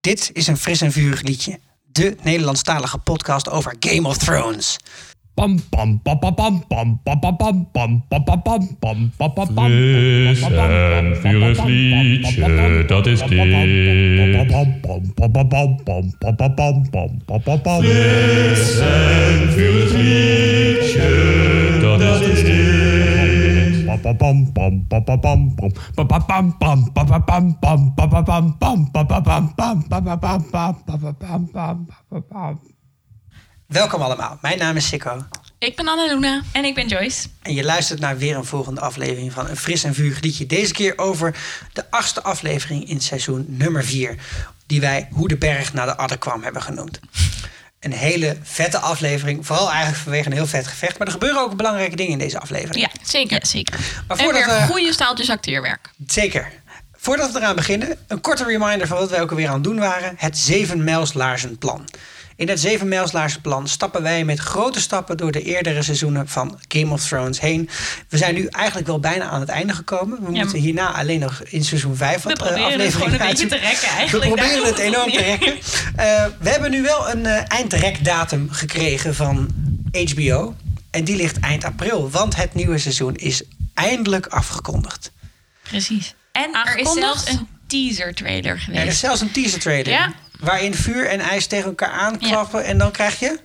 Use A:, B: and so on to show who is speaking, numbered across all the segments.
A: Dit is een fris en vuur liedje. De Nederlandstalige podcast over Game of Thrones.
B: Pam pam pam pam pam pam pam pam pam pam pam pam pam pam pam pam pam.
C: Fris en vurig liedje, dat is dit. Fris en vurig liedje, dat is dit.
A: Welkom allemaal, mijn naam is Sikko.
D: Ik ben Annalena. En ik ben Joyce.
A: En je luistert naar weer een volgende aflevering van een fris en vuur liedje. Deze keer over de achtste aflevering in seizoen nummer 4. Die wij Hoe de Berg naar de Adder kwam hebben genoemd. Een hele vette aflevering. Vooral eigenlijk vanwege een heel vet gevecht. Maar er gebeuren ook belangrijke dingen in deze aflevering.
D: Ja, zeker. zeker.
A: Maar
D: en
A: voordat
D: weer
A: we-
D: goede staaltjes acteerwerk.
A: Zeker. Voordat we eraan beginnen, een korte reminder van wat wij ook alweer aan het doen waren. Het 7 mijlslaarzenplan. In het 7 mijlslaarzenplan stappen wij met grote stappen door de eerdere seizoenen van Game of Thrones heen. We zijn nu eigenlijk wel bijna aan het einde gekomen. We
D: maar-
A: moeten hierna alleen nog in seizoen 5
D: We
A: wat eh,
D: proberen het gewoon
A: afleveringen
D: een beetje
A: uit-
D: te rekken eigenlijk.
A: We
D: Daar
A: proberen het
D: komt het
A: enorm
D: op
A: te
D: neer.
A: rekken. Eh, we hebben nu wel een eh, eindrekdatum gekregen van HBO. En die ligt eind april, want het nieuwe seizoen is eindelijk afgekondigd.
D: Precies. En
E: er is zelfs een
D: teaser trailer
A: Er is
D: geweest.
A: zelfs een teaser trailer.
D: Ja.
A: Waarin vuur en ijs tegen elkaar aanklappen. En dan krijg je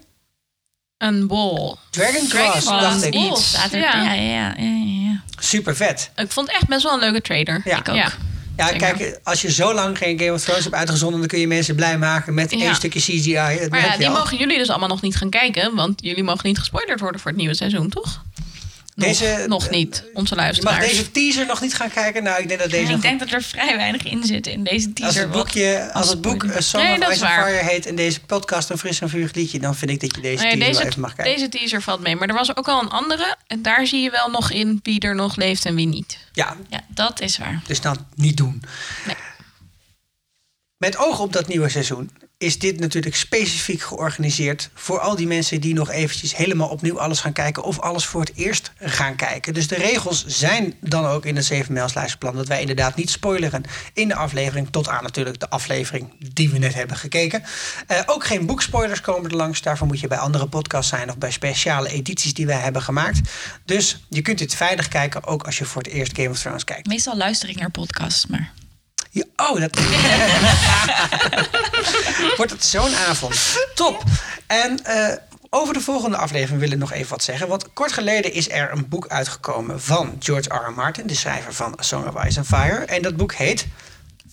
E: Een bol.
A: Dragon Glass,
D: Glass
A: dacht ik.
D: iets.
E: Iets.
D: staat er-
E: Ja.
D: Ja, ja, ja, ja, ja.
A: Super vet.
E: Ik vond het echt best wel een leuke trailer.
A: Ja.
D: Ik ook.
E: Ja.
A: Ja,
D: Zeker.
A: kijk, als je zo lang geen Game of Thrones hebt uitgezonden... dan kun je mensen blij maken met
E: Ja.
A: één stukje CGI. Dat
E: Maar
A: merk
E: ja,
A: je
E: die
A: al.
E: mogen jullie dus allemaal nog niet gaan kijken, want jullie mogen niet gespoilerd worden voor het nieuwe seizoen, toch? Nog,
A: Deze- eh,
E: nog niet, onze
A: je mag
E: luisteraars.
A: deze teaser nog niet gaan kijken. Nou, ik denk dat deze...
D: Ik denk dat er vrij weinig in zit in deze teaser.
A: als het,
D: wat-
A: boekje, als het boek eh, Song
E: Nee,
A: of
E: dat is
A: Ice and
E: waar.
A: Fire heet... en deze podcast een fris en vurig liedje... dan vind ik dat je deze
E: Nee,
A: teaser wel
E: deze,
A: even mag kijken.
E: deze teaser valt mee, maar er was ook al een andere. En daar zie je wel nog in wie er nog leeft en wie niet.
A: Ja,
D: Ja, dat is waar.
A: Dus dat niet doen.
E: Nee.
A: Met oog op dat nieuwe seizoen is dit natuurlijk specifiek georganiseerd voor al die mensen die nog eventjes helemaal opnieuw alles gaan kijken of alles voor het eerst gaan kijken. Dus de regels zijn dan ook in het 7 mijlslijstplan dat wij inderdaad niet spoileren in de aflevering tot aan natuurlijk de aflevering die we net hebben gekeken. Eh, ook geen boekspoilers komen er langs. Daarvoor moet je bij andere podcasts zijn of bij speciale edities die wij hebben gemaakt. Dus je kunt dit veilig kijken ook als je voor het eerst Game of Thrones kijkt.
D: Meestal luister ik naar podcasts, maar...
A: Ja, oh, dat. Wordt het zo'n avond. Top. En eh, over de volgende aflevering wil ik nog even wat zeggen. Want kort geleden is er een boek uitgekomen van George R. R. Martin, de schrijver van A Song of Ice and Fire. En dat boek heet.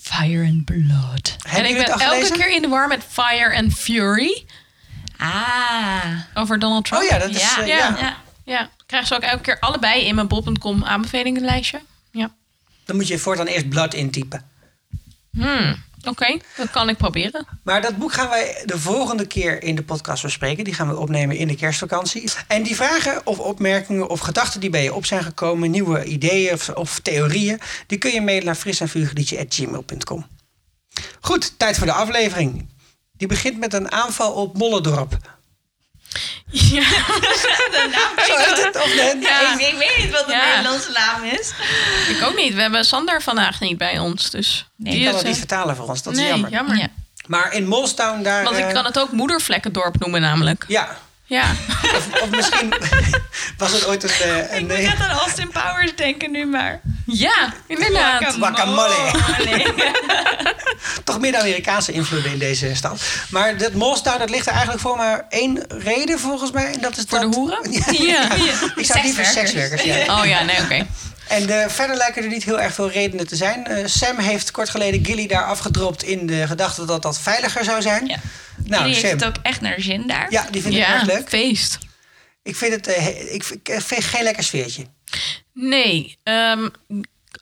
D: Fire and Blood.
A: Hebben
E: en
A: jullie
E: ik
A: het
E: ben
A: al
E: elke
A: gelezen?
E: keer in de war met Fire and Fury
D: Ah.
E: over Donald Trump.
A: Oh ja, dat is.
D: Ja,
A: eh,
E: ja,
A: ja.
D: Ja.
E: Ja, krijg ze ook elke keer allebei in mijn bol.com aanbevelingenlijstje. Ja.
A: Dan moet je voortaan eerst blad intypen.
E: Hmm, Oké, dat kan ik proberen.
A: Maar dat boek gaan wij de volgende keer in de podcast bespreken. Die gaan we opnemen in de kerstvakantie. En die vragen of opmerkingen of gedachten die bij je op zijn gekomen, nieuwe ideeën of, of theorieën, die kun je mailen naar frisenvuurgeliedje.gmail.com. Goed, tijd voor de aflevering. Die begint met een aanval op Mollendorp.
E: Ja,
A: Zo heet het, of nee?
E: Ja.
D: Ik, ik weet niet wat de
E: Ja.
D: Nederlandse naam is.
E: ik ook niet. We hebben Sander vandaag niet bij ons, dus...
D: Nee,
A: Ik
E: die
A: kan
E: is,
A: dat niet
E: eh,
A: vertalen voor ons, dat is
E: nee,
A: jammer.
E: jammer.
D: Ja.
A: Maar in Molstown daar...
E: Want ik
A: eh,
E: kan het ook moedervlekkendorp noemen namelijk.
A: Ja,
E: Ja.
A: of, of misschien was het ooit een... eh, een
D: Ik moet
A: eh,
D: echt aan Austin Powers denken nu maar.
E: Ja, inderdaad.
A: Guacamole.
D: Guacamole.
A: toch meer de Amerikaanse invloeden in deze stad. Maar dat Molstown, dat ligt er eigenlijk voor maar één reden volgens mij. En dat is
E: Voor de
A: dat-
E: hoeren?
A: Ja,
E: Ja.
A: ik zou die voor sekswerkers. Ja.
E: Oh ja, nee, oké.
A: En eh, verder lijken er niet heel erg veel redenen te zijn. Eh, Sam heeft kort geleden Gilly daar afgedropt in de gedachte dat dat veiliger zou zijn.
D: Ja.
A: Nou,
D: die heeft
A: Sam.
D: het ook echt naar de zin daar.
A: Ja, die vind ik
E: ja,
A: erg leuk.
E: feest.
A: Ik vind het eh, he- ik vind, ik vind geen lekker sfeertje.
E: Nee, ehm,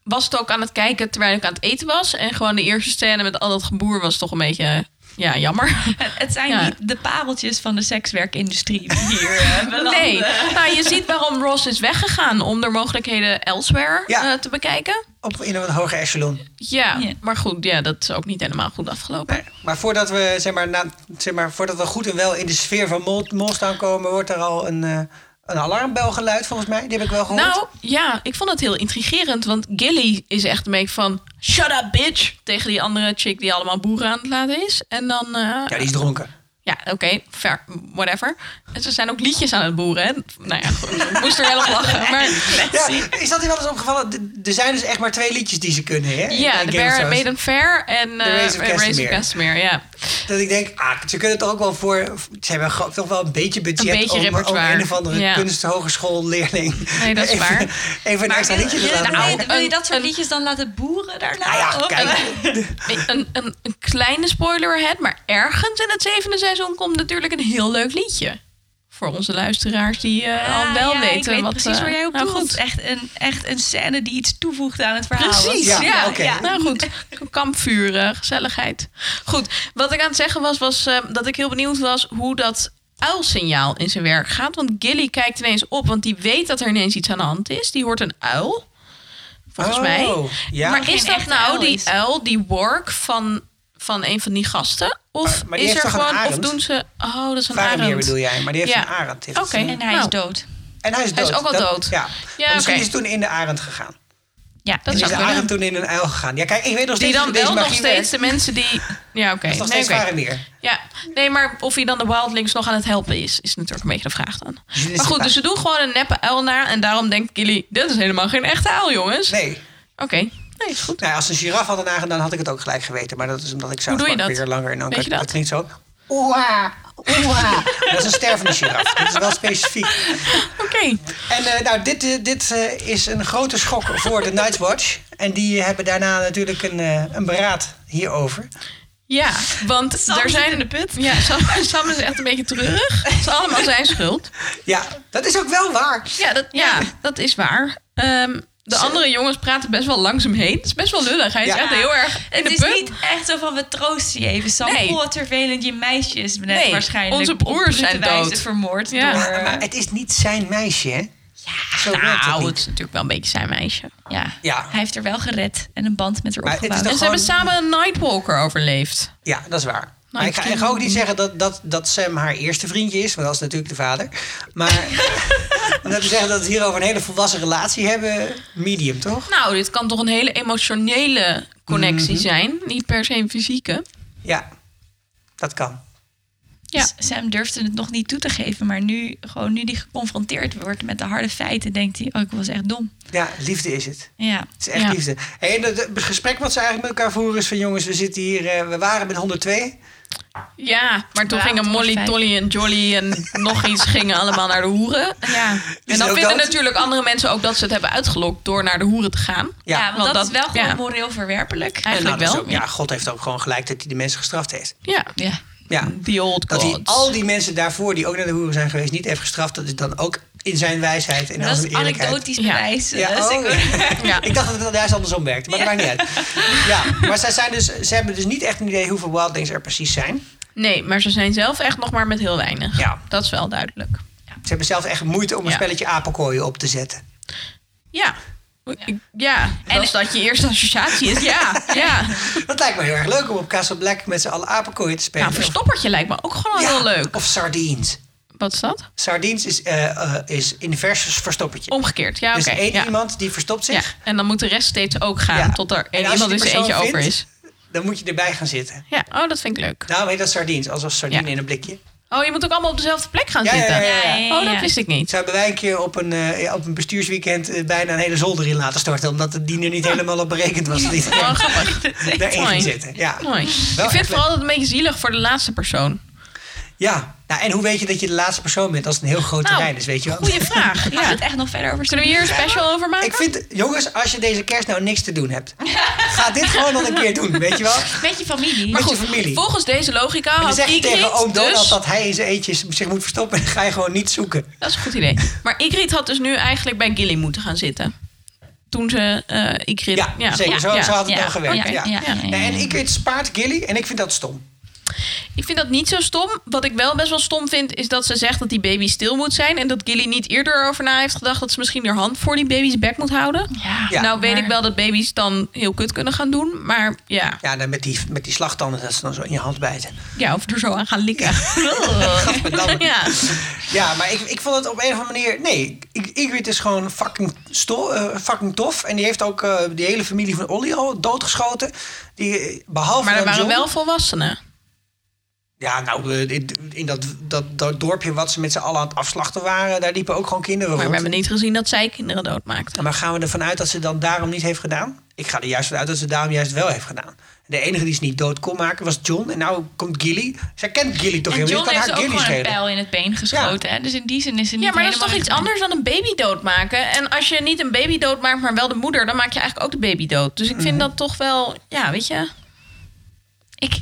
E: was het ook aan het kijken terwijl ik aan het eten was. En gewoon de eerste scène met al dat geboer was toch een beetje eh, ja, jammer.
D: Het, het zijn
E: Ja.
D: niet de pareltjes van de sekswerkindustrie die hier eh, belanden.
E: Nee, nou, je ziet waarom Ross is weggegaan om er mogelijkheden elsewhere
A: Ja.
E: eh, te bekijken.
A: Op, in een hoger echelon.
E: Ja,
D: Ja.
E: maar goed, ja, dat is ook niet helemaal goed afgelopen.
A: Nee, Maar voordat we, zeg maar, na, zeg maar, voordat we goed en wel in de sfeer van Mol, Molstown komen, wordt er al een, eh, een alarmbelgeluid volgens mij. Die heb ik wel gehoord.
E: Nou, ja, ik vond het heel intrigerend. Want Gilly is echt een beetje van... Shut up, bitch! Tegen die andere chick die allemaal boeren aan het laten is. En dan... eh,
A: ja, die is dronken.
E: Ja, oké, fair, whatever. En ze zijn ook liedjes aan het boeren. Hè? Nou ja, goed, ik moest er wel op lachen. Maar
A: Ja, is dat je wel eens opgevallen? D- Er zijn dus echt maar twee liedjes die ze kunnen, hè? in
E: ja,
A: Game
E: The
A: of
E: Bear
A: Thrones.
E: Maiden Fair en eh,
A: Race of
E: en Race of
A: Castamere.
E: Castamere. Ja.
A: Dat ik denk, ah, ze kunnen toch ook wel voor... Ze hebben gewoon toch wel een beetje budget
E: Een beetje
A: om, om
E: repertoire.
A: een of andere
E: Ja.
A: kunsthogeschoolleerling...
E: Nee, dat is
A: even,
E: waar. nou,
A: Even een extra liedje te
D: wil,
A: laten
D: wil,
A: maken.
D: je, wil je dat soort
E: Een-
D: liedjes dan laten boeren daarna?
A: Nou ja,
E: oh,
D: Of-
A: kijk.
E: Een, een, een kleine spoiler ahead, maar ergens in het zevende seizoen komt natuurlijk een heel leuk liedje. Voor onze luisteraars die eh,
D: Ah,
E: al wel
D: ja,
E: weten
D: ik weet
E: wat
D: precies
E: eh,
D: waar jij op
E: nou,
D: doelt.
E: goed.
D: Echt, een, echt een scène die iets toevoegt aan het verhaal.
E: Precies,
A: Ja,
E: ja. ja,
A: oké.
E: Nou goed, kampvuren, gezelligheid. Goed, wat ik aan het zeggen was, was eh, dat ik heel benieuwd was hoe dat uilsignaal in zijn werk gaat. Want Gilly kijkt ineens op, want die weet dat er ineens iets aan de hand is. Die hoort een uil, volgens
A: Oh,
E: mij.
A: ja.
E: Maar is
D: Geen
E: dat
D: echte
E: nou
D: uil
E: die
D: is.
E: uil, die work van, van een van die gasten? Of
A: Maar- maar die
E: is
A: heeft
E: er
A: toch een
E: gewoon, of
A: arend?
E: doen ze... Oh, dat is een
A: Faramir
E: arend.
A: bedoel jij, maar die heeft
E: Ja.
A: een arend. heeft
E: Oké.
A: gezien.
D: En hij
E: Nou.
D: is dood.
A: En hij is dood.
E: Hij is ook al
A: Dat-
E: dood.
A: Ja,
E: Ja,
A: Maar misschien
E: oké.
A: is hij toen in de arend gegaan.
D: Ja,
E: Dat
A: en
E: is
A: is
E: zou
A: de
E: kunnen.
A: arend toen in een uil gegaan. Ja, kijk, ik weet nog
E: Die
A: steeds
E: dan
A: hoe deze
E: wel nog
A: magie
E: steeds
A: werkt.
E: de mensen die... Ja, oké.
A: Dat is nog
E: Nee,
A: steeds
E: oké.
A: Faramir.
E: Ja, nee, maar of hij dan de wildlings nog aan het helpen is, is natuurlijk een beetje de vraag dan.
A: Dit is
E: Maar goed,
A: de-
E: dus ze doen gewoon een neppe uil na en daarom denken jullie, dit is helemaal geen echte uil, jongens.
A: Nee.
E: Oké, nee, is goed.
A: Nou, als ze een giraf hadden aangedaan, had ik het ook gelijk geweten. Maar dat is omdat ik
E: doe je
A: South Park
E: dat?
A: weer langer in anker.
E: Weet je dat?
A: klinkt zo. Oeha, oeha. ah. dat is een stervende giraf. Dat is wel specifiek.
E: Oké,
A: En eh, nou, dit, eh, dit eh, is een grote schok voor de Night's Watch. En die hebben daarna natuurlijk een, eh, een beraad hierover.
E: ja, want
D: Sam
E: er
D: zit
E: zijn...
D: in de put.
E: Ja, Sam, Sam is echt een beetje treurig. Het is allemaal zijn schuld.
A: Ja, dat is ook wel waar.
E: Ja, dat, ja, dat is waar. Ehm, de andere jongens praten best wel langzaam heen. Het is best wel lullig. Hij is
A: Ja.
E: echt heel erg in
D: Het
E: de
D: is
E: put.
D: niet echt zo van we troosten je even. Sam,
E: Nee.
D: nee. wat vervelend je meisje is net
E: Nee,
D: waarschijnlijk.
E: onze
D: op brute
E: broers zijn
D: wijze
E: dood.
D: vermoord
E: Ja.
D: door...
A: Maar, maar het is niet zijn meisje, hè? Ja, zo werkt het
E: nou,
A: niet.
E: het is natuurlijk wel een beetje zijn meisje.
D: ja.
A: Ja.
D: Hij heeft er wel gered en een band met haar
A: Maar het is
D: opgebouwd.
A: toch
E: En ze hebben samen een Nightwalker overleefd.
A: Ja, dat is waar. Maar ik
E: ik
A: ga,
E: ken
A: ik ga ook niet zeggen dat, dat, dat Sam haar eerste vriendje is, want dat is natuurlijk de vader. Maar om dat te zeggen dat we het hier over een hele volwassen relatie hebben, medium toch?
E: Nou, dit kan toch een hele emotionele connectie
A: Mhm.
E: zijn. Niet per se een fysieke.
A: Ja, dat kan.
E: Ja.
D: S- Sam durfde het nog niet toe te geven, maar nu, gewoon nu die geconfronteerd wordt met de harde feiten, denkt hij: Oh, ik was echt dom.
A: Ja, liefde is het.
D: Ja.
A: Het is echt
E: Ja.
A: liefde. Hey, en het het gesprek wat ze eigenlijk met elkaar voeren is van jongens, we zitten hier, eh, we waren met Nou, 102.
E: Ja, maar toen
D: Ja,
E: gingen
D: toch
E: Molly,
D: fijn.
E: Tolly en Jolly en nog iets gingen allemaal naar de hoeren.
D: Ja.
E: En
A: ook
E: dan vinden
A: dood.
E: natuurlijk andere mensen ook dat ze het hebben uitgelokt door naar de hoeren te gaan.
A: Ja.
D: Ja,
A: Ja,
D: want,
E: want
D: dat,
E: dat-
D: is wel gewoon
E: ja.
D: moreel verwerpelijk.
E: Eigenlijk
A: En nou, dat is
E: wel.
A: ook- ja, God heeft ook gewoon gelijk dat hij die mensen gestraft heeft.
E: Ja.
D: Ja.
A: Ja.
E: The old
A: Dat hij
E: gods.
A: al die mensen daarvoor die ook naar de hoeren zijn geweest niet heeft gestraft, dat is dan ook in zijn wijsheid en
D: Maar dat
A: als
D: is
A: een
D: het
A: eerlijkheid.
D: anekdotisch
E: Ja.
D: bewijs.
A: Ja,
D: dus
A: oh.
D: ik-
E: Ja.
A: Ik dacht dat het juist andersom werkt, maar dat maakt niet uit. Ja, maar zij zijn dus, ze hebben dus niet echt een idee hoeveel wildlings er precies zijn.
E: Nee, maar ze zijn zelf echt nog maar met heel weinig.
A: Ja.
E: Dat is wel duidelijk.
A: Ze hebben zelfs echt moeite om een
E: Ja.
A: spelletje apenkooien op te zetten.
E: Ja. Ik- Ja, en dat is dat je eerste associatie is. Ja, Nou, ja.
A: Dat lijkt me heel erg leuk om op Casablanca met z'n allen apenkooien te spelen.
E: Nou, verstoppertje lijkt me ook gewoon
A: Ja,
E: heel leuk.
A: Of sardines.
E: Wat is dat?
A: Sardines is, eh, eh, is inversus verstoppertje.
E: Omgekeerd, ja,
A: dus
E: Oh, oké.
A: één
E: ja.
A: iemand die verstopt
E: Ja,
A: zich,
E: en dan moet de rest steeds ook gaan
A: Ja.
E: tot er
A: En
E: één
A: als je
E: iemand
A: die
E: is
A: persoon
E: eentje over
A: vindt-
E: is.
A: dan moet je erbij gaan zitten.
E: Ja, oh, dat vind ik leuk.
A: Daarom heet dat sardines, alsof sardine
E: Ja.
A: in een blikje.
E: Oh, je moet ook allemaal op dezelfde plek gaan
A: Ja, ja,
E: zitten.
A: ja, ja.
D: Ja, ja,
E: Oh, dat
D: ja.
E: wist ik
A: Zo
E: niet.
A: hebben wij een keer op een, eh, op een bestuursweekend eh, bijna een hele zolder in laten storten. Omdat de diner niet helemaal op berekend was. Dat
E: Wel
A: iedereen
E: Oh, grappig.
A: daarin
E: mooi.
A: ging zitten. Ja.
E: Mooi. Ik
A: echt
E: vind
A: leuk.
E: het vooral een beetje zielig voor de laatste persoon.
A: Ja, nou, en hoe weet je dat je de laatste persoon bent als het een heel groot
E: Nou,
A: terrein is, weet je wel?
E: Goeie vraag.
D: Gaat
E: Ja.
D: het echt nog verder over
E: Kunnen we hier een special over maken?
A: Ik vind, jongens, als je deze kerst nou niks te doen hebt, ga dit gewoon nog een keer doen, weet je wel?
D: Met je familie.
E: maar
A: met je
E: goed,
A: familie.
E: volgens deze logica
A: En dan
E: had
A: zeg je
E: Ingrid
A: tegen oom Donald
E: dus...
A: dat hij in zijn eentje zich moet verstoppen en dan ga je gewoon niet zoeken.
E: Dat is een goed idee. Maar Ingrid had dus nu eigenlijk bij Gilly moeten gaan zitten. Toen ze eh Ingrid...
A: Ja, zeker. zo,
E: ja,
A: zo had het
D: ja,
A: dan gewerkt.
D: oké,
A: Ja. Nou,
D: ja, ja, ja,
A: En ik weet, spaart Gilly en ik vind dat stom.
E: Ik vind dat niet zo stom. Wat ik wel best wel stom vind, is dat ze zegt dat die baby stil moet zijn. En dat Gilly niet eerder erover na heeft gedacht dat ze misschien haar hand voor die baby's bek moet houden.
D: Ja,
A: Ja.
E: nou weet
D: maar-
E: ik wel dat baby's dan heel kut kunnen gaan doen. Maar ja,
A: Ja, dan met, die, met die slagtanden dat ze dan zo in je hand bijten.
E: ja of er zo aan gaan likken.
A: Gadverdamme.
E: ja.
A: Ja, maar ik, ik vond het op een of andere manier... Nee, I- Ingrid is gewoon fucking, sto, eh, fucking tof. En die heeft ook eh, die hele familie van Olly al doodgeschoten. Die, eh, behalve
E: Maar er
A: dan
E: waren
A: John.
E: wel volwassenen.
A: Ja, nou, eh, in, in dat, dat, dat dorpje wat ze met z'n allen aan het afslachten waren... daar liepen ook gewoon kinderen
E: Maar we
A: rond.
E: hebben niet gezien dat zij kinderen doodmaakten.
A: Maar gaan we ervan uit dat ze dan daarom niet heeft gedaan? Ik ga er juist vanuit dat ze daarom juist wel heeft gedaan. De enige die ze niet dood kon maken was John. En nou komt Gilly. Zij kent Gilly toch
D: En
A: helemaal niet? Kan
D: John heeft
A: haar
D: ook
A: Gilly
D: gewoon een
A: schelen.
D: pijl in het been geschoten. Hè? Dus in die zin is ze niet
E: Ja, maar dat is
D: helemaal
E: toch iets
D: in-
E: anders dan een baby doodmaken. En als je niet een baby doodmaakt, maar wel de moeder, dan maak je eigenlijk ook de baby dood. Dus ik vind dat toch wel, ja, weet je.
D: Ik,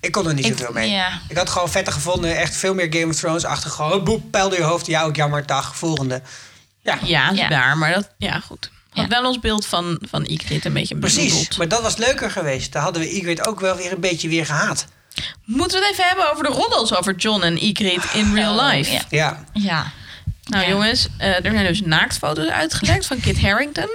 A: Ik kon er niet
D: Ik-
A: zoveel mee.
D: ja.
A: Ik had gewoon vetter gevonden. Echt veel meer Game of Thrones achter. Gewoon boep, pijl door je hoofd. Ja, ook jammer, dag. Volgende. Ja,
E: Ja,
D: Ja.
E: daar, maar dat, ja, goed. Had
D: Ja.
E: wel ons beeld van, van Ygritte een beetje
A: precies.
E: bezoedeld.
A: Maar dat was leuker geweest. Daar hadden we Ygritte ook wel weer een beetje weer gehaat.
E: Moeten we het even hebben over de roddels over John en Ygritte in real
D: Oh,
E: life?
D: ja.
A: Ja.
D: ja.
E: Nou
D: Ja.
E: jongens, eh, er zijn dus naaktfoto's uitgelekt van Kit Harrington.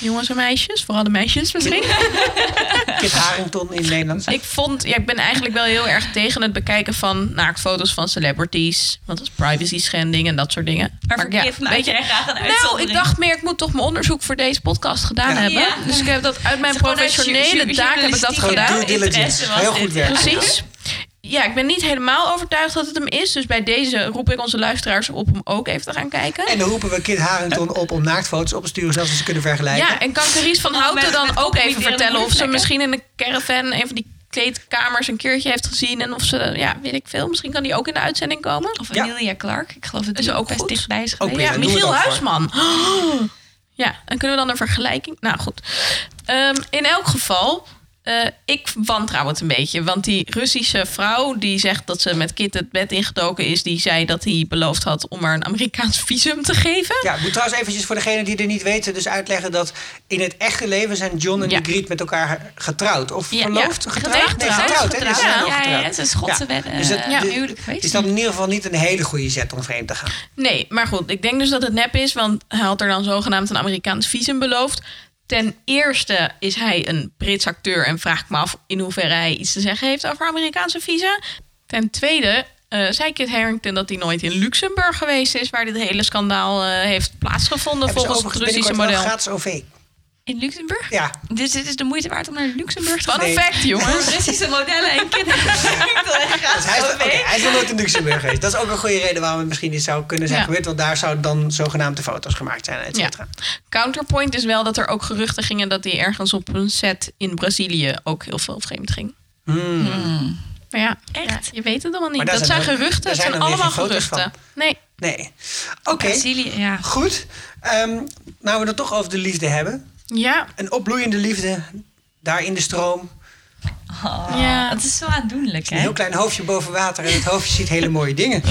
E: Jongens en meisjes, vooral de meisjes misschien.
A: Kit Harington in Nederland.
E: Ik vond, ja, ik ben eigenlijk wel heel erg tegen het bekijken van naaktfoto's van celebrities. Want dat is privacy schending en dat soort dingen.
D: Maar voor
E: ja,
D: Kit maak
E: weet
D: jij graag een
E: Nou, ik
D: uitzondering.
E: dacht meer, ik moet toch mijn onderzoek voor deze podcast gedaan
A: Ja.
E: hebben.
D: Ja.
E: Dus ik heb dat uit mijn
D: Het is gewoon uit ju-
E: professionele
D: ju-
E: taak heb ik dat
D: journalistieke
E: gedaan.
A: Due diligence.
D: interesse was
A: Heel
D: dit.
A: goed werk.
E: Precies. Ja, ik ben niet helemaal overtuigd dat het hem is. Dus bij deze roep ik onze luisteraars op om ook even te gaan kijken.
A: En dan roepen we Kit Harington op om naaktfoto's op te sturen. Zodat we ze kunnen vergelijken.
E: Ja, en kan Carice van
D: Oh,
E: Houten
D: met-
E: dan ook
D: met
E: even
D: compromitterende
E: vertellen of ze
D: moedervlekken.
E: misschien in een caravan een van die kleedkamers een keertje heeft gezien en of ze, ja, weet ik veel, misschien kan die ook in de uitzending komen.
D: Of
A: Ja.
D: Amelia Clark. Ik geloof dat
E: Is
D: die
E: ook
D: ook best
E: goed.
D: dichtbij is
A: Ook
D: geweest.
A: weer
E: Ja,
A: dan doen we
E: Michiel
A: het ook
E: Huisman. Oh! Ja, dan kunnen we dan een vergelijking. Nou goed. Ehm, in elk geval, eh, ik wantrouw het een beetje. Want die Russische vrouw die zegt dat ze met Kit het bed ingedoken is, die zei dat hij beloofd had om haar een Amerikaans visum te geven.
A: Ja, ik moet trouwens eventjes voor degenen die er niet weten, dus uitleggen dat in het echte leven zijn John en
E: Ja.
A: Ingrid met elkaar getrouwd. Of
D: Ja,
A: verloofd?
D: ja.
A: Getrouwd?
D: Getrouwd,
A: Nee,
D: getrouwd,
A: getrouwd. hè? Die zijn
D: getrouwd.
A: allemaal
D: Ja, ja,
A: getrouwd.
D: ja, het is Schotse wedden,
A: Dus dat-
D: eh,
A: ja.
D: huwelijk geweest.
A: is dat in ieder geval niet een hele goede zet om vreemd te gaan.
E: Nee, maar goed, ik denk dus dat het nep is, want hij had er dan zogenaamd een Amerikaans visum beloofd. Ten eerste is hij een Brits acteur en vraag ik me af in hoeverre hij iets te zeggen heeft over Amerikaanse visa. Ten tweede eh, zei Kit Harrington dat hij nooit in Luxemburg geweest is, waar dit hele schandaal eh, heeft plaatsgevonden
A: Hebben ze
E: volgens het
A: overigens
E: Russische
A: binnenkort
E: model.
A: wel gratis OV.
D: In Luxemburg?
A: Ja,
D: Dus dit is de moeite waard om naar Luxemburg te
E: Fun
D: gaan.
A: Nee.
E: fact, jongens.
D: Russische modellen en kinderen.
A: dus hij, is, oké, hij is nog nooit in Luxemburg geweest. Dat is ook een goede reden waarom het misschien niet zou kunnen zijn
E: Ja.
A: gebeurd. Want daar zouden dan zogenaamd de foto's gemaakt zijn, et cetera.
E: Counterpoint is wel dat er ook geruchten gingen dat hij ergens op een set in Brazilië ook heel veel vreemd ging. Maar ja,
D: Echt?
E: ja, je weet het allemaal
A: Hmm.
E: niet.
A: Maar daar
E: Dat zijn,
A: zijn er-
E: geruchten.
A: daar
E: Het
A: zijn
E: zijn
A: er weer
E: allemaal
A: geen foto's
E: geruchten. Nee.
A: Nee. Oké,
D: Brazilië, ja.
A: goed. Ehm, nou we het toch over de liefde hebben.
E: Ja,
A: Een opbloeiende liefde, daar in de stroom.
E: Ja.
D: ja. Het is zo aandoenlijk,
A: Een
D: hè?
A: heel klein hoofdje boven water en het hoofdje ziet hele mooie dingen.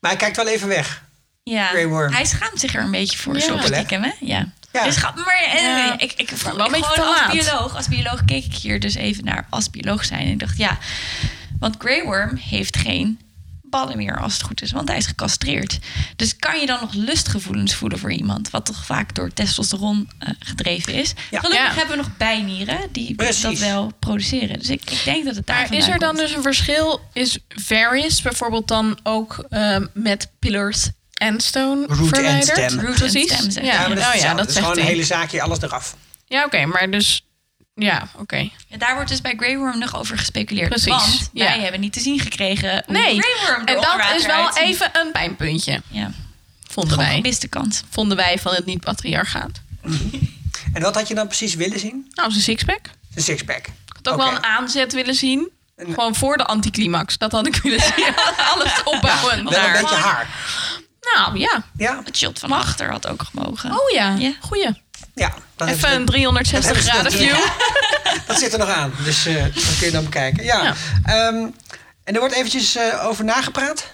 A: maar hij kijkt wel even weg.
D: Ja.
A: Grey Worm.
D: Hij schaamt zich er een beetje voor,
E: Ja.
D: zo
A: Simpel, hè?
D: stiekem, hè? Ja.
A: Ja.
D: Dus ga, maar eh,
E: Ja.
D: ik, ik voel
E: Maar wel een
D: ik
E: beetje te
D: gewoon
E: laat.
D: als bioloog, als bioloog keek ik hier dus even naar als bioloog zijn. En ik dacht, ja, want Grey Worm heeft geen ballen meer als het goed is, want hij is gecastreerd. Dus kan je dan nog lustgevoelens voelen voor iemand, wat toch vaak door testosteron eh, gedreven is?
A: Ja.
D: Gelukkig
E: Ja.
D: hebben we nog bijnieren die
A: Precies.
D: dat wel produceren. Dus ik, ik denk dat het daar
E: maar is
D: vandaan
E: er dan
D: komt.
E: dus een verschil? Is various bijvoorbeeld dan ook ehm, met pillars en stone
A: Root en
E: verwijderd?
A: stem.
D: Root en
E: Precies.
D: stem, zeg
E: ja,
D: je.
A: maar dat is,
E: oh, ja,
A: hetzelfde.
E: dat
A: Het is
E: zegt
A: gewoon
E: hij.
A: een hele zaakje, alles eraf.
E: Ja, oké, maar dus... Ja, oké.
D: Ja, daar wordt dus bij Grey Worm nog over gespeculeerd.
E: Precies,
D: Want
E: ja.
D: wij hebben niet te zien gekregen hoe
E: Nee,
D: Grey Worm
E: en
D: er
E: dat
D: onder
E: is wel
D: water uitziet.
E: even een pijnpuntje,
D: Ja,
E: vonden
D: gewoon
E: wij.
D: gemiste kans.
E: Vonden wij van het niet-patriarchaat.
A: En wat had je dan precies willen zien?
E: Nou, zijn sixpack.
A: Een sixpack.
E: Ik had ook
A: Oké.
E: wel een aanzet willen zien. Gewoon voor de anticlimax. Dat had ik willen zien. Alles opbouwend
A: Wel een
E: daar.
A: beetje haar.
E: Nou, ja.
A: Ja,
D: Het shot van achter had ook gemogen.
E: Oh ja,
D: Ja.
E: goeie.
A: ja dat, hebben
E: Even
A: ze-
E: een 360
A: dat hebben
E: graden
A: ze
E: view.
A: dat zit er nog aan. Dus eh, dat kun je dan bekijken. Ja.
E: Ja.
A: Ehm, en er wordt eventjes eh, over nagepraat.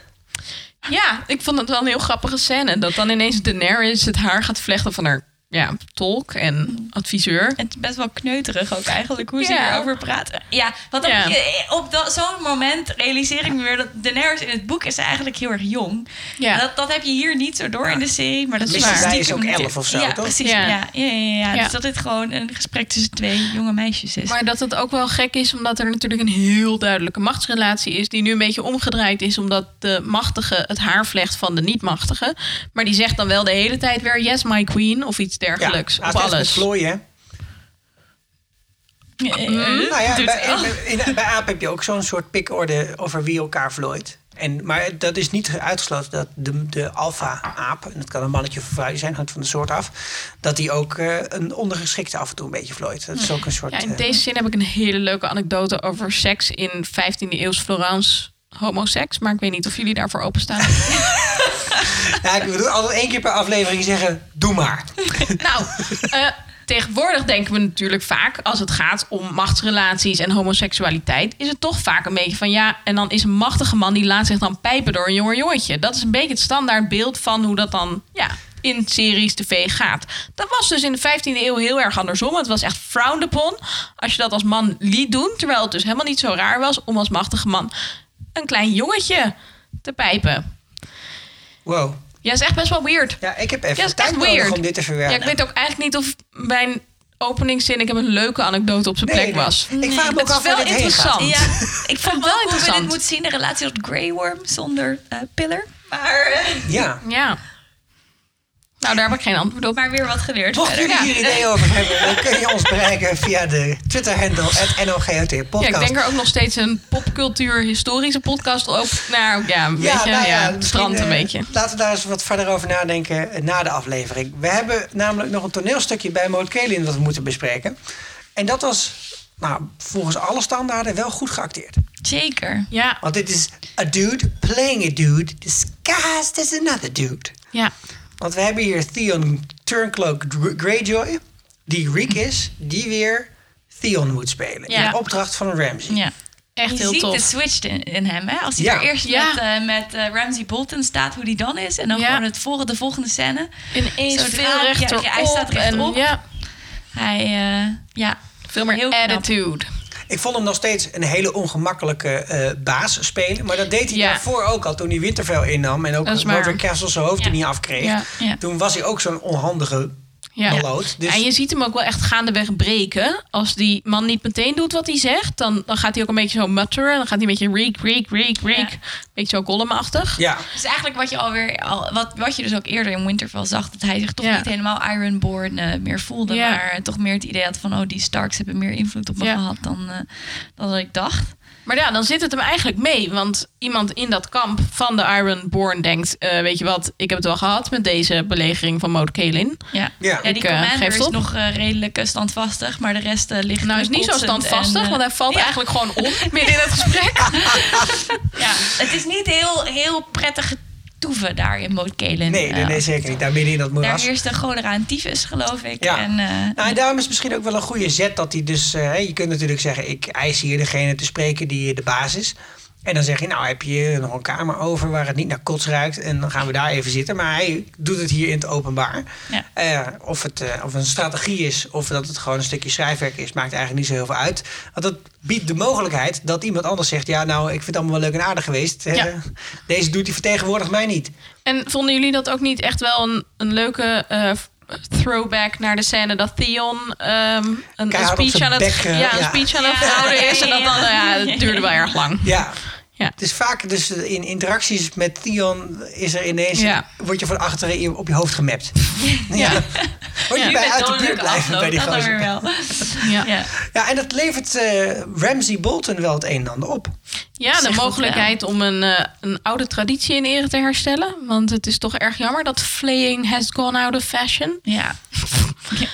E: Ja, ik vond het wel een heel grappige scène. Dat dan ineens Daenerys het haar gaat vlechten van haar ja, tolk en adviseur.
D: Het is best wel kneuterig ook eigenlijk, hoe ze
E: Ja.
D: hierover praten. Ja, want op,
E: Ja.
D: je- op dat- zo'n moment realiseer ik me weer dat Daenerys in het boek is eigenlijk heel erg jong.
E: Ja.
D: Dat, dat heb je hier niet zo door in de serie, maar dat is
E: Mrs.
D: waar.
E: Dai
A: is
D: Stiekem
A: ook
D: natu-
A: 11 of zo,
D: ja,
A: toch?
D: Precies,
E: Ja.
D: ja. Ja, ja, ja,
E: Ja.
D: Dus dat dit gewoon een gesprek tussen twee jonge meisjes is.
E: Maar dat het ook wel gek is, omdat er natuurlijk een heel duidelijke machtsrelatie is. Die nu een beetje omgedraaid is, omdat de machtige het haar vlecht van de niet-machtige. Maar die zegt dan wel de hele tijd weer: Yes, my queen. Of iets dergelijks.
A: hij
E: of
A: heeft met
E: alles.
A: vlooien, hè?
D: Eh,
E: Mm. Hmm?
A: Nou ja,
D: doet-
A: bij,
D: oh.
A: in- in- bij AAP heb je ook zo'n soort pikorde over wie elkaar vlooit. En, maar dat is niet uitgesloten dat de, de alfa-aap, en dat kan een mannetje of een vrouwtje zijn, hangt van de soort af, dat die ook eh, een ondergeschikte af en toe een beetje vlooit. Dat is ook een soort.
E: Ja, in
A: eh,
E: deze zin heb ik een hele leuke anekdote over seks in 15e eeuws Florence. Homoseks, maar ik weet niet of jullie daarvoor openstaan.
A: ja, ik bedoel, altijd één keer per aflevering zeggen: doe maar.
E: nou, eh, tegenwoordig denken we natuurlijk vaak, als het gaat om machtsrelaties en homoseksualiteit, is het toch vaak een beetje van ja, en dan is een machtige man die laat zich dan pijpen door een jonger jongetje. Dat is een beetje het standaard beeld van hoe dat dan ja, in series tv gaat. Dat was dus in de 15e eeuw heel erg andersom. Het was echt frowned upon als je dat als man liet doen, terwijl het dus helemaal niet zo raar was om als machtige man een klein jongetje te pijpen.
A: Wow.
E: Ja, is echt best wel weird.
A: Ja, ik heb even
E: Ja, is
A: tijd
E: echt
A: nodig
E: weird.
A: om dit te verwerken.
E: Ja, ik weet ook eigenlijk niet of mijn openingszin... ik heb een leuke anekdate op zijn
A: Nee,
E: plek
A: nee.
E: was.
A: Ik vraag me ook
E: Het is
A: af waar
E: wel
A: dit heen gaat.
E: interessant.
D: Ja, ik
E: wel
D: vond wel hoe we
E: interessant.
D: dit moeten zien, de relatie tot Grey Worm zonder eh, Pillar. Maar, eh,
A: Ja.
E: Ja. Nou, daar heb ik geen antwoord op.
D: maar weer wat geleerd.
A: Mochten
D: verder.
A: jullie hier ideeën over hebben, dan kun je ons bereiken via de Twitter-handle, NOGOT
E: Ja,
A: podcast.
E: ik denk er ook nog steeds een popcultuur-historische podcast over. Nou ja, een beetje,
A: nou
E: ja, het
A: misschien,
E: strand een
A: eh,
E: beetje.
A: Laten we daar eens wat verder over nadenken eh, na de aflevering. We hebben namelijk nog een toneelstukje bij Maud Kalin dat we moeten bespreken. En dat was nou, volgens alle standaarden wel goed geacteerd.
D: Zeker.
E: Ja,
A: Want dit is a dude playing a dude disguised as another dude.
E: ja.
A: Want we hebben hier Theon Turncloak Gr- Greyjoy, die Reek is, die weer Theon moet spelen.
E: Ja.
A: In opdracht van Ramsay.
D: Ja.
E: Echt
D: je
E: heel
D: ziet
E: tof.
D: de switch in, in hem. Hè? Als hij
A: Ja.
D: er eerst
E: Ja.
D: met, eh, met eh, Ramsey Bolton staat, hoe die dan is. En dan
E: Ja.
D: gewoon het volgende, de volgende scène.
E: Ineens
D: Zodra-
E: veel
D: ja,
E: rechterop.
D: ja, hij staat rechterop.
E: en, ja,
D: Hij, eh, ja,
E: veel meer
D: Heel knap.
E: attitude.
A: Ik vond hem nog steeds een hele ongemakkelijke eh, baas spelen. Maar dat deed hij
E: Ja.
A: daarvoor ook al. Toen hij Winterfell innam en ook
E: Dat is waar.
A: Roderick Castle zijn hoofd er
D: Ja.
A: niet afkreeg.
E: Ja,
D: ja.
A: Toen was hij ook zo'n onhandige
E: Ja.
A: maloot. Dus
E: En je ziet hem ook wel echt gaandeweg breken. Als die man niet meteen doet wat hij zegt, dan, dan gaat hij ook een beetje zo mutteren. Dan gaat hij een beetje reek, reek, reek, reek.
D: Ja.
E: Beetje zo golemachtig.
A: ja,
D: Dus eigenlijk wat je alweer al, wat, wat je dus ook eerder in Winterfell zag, dat hij zich toch
E: Ja.
D: niet helemaal Ironborn eh, meer voelde,
E: Ja.
D: maar toch meer het idee had van oh die Starks hebben meer invloed op me
E: Ja.
D: gehad dan, eh, dan dat ik dacht.
E: Maar ja, dan zit het hem eigenlijk mee. Want iemand in dat kamp van de Ironborn denkt... eh, weet je wat, ik heb het wel gehad met deze belegering van Moot Kalin.
D: Ja.
A: Ja.
D: die
E: Ik, eh,
D: commander
E: geef
D: is
E: op.
D: nog eh, redelijk eh, standvastig, maar de rest eh, ligt
E: Nou, is niet zo
D: kotsend
E: standvastig,
D: en, eh,
E: want hij valt
D: ja.
E: eigenlijk gewoon om midden in het gesprek.
D: Ja, het is niet heel, heel prettig toeven daar in Moot Kalen.
A: nee, nee,
D: Eh,
A: nee, zeker niet. Daar midden in dat
D: Daar
A: moeras.
D: heerst de cholera en tyfus, geloof ik.
A: Ja.
D: En, eh,
A: Nou, en daarom is het misschien ook wel een goede zet dat hij dus... eh, hè, je kunt natuurlijk zeggen, ik eis hier degene te spreken die de baas is. En dan zeg je, nou heb je nog een kamer over waar het niet naar kots ruikt. En dan gaan we daar even zitten. Maar hij doet het hier in het openbaar.
D: Ja.
A: Eh, of het eh, of een strategie is of dat het gewoon een stukje schrijfwerk is, maakt eigenlijk niet zo heel veel uit. Want dat biedt de mogelijkheid dat iemand anders zegt, ja nou, ik vind het allemaal wel leuk en aardig geweest. Eh,
E: Ja.
A: Deze doet hij vertegenwoordigt mij niet.
E: En vonden jullie dat ook niet echt wel een, een leuke eh, throwback naar de scène dat Theon ehm, een- een,
A: Keihard op
E: speech
A: zijn
E: aan het
A: bek, eh,
E: ja, een
A: ja.
E: speech aan het
D: Ja,
E: houden is en dat
D: ja,
E: dan
D: ja.
E: ja, het duurde wel erg lang.
A: Ja.
E: Ja.
A: Het is vaak dus in interacties met Theon is er ineens,
E: Ja.
A: word je van achteren in- op je hoofd gemapt. Ja. Word je bij
D: nu met
A: uit de buurt blijven
D: dodelijke
A: bij
D: afloop,
A: die
D: dat dan
A: gozer.
D: weer wel.
E: Ja, ja.
D: Ja.
A: Ja, en dat levert eh, Ramsey Bolton wel het een en ander op.
E: de
D: Zeg dat
E: mogelijkheid om een, eh, een oude traditie in ere te herstellen. Want het is toch erg jammer dat flaying has gone out of fashion.
D: Ja.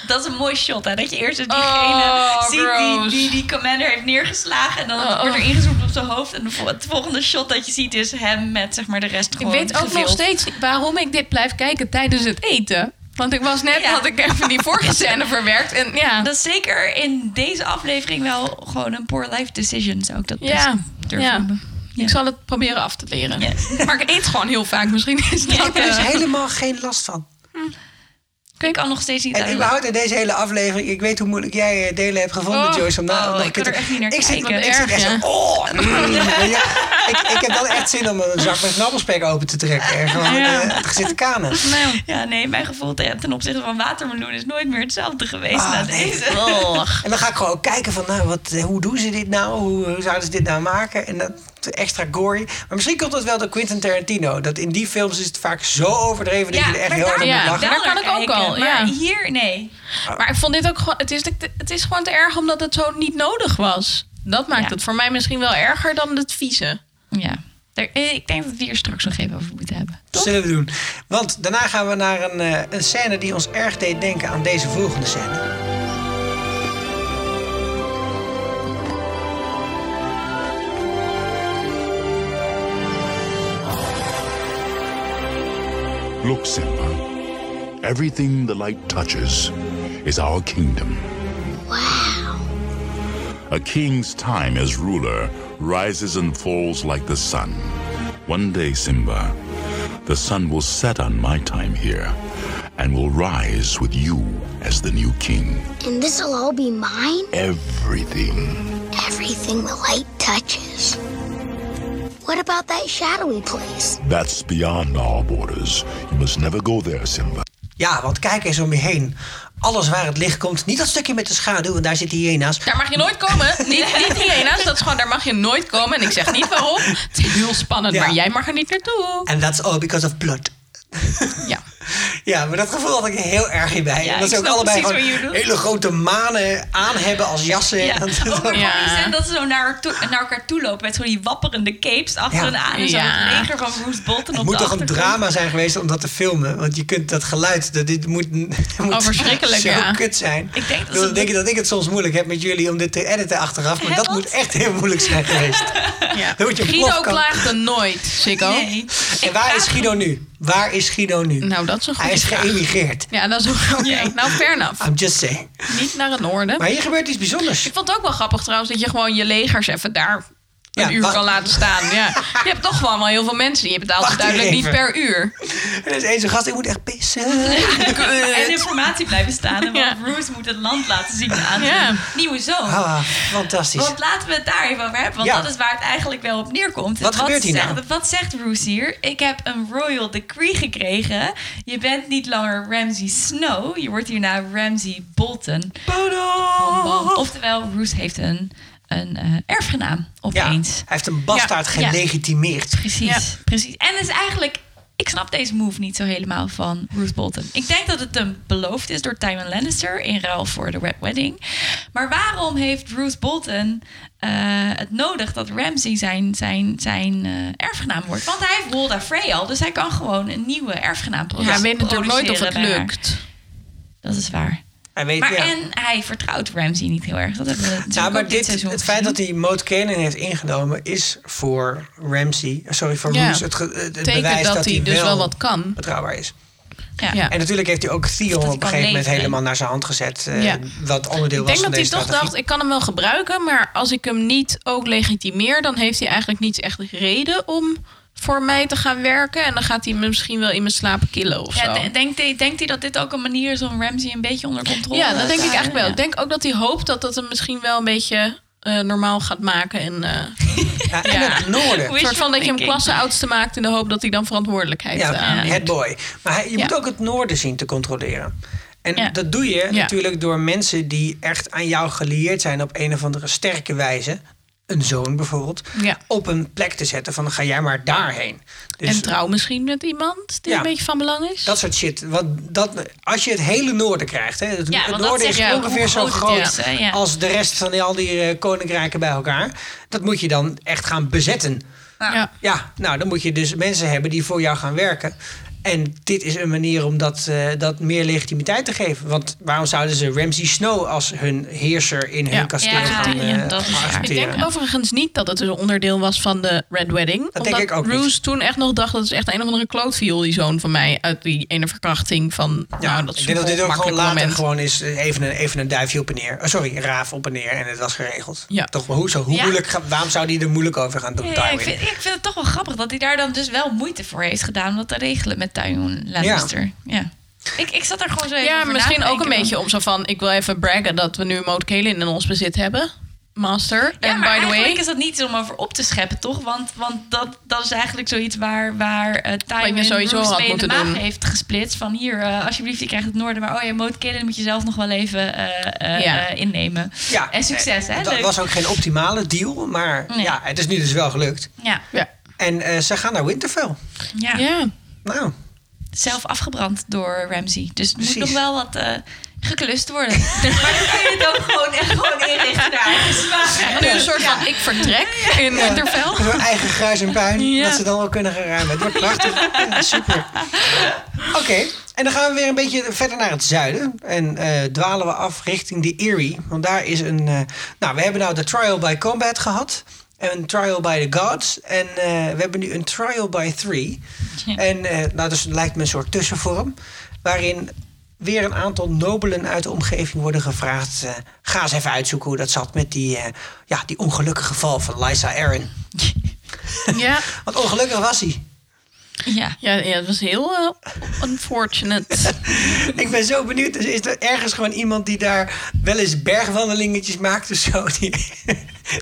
D: Dat is een mooi shot, hè? Dat je eerst dus diegene
E: Oh,
D: ziet die,
E: gross.
D: die die commander heeft neergeslagen. En dan
E: Oh.
D: wordt er ingezoomd op zijn hoofd. En de vol- het volgende shot dat je ziet is hem met zeg maar, de rest
E: Ik
D: gewoon
E: weet ook nog
D: gevild.
E: steeds niet waarom ik dit blijf kijken tijdens het eten. Want ik was net,
D: Ja.
E: had ik even die vorige scène verwerkt. En ja,
D: Dat is zeker in deze aflevering wel gewoon een poor life decision, zou ik dat best
E: Ja,
D: durven
E: ja.
D: noemen.
E: ik zal het proberen af te leren.
D: Ja.
E: Maar ik eet gewoon heel vaak. Misschien is dat...
A: Daar is
E: eh,
A: helemaal geen last van.
D: Ik kan nog steeds niet
A: En
D: aan-
A: überhaupt in deze hele aflevering, ik weet hoe moeilijk jij eh, delen hebt gevonden,
D: Oh,
A: Joyce. Om daar
D: oh,
A: nog
D: ik
A: een
D: kan
A: keer te-
D: er echt niet naar
A: ik zit,
D: kijken.
A: Ik zit echt
E: Erg,
A: zo, oh, mm, weet je. ik, ik heb dan echt zin om een zak met knabbelspek open te trekken. En gewoon
D: Ja.
A: eh, het gezit te kanen.
D: Nou, ja, nee, mijn gevoel ten ten opzichte van watermeloen is nooit meer hetzelfde geweest
A: Ah,
D: na
A: nee.
D: deze.
E: Och.
A: En dan ga ik gewoon ook kijken van, nou, wat, eh, hoe doen ze dit nou? Hoe, hoe zouden ze dit nou maken? En dat extra gory. Maar misschien komt dat wel door Quentin Tarantino. Dat in die films is het vaak zo overdreven dat je er echt
D: maar
A: heel hard om
E: daar-
A: moet lachen.
E: daar- kan ik ook
D: kijken,
E: al,
D: Maar
E: ja.
D: hier, nee.
E: Maar ik vond dit ook gewoon. Het is, het is gewoon te erg omdat het zo niet nodig was. Dat maakt
D: Ja.
E: het voor mij misschien wel erger dan het vieze.
D: Ja. Er- eh, ik denk dat we hier straks nog even over moeten hebben.
A: Dat zullen we doen. Want daarna gaan we naar een, eh, een scène die ons erg deed denken aan deze volgende scène.
F: Look, Simba. Everything the light touches is our kingdom. Wow. A king's time as ruler rises and falls like the sun. One day, Simba, the sun will set on my time here and will rise with you as the new king.
G: And this'll all be mine?
F: Everything.
G: Everything the light touches. What about that shadowy place?
F: That's beyond our borders. You must never go there, Simba.
A: Ja, want kijk eens om je heen. Alles waar het licht komt. Niet dat stukje met de schaduw, want daar zit die hyena's.
E: Daar mag je nooit komen. niet, niet hyena's. Dat is gewoon, daar mag je nooit komen. En ik zeg niet waarom. Het is heel spannend,
A: Ja.
E: maar jij mag er niet naartoe.
A: And that's all because of blood.
E: Ja.
A: Ja, maar dat gevoel had ik heel erg hierbij.
D: Ja,
A: dat
D: ik
A: ze ook
D: snap
A: allebei
D: precies wat je
A: gewoon
D: bedoelt.
A: hele grote manen aan hebben als jassen.
D: Ja,
A: Dat-
D: ook maar
E: Ja.
D: gewoon die scène dat ze zo naar, toe- naar elkaar toe lopen met zo die wapperende capes achter
A: Ja.
D: hun aan en zo
E: Ja.
D: het leger van Bruce Bolton
A: Het
D: op
A: moet
D: de
A: toch een
D: achtergrond.
A: drama zijn geweest om dat te filmen? Want je kunt dat geluid, dat dit moet, moet
E: Oh, verschrikkelijk,
A: zo
E: ja.
A: kut zijn.
D: Ik denk dat
A: Dan
D: ze-
A: denk ik dat ik het soms moeilijk heb met jullie om dit te editen achteraf. Maar
D: Hè,
A: dat
D: wat?
A: moet echt heel moeilijk zijn geweest.
E: ja.
A: Dan moet je op
E: Guido
A: plofkamp.
E: klaagde nooit, Sikko.
D: Nee.
A: En waar is Guido nu? Waar is Guido nu?
E: Nou, dat is een goede
A: Hij is
E: vraag.
A: geëmigreerd.
E: Ja, dat is ook oké. Nou, fair enough.
A: I'm just saying.
E: Niet naar het noorden.
A: Maar hier gebeurt iets bijzonders.
E: Ik vond het ook wel grappig trouwens dat je gewoon je legers even daar een
A: Ja,
E: uur
A: wacht.
E: kan laten staan. Ja. Je hebt toch gewoon wel heel veel mensen. Je betaalt ze
A: Wacht
E: duidelijk niet
A: even.
E: per uur.
A: Er is één zo'n gast, ik moet echt pissen.
D: En informatie blijven staan. en Want
E: Ja.
D: Bruce moet het land laten zien aan
E: Ja.
D: zijn nieuwe zoon.
A: Ah, fantastisch.
D: Want laten we het daar even over hebben. Want
A: Ja.
D: dat is waar het eigenlijk wel op neerkomt.
A: Wat gebeurt hier
D: zegt,
A: nou?
D: Wat zegt Roose hier? Ik heb een royal decree gekregen. Je bent niet langer Ramsay Snow. Je wordt hierna Ramsay Bolton.
A: Oh.
D: Bom, bom. Oftewel, Roose heeft een, een eh, erfgenaam
A: Ja, hij
D: opeens.
A: heeft een bastaard
D: Ja.
A: gelegitimeerd.
D: Precies, precies. En is eigenlijk... Ik snap deze move niet zo helemaal van Ruth Bolton. Ik denk dat het hem beloofd is door Tywin Lannister in ruil voor de Red Wedding. Maar waarom heeft Ruth Bolton eh, het nodig dat Ramsay zijn, zijn, zijn eh, erfgenaam wordt? Want hij heeft Walda Frey al, dus hij kan gewoon een nieuwe erfgenaam
E: Ja,
D: produce-
E: hij
D: produceren.
E: weet natuurlijk nooit of het
D: bij haar.
E: lukt.
D: Dat is waar.
A: Hij weet,
D: Maar
A: ja.
D: en hij vertrouwt Ramsay niet heel erg. Dat hebben we natuurlijk
A: Nou,
D: ook
A: maar
D: dit,
A: dit,
D: seizoen
A: het feit dat hij Moot Cannon heeft ingenomen is voor Ramsey, eh, sorry voor
E: Ja.
A: Roos, het, ge- het
E: Betekent
A: bewijs dat,
E: dat hij dus wel wat kan.
A: betrouwbaar is.
D: gezien. ja.
E: Ja.
A: En natuurlijk heeft hij ook Theon
D: hij
A: op
D: kan
A: een gegeven moment
D: leveren.
A: helemaal naar zijn hand gezet. eh,
E: Ja.
A: Wat onderdeel
E: Ik
A: was
E: denk
A: van
E: dat hij
A: deze
E: toch
A: strategie.
E: dacht, ik kan hem wel gebruiken. Maar als ik hem niet ook legitimeer, dan heeft hij eigenlijk niet echt reden om voor mij te gaan werken. En dan gaat hij me misschien wel in mijn slaap killen of zo.
D: Ja, de- denkt, hij, denkt hij dat dit ook een manier is om Ramsay een beetje onder controle
E: Ja, dat denk ik
D: te
E: eigenlijk wel.
D: houden?
E: Ik denk ook dat hij hoopt dat dat hem misschien wel een beetje eh, normaal gaat maken. En eh,
A: Ja, en
E: Ja.
A: het noorden.
E: een soort van dat je hem
D: Thinking.
E: klasseoudste maakt in de hoop dat hij dan verantwoordelijkheid
A: Ja,
E: eh,
A: het boy. Maar hij- je
E: Ja.
A: moet ook het noorden zien te controleren. En
D: Ja.
A: dat doe je
E: Ja.
A: natuurlijk door mensen die echt aan jou gelieerd zijn op een of andere sterke wijze. Een zoon bijvoorbeeld.
E: Ja.
A: Op een plek te zetten van ga jij maar daarheen. Dus
E: En trouw misschien met iemand die
A: Ja.
E: een beetje van belang is.
A: dat soort shit. Want dat, als je het hele noorden krijgt. Hè, het
D: Ja,
A: het
D: want dat
A: noorden is
D: zegt ook
A: ongeveer
D: hoe
A: zo
D: groot
A: groot
D: het is, hè, ja.
A: als de rest van die, al die eh, koninkrijken bij elkaar. Dat moet je dan echt gaan bezetten.
E: ja.
A: Ja, nou dan moet je dus mensen hebben die voor jou gaan werken. En dit is een manier om dat, eh, dat meer legitimiteit te geven. Want waarom zouden ze Ramsay Snow als hun heerser in hun
E: Ja.
A: kasteel
D: Ja,
A: gaan, eh,
D: ja, dat is
A: gaan
D: waar.
E: Ik
A: accepteren?
E: denk overigens niet dat het een onderdeel was van de Red Wedding.
A: denk
E: omdat
A: ik ook niet.
E: Roos toen echt nog dacht dat is echt een of andere klootviol, die zoon van mij, uit die ene verkrachting van.
A: ja,
E: nou, dat is
A: ik denk dat dit ook gewoon later
E: moment.
A: gewoon is eh, even een, even een duifje op en neer. Oh, sorry, een raaf op en neer en het was geregeld.
E: Ja.
A: Toch, maar hoe, zo, hoe
D: Ja.
A: moeilijk, ga- waarom zou die er moeilijk over gaan doen?
D: Ja,
A: Tywin?
D: ik, vind, ik vind het toch wel grappig dat hij daar dan dus wel moeite voor heeft gedaan om dat te regelen met Tywin Lannister. Ja. Ik, ik zat er gewoon zo even
E: Ja,
D: over
E: misschien
D: na te
E: ook een
D: denken,
E: beetje
D: want-
E: om zo van... ik wil even braggen dat we nu Moot Kalin in ons bezit hebben. Master.
D: Ja,
E: en
D: maar
E: by the way...
D: eigenlijk is dat niet om over op te scheppen, toch? Want, want dat, dat is eigenlijk zoiets waar, waar eh
E: je
D: Time
E: sowieso
D: Bruce
E: had
D: mee in de
E: moeten
D: maag
E: doen.
D: heeft gesplitst. Van hier, eh, alsjeblieft, je krijgt het noorden. Maar oh ja, Moot Killen moet je zelf nog wel even eh, eh,
E: Ja.
D: eh, innemen.
A: Ja,
D: en succes, hè?
A: Dat
D: Leuk.
A: was ook geen optimale deal, maar
D: Nee.
A: ja, het is nu dus wel gelukt.
D: Ja,
E: ja.
A: En eh, ze gaan naar Winterfell.
D: ja.
E: ja.
A: Nou,
D: zelf afgebrand door Ramsey. Dus er moet
A: Precies.
D: nog wel wat eh, geklust worden. maar dan kun je het ook gewoon, echt gewoon inrichten daar. Het is waar.
E: Nu een soort van ik vertrek in Winterfell.
A: hun eigen gruis en puin,
E: Ja.
A: dat ze dan wel kunnen gaan ruimen. Het wordt prachtig. Ja, super. Oké, en dan gaan we weer een beetje verder naar het zuiden. En eh, dwalen we af richting de Erie. Want daar is een... eh, nou, we hebben nou de Trial by Combat gehad. En een Trial by the Gods. En eh, we hebben nu een Trial by Three. En eh, nou, dus het lijkt me een soort tussenvorm. Waarin weer een aantal nobelen uit de omgeving worden gevraagd... eh, ga eens even uitzoeken hoe dat zat met die, eh, ja, die ongelukkige val van Lysa Aaron.
E: Ja.
A: Want ongelukkig was hij.
D: Ja.
E: Ja, ja, het was heel eh, unfortunate.
A: Ik ben zo benieuwd. Dus is er ergens gewoon iemand die daar wel eens bergwandelingetjes maakt of zo? Die,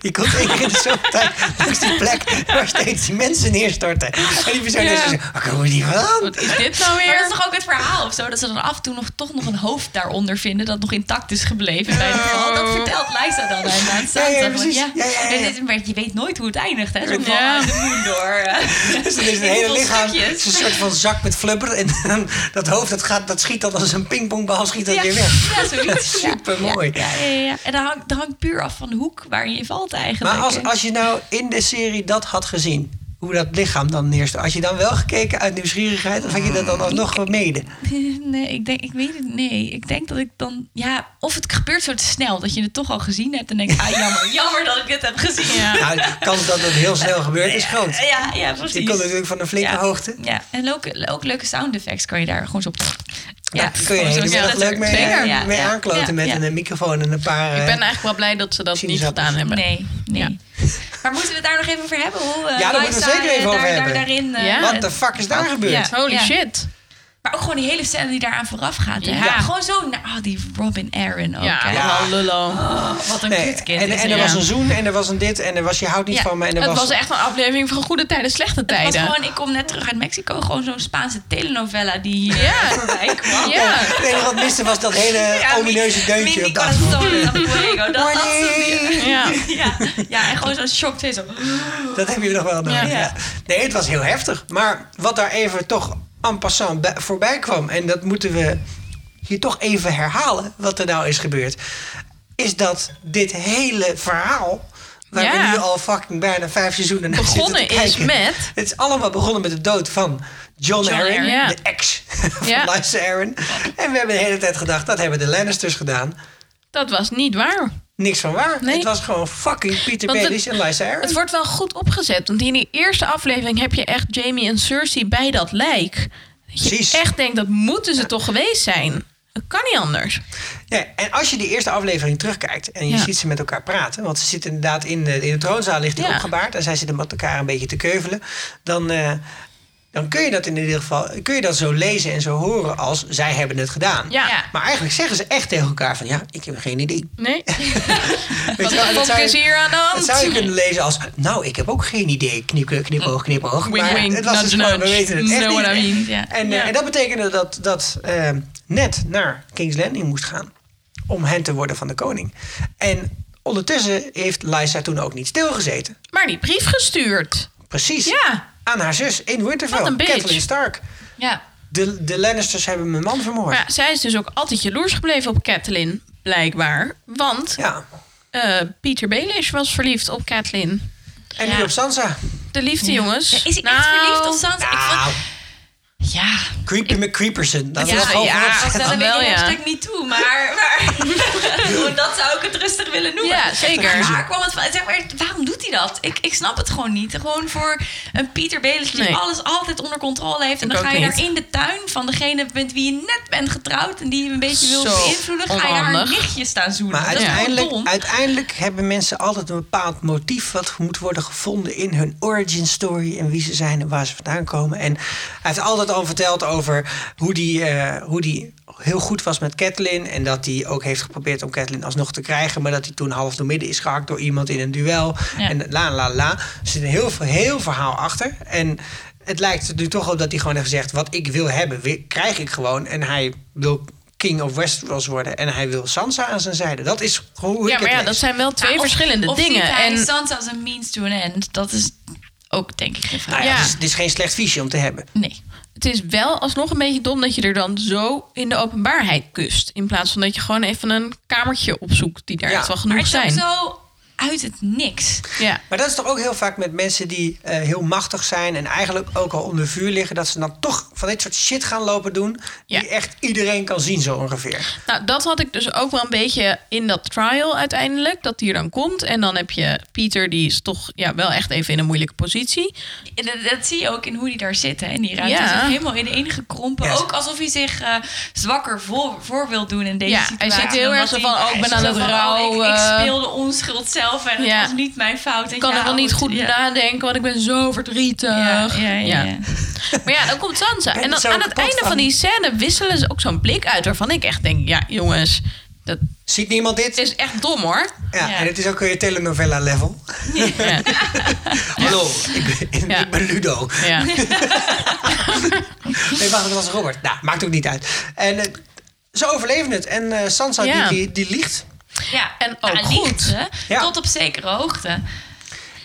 A: die komt één keer in de zoveel tijd langs die plek waar steeds die mensen neerstorten. En die persoon is
E: Ja.
A: zo, waar komen we die vandaan?
E: Wat is dit nou
D: Maar dat is
E: weer?
D: toch ook het verhaal of zo? Dat ze dan af en toe nog, toch nog een hoofd daaronder vinden... dat nog intact is gebleven bij de val. Dat vertelt Liza dan aan- aan Sansa.
A: Oh. Ja, ja,
D: Van,
A: precies. Ja, ja, ja.
D: En dit- maar je weet nooit hoe het eindigt, hè? Zo'n val
E: Ja.
D: uit de moon door. eh,
A: Dus er is een
D: heel
A: hele
D: veel
A: lichaam,
D: stukjes.
A: het is een soort van zak met flubber. En dan dat hoofd, dat, gaat, dat schiet dan als een pingpongbal, schiet dat
D: Ja,
A: weer weg.
D: ja, zoiets.
A: Supermooi.
D: Ja, ja, ja, ja. En dat hangt, dat hangt puur af van de hoek waar je in valt eigenlijk.
A: Maar als,
D: hè.
A: als je nou in de serie dat had gezien, hoe dat lichaam dan neerstort. Had je dan wel gekeken uit nieuwsgierigheid of had je dat dan alsnog gemeden?
D: Nee, ik, denk, ik weet het. Nee, ik denk dat ik dan. Ja, of het gebeurt zo te snel dat je het toch al gezien hebt en denkt: ah, jammer, jammer dat ik dit heb gezien. Ja,
A: Nou, de kans dat dat heel snel gebeurt is groot. Dus
D: ja, ja precies.
A: Je komt natuurlijk van een flinke
D: Ja.
A: hoogte.
D: Ja, en ook, ook leuke sound effects kan je daar gewoon zo op. Ja,
A: Daar kun je
D: zo
A: helemaal
D: splatter.
A: leuk mee, eh,
D: Zeker. Ja,
A: mee
D: ja,
A: aankloten
D: ja,
A: met
D: ja.
A: een eh, microfoon en een paar...
E: Ik
A: eh,
E: ben eigenlijk wel blij dat ze dat niet
A: Sinaasappels.
E: gedaan hebben.
D: Nee, nee.
E: Ja.
D: Maar moeten we het daar nog even over hebben? Hoe, eh,
A: Ja, daar moeten we
D: Lysa,
A: zeker even
D: eh,
A: over
D: daar-
A: hebben.
D: Daar, daarin, eh,
E: Ja.
A: What the fuck is daar gebeurd?
D: Ja.
E: Holy shit.
D: Maar ook gewoon die hele scène die daaraan vooraf gaat. hè?
E: Ja.
D: Ja. Gewoon zo. na- Oh, die Robin Aaron ook.
E: Ja,
D: hè?
E: ja. lullo.
D: Oh, Wat een
A: Nee,
D: kutkind.
A: en,
D: is
A: en
D: hij.
A: er was
E: ja.
A: een zoen en er was een dit en er was je houdt niet
D: Ja,
A: van me. En er
E: Het
A: was,
E: was echt een aflevering van goede tijden, slechte
D: Het was
E: tijden.
D: gewoon, ik kom net terug uit Mexico, gewoon zo'n Spaanse telenovela die hier eh,
E: Ja.
D: voorbij kwam.
E: Ja.
A: Het enige wat miste was dat hele
D: Ja,
A: omineuze
D: Mi-
A: deuntje.
D: Mi
A: Eh, op de achtergrond.
D: Corazón de Fuego, dat had ze
A: Morning.
E: Ja.
D: weer. ja, ja, en gewoon zo'n shocked face. zo.
A: Dat heb je nog wel nodig.
D: Ja.
A: ja. Nee, het was heel heftig. Maar wat daar even toch en passant bij- voorbij kwam... en dat moeten we hier toch even herhalen wat er nou is gebeurd... is dat dit hele verhaal... waar
E: Ja.
A: we nu al fucking bijna vijf seizoenen naar
E: Begonnen
A: zitten te
E: is
A: kijken...
E: met...
A: Het is allemaal begonnen met de dood van John, Arryn,
E: Arryn, ja.
A: de ex van
E: Ja.
A: Lysa Arryn. En we hebben de hele tijd gedacht, dat hebben de Lannisters gedaan.
E: Dat was niet waar.
A: Niks van waar.
E: Nee.
A: Het was gewoon fucking Peter
E: Want het-
A: Baelish en Lysa Arryn.
E: Het wordt wel goed opgezet. Want in die eerste aflevering heb je echt Jamie en Cersei bij dat lijk. Dat je
A: Precies.
E: echt denkt, dat moeten ze toch geweest zijn. Dat kan niet anders.
A: Ja, en als je die eerste aflevering terugkijkt en je
E: Ja.
A: ziet ze met elkaar praten, want ze zitten inderdaad in de, in de troonzaal ligt die
E: Ja.
A: opgebaard en zij zitten met elkaar een beetje te keuvelen, dan, eh, dan kun je dat in ieder geval kun je dat zo lezen en zo horen als zij hebben het gedaan.
E: Ja.
A: Maar eigenlijk zeggen ze echt tegen elkaar van ja, ik heb geen idee.
E: Nee.
A: Weet
E: Wat
A: je wel, en
E: de
A: dat
E: fuck
A: zou je-
E: is hier aan de
A: dat zou je
E: hand?
A: kunnen lezen als, nou, ik heb ook geen idee, knipoog, knipoog, knipoog.
E: Wink,
A: maar
E: wink,
A: het was dus
E: nudge,
A: gewoon, we
E: nudge.
A: weten het echt
E: Know
A: niet.
E: what I mean,
D: ja.
A: en, eh,
E: Ja.
A: en dat betekende dat, dat eh, Ned naar King's Landing moest gaan om hen te worden van de koning. En ondertussen heeft Lysa toen ook niet stilgezeten.
E: Maar die brief gestuurd.
A: Precies.
E: Ja.
A: Aan haar zus in
E: Wat
A: Winterfell,
E: een bitch.
A: Catelyn Stark.
D: Ja.
A: De, de Lannisters hebben mijn man vermoord.
E: Maar ja, zij is dus ook altijd jaloers gebleven op Catelyn, blijkbaar. Want
A: Ja.
E: eh, Peter Baelish was verliefd op Catelyn.
A: En
D: Ja.
A: nu op Sansa.
E: De liefde, jongens.
D: Is hij echt
E: Nou,
D: verliefd op Sansa? Ik
A: Nou,
D: vond, ja.
A: Creepy McCreeperson. Dat
E: Ja,
A: is gewoon
E: Ah, ja.
A: vanaf-
D: Ik zat een
E: wel,
D: beetje
E: ja.
D: hashtag niet toe, maar, maar gewoon dat zou ik het rustig willen noemen.
E: Ja, zeker.
D: Maar, kwam het, van- zeg maar waarom doet hij dat? Ik, ik snap het gewoon niet. Gewoon voor een Pieter Belis die
E: Nee.
D: alles altijd onder controle heeft. En
E: Ik
D: dan
E: ook
D: ga je daar
E: niet.
D: in de tuin van degene met wie je net bent getrouwd... en die je een beetje wil
E: Zo
D: beïnvloeden, ga je haar
E: onhandig.
D: nichtje staan zoenen.
A: Maar
D: dat is gewoon
A: uiteindelijk,
D: dom.
A: uiteindelijk hebben mensen altijd een bepaald motief wat moet worden gevonden in hun origin story en wie ze zijn en waar ze vandaan komen. En hij heeft altijd al dan verteld over hoe die, eh, hoe die heel goed was met Catelyn. En dat hij ook heeft geprobeerd om Catelyn alsnog te krijgen. Maar dat hij toen half door midden is gehakt door iemand in een duel.
D: Ja.
A: En la la la. Er zit een heel, heel verhaal achter. En het lijkt er nu toch op dat hij gewoon heeft gezegd... wat ik wil hebben, wi- krijg ik gewoon. En hij wil King of Westeros worden. En hij wil Sansa aan zijn zijde. Dat is hoe
E: Ja,
A: ik
E: maar
A: het
E: ja,
A: lees.
E: dat zijn wel twee
D: Ja, of-
E: verschillende
D: of
E: dingen.
D: ziet hij
E: En
D: Sansa als een means to an end, dat is ook denk ik geen vraag.
A: Nou ja,
E: Ja.
A: Het, is, het is geen slecht viesje om te hebben.
D: Nee.
E: het is wel alsnog een beetje dom dat je er dan zo in de openbaarheid kust. In plaats van dat je gewoon even een kamertje opzoekt die daar
A: Ja,
E: echt wel
D: Maar
E: genoeg
D: het is ook
E: zijn.
D: zo uit het niks.
E: Ja.
A: Maar dat is toch ook heel vaak met mensen die eh, heel machtig zijn en eigenlijk ook al onder vuur liggen, dat ze dan toch van dit soort shit gaan lopen doen.
E: Ja.
A: Die echt iedereen kan zien, zo ongeveer.
E: Nou, dat had ik dus ook wel een beetje in dat trial uiteindelijk. Dat die er dan komt. En dan heb je Pieter, die is toch ja, wel echt even in een moeilijke positie.
D: Dat, dat zie je ook in hoe die daar zitten. En die ruimte
E: Ja.
D: is echt helemaal ineengekrompen.
A: Ja.
D: Ook alsof hij zich eh, zwakker voor, voor wil doen in deze
E: Ja, hij
D: situatie.
E: zit heel
D: Dan
E: erg
D: was
E: zo van,
D: hij-
E: oh, ik ben
D: hij
E: aan
D: zo
E: het
D: van,
E: rouwen.
D: oh, ik, ik speelde onschuld zelf en
E: Ja.
D: het was niet mijn fout.
E: Ik kan er wel niet goed nadenken, want ik ben zo verdrietig.
D: Ja, ja, ja, ja.
E: Maar ja, dan komt
A: ben
E: Sansa. En
A: er
E: dan
A: zo
E: aan het
A: kapot
E: einde van
A: van.
E: die scène wisselen ze ook zo'n blik uit... waarvan ik echt denk, ja jongens, dat
A: Ziet niemand dit?
E: is echt dom hoor.
A: ja,
D: ja.
A: En het is ook weer telenovela level.
E: Ja.
A: Hallo, ik ben,
E: Ja.
A: ik ben Ludo.
E: Ja.
A: Nee, wacht, dat was Robert. Nou, maakt ook niet uit. En eh, ze overleven het. En eh, Sansa,
E: Ja.
A: die, die, die liegt.
E: En
D: Nou,
E: ook
D: liegt
E: goed.
D: ze,
A: Ja.
D: Tot op zekere hoogte.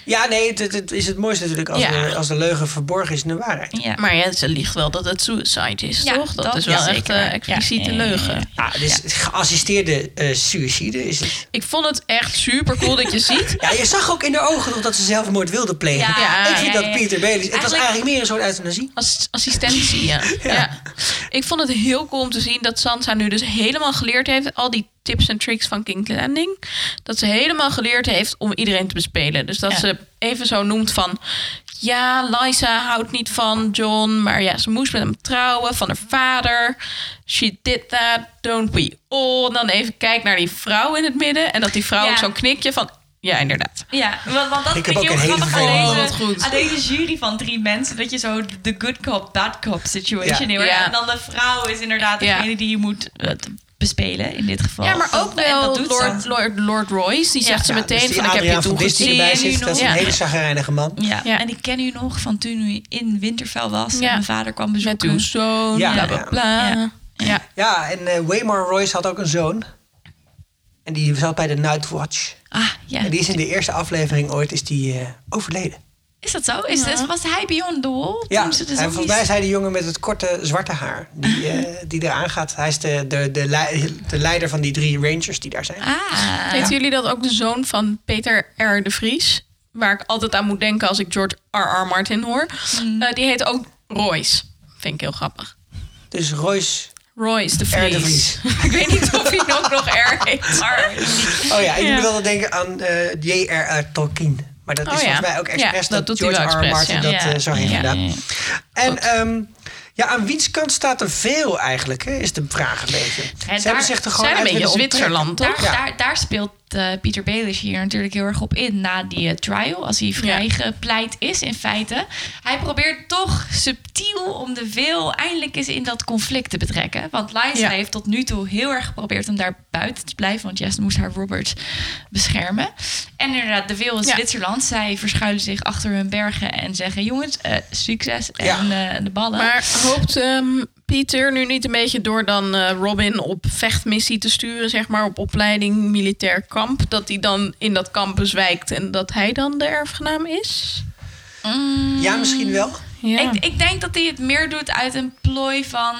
A: Ja, nee, het, het- het is het mooiste natuurlijk als,
E: Ja.
A: de, als de leugen verborgen is in de waarheid.
D: Ja.
E: Maar ja, ze liegt wel dat het suicide is,
D: Ja,
E: toch? Dat,
D: dat
E: is wel
D: is
E: echt
D: zeker
E: eh
D: waar.
E: expliciete
D: Ja, ja, ja, ja.
E: leugen.
A: Ja, het is Ah, dus geassisteerde eh suïcide is het.
E: Ik vond het echt super cool dat je ziet.
A: Ja, je zag ook in de ogen nog dat ze zelfmoord wilde plegen.
D: Ja,
A: ik vind
D: ja,
A: dat
D: ja.
A: Peter Baelish... Het was
D: Eigenlijk-
A: eigenlijk meer een soort euthanasie.
E: Ass- assistentie, ja. ja. Ik vond het heel cool om te zien dat Sansa nu dus helemaal geleerd heeft... al die tips en tricks van King Landing. Dat ze helemaal geleerd heeft om iedereen te bespelen. Dus dat
D: Ja.
E: ze even zo noemt van... Ja, Lysa houdt niet van John, maar ja, ze moest met hem trouwen, van haar vader. She did that, don't we all. En dan even kijk naar die vrouw in het midden. En dat die vrouw
D: Ja.
E: ook zo'n knikje van... Ja, inderdaad.
D: Ja, want, want dat
A: Ik
D: ik
A: heb
D: vind ik
A: ook
D: heel
A: een hele
D: grappig aan
A: vervelende-
D: deze,
E: Oh, wat goed.
D: aan deze jury van drie mensen. Dat je zo de good cop, bad cop
A: Ja.
D: situation heel erg-
E: Ja.
D: En dan de vrouw is inderdaad
E: Ja.
D: degene die je moet eh, t- bespelen in dit geval.
E: Ja, maar
D: Dat-
E: ook
D: en
E: wel
D: dat doet
E: Lord,
D: ze.
E: Lord, Lord Royce. Die zegt ze
A: Ja,
E: meteen
A: dus die
E: van ik heb je
A: Adriaan van
E: toen
A: Disney
E: gezien.
A: die erbij
D: nu
A: zit, dat is een
E: nog.
A: hele
E: Ja.
A: chagrijnige man.
D: Ja.
E: Ja.
D: en ik ken u nog van toen u in Winterfell was en
E: Ja.
D: mijn vader kwam
E: Met
D: bezoeken.
E: uw zoon,
A: Ja,
E: bla bla
A: ja.
E: bla.
D: Ja.
E: Ja.
A: Ja, en eh, Waymar Royce had ook een zoon. En die zat bij de Nightwatch.
D: Ah, ja.
A: En die is in de eerste aflevering ooit is die, eh, overleden.
D: Is dat zo? Is, is- was hij Beyond the Wall?
A: Ja,
D: toen ze de
A: en volgens
D: zombies-
A: mij is hij de jongen met het korte zwarte haar die, eh, die eraan gaat. Hij is de, de, de, lei- de leider van die drie rangers die daar zijn.
D: Ah,
E: Weten jullie dat ook de zoon van Peter R. de Vries... waar ik altijd aan moet denken als ik George R.R. Martin hoor...
D: Mm.
E: eh, die heet ook Royce. Vind ik heel grappig.
A: Dus Royce...
E: Royce de
A: R.
E: Vries.
A: de
E: ik weet niet of hij ook nog R heet.
A: Oh ja, ik
E: Ja.
A: moet altijd denken aan eh, J.R.R. Tolkien. Maar dat is
E: Oh ja.
A: volgens mij ook
E: Ja,
A: expres
E: dat
A: dat,
E: doet hij
A: George R.
E: wel expres,
A: Martin
E: ja.
A: dat eh, zo heeft
D: Ja,
A: gedaan.
D: ja, ja.
A: En ehm, ja, aan wiens kant staat er veel eigenlijk, hè, is de vraag een beetje.
D: daar
A: Ze hebben zich er gewoon
E: zijn een
A: uit
E: beetje
A: willen onttrekken.
E: Zwitserland, toch?
D: Daar,
A: Ja.
D: daar, daar speelt eh, Pieter Baelish hier natuurlijk heel erg op in na die eh, trial. Als hij vrijgepleit is in feite. Hij probeert toch subtiel om de wil eindelijk eens in dat conflict te betrekken. Want Lysa
E: Ja.
D: heeft tot nu toe heel erg geprobeerd om daar buiten te blijven. Want Jess moest haar Robert beschermen. En inderdaad, de wil is
E: Ja.
D: Zwitserland. Zij verschuilen zich achter hun bergen en zeggen... jongens, eh, succes en
A: Ja.
D: eh, de ballen.
E: Maar hoopt ehm, Pieter nu niet een beetje door dan eh, Robin op vechtmissie te sturen, zeg maar, op opleiding militair kamp, dat hij dan in dat kamp bezwijkt en dat hij dan de erfgenaam is?
A: Ja, misschien wel.
E: Ja.
D: Ik, ik denk dat hij het meer doet uit een plooi van...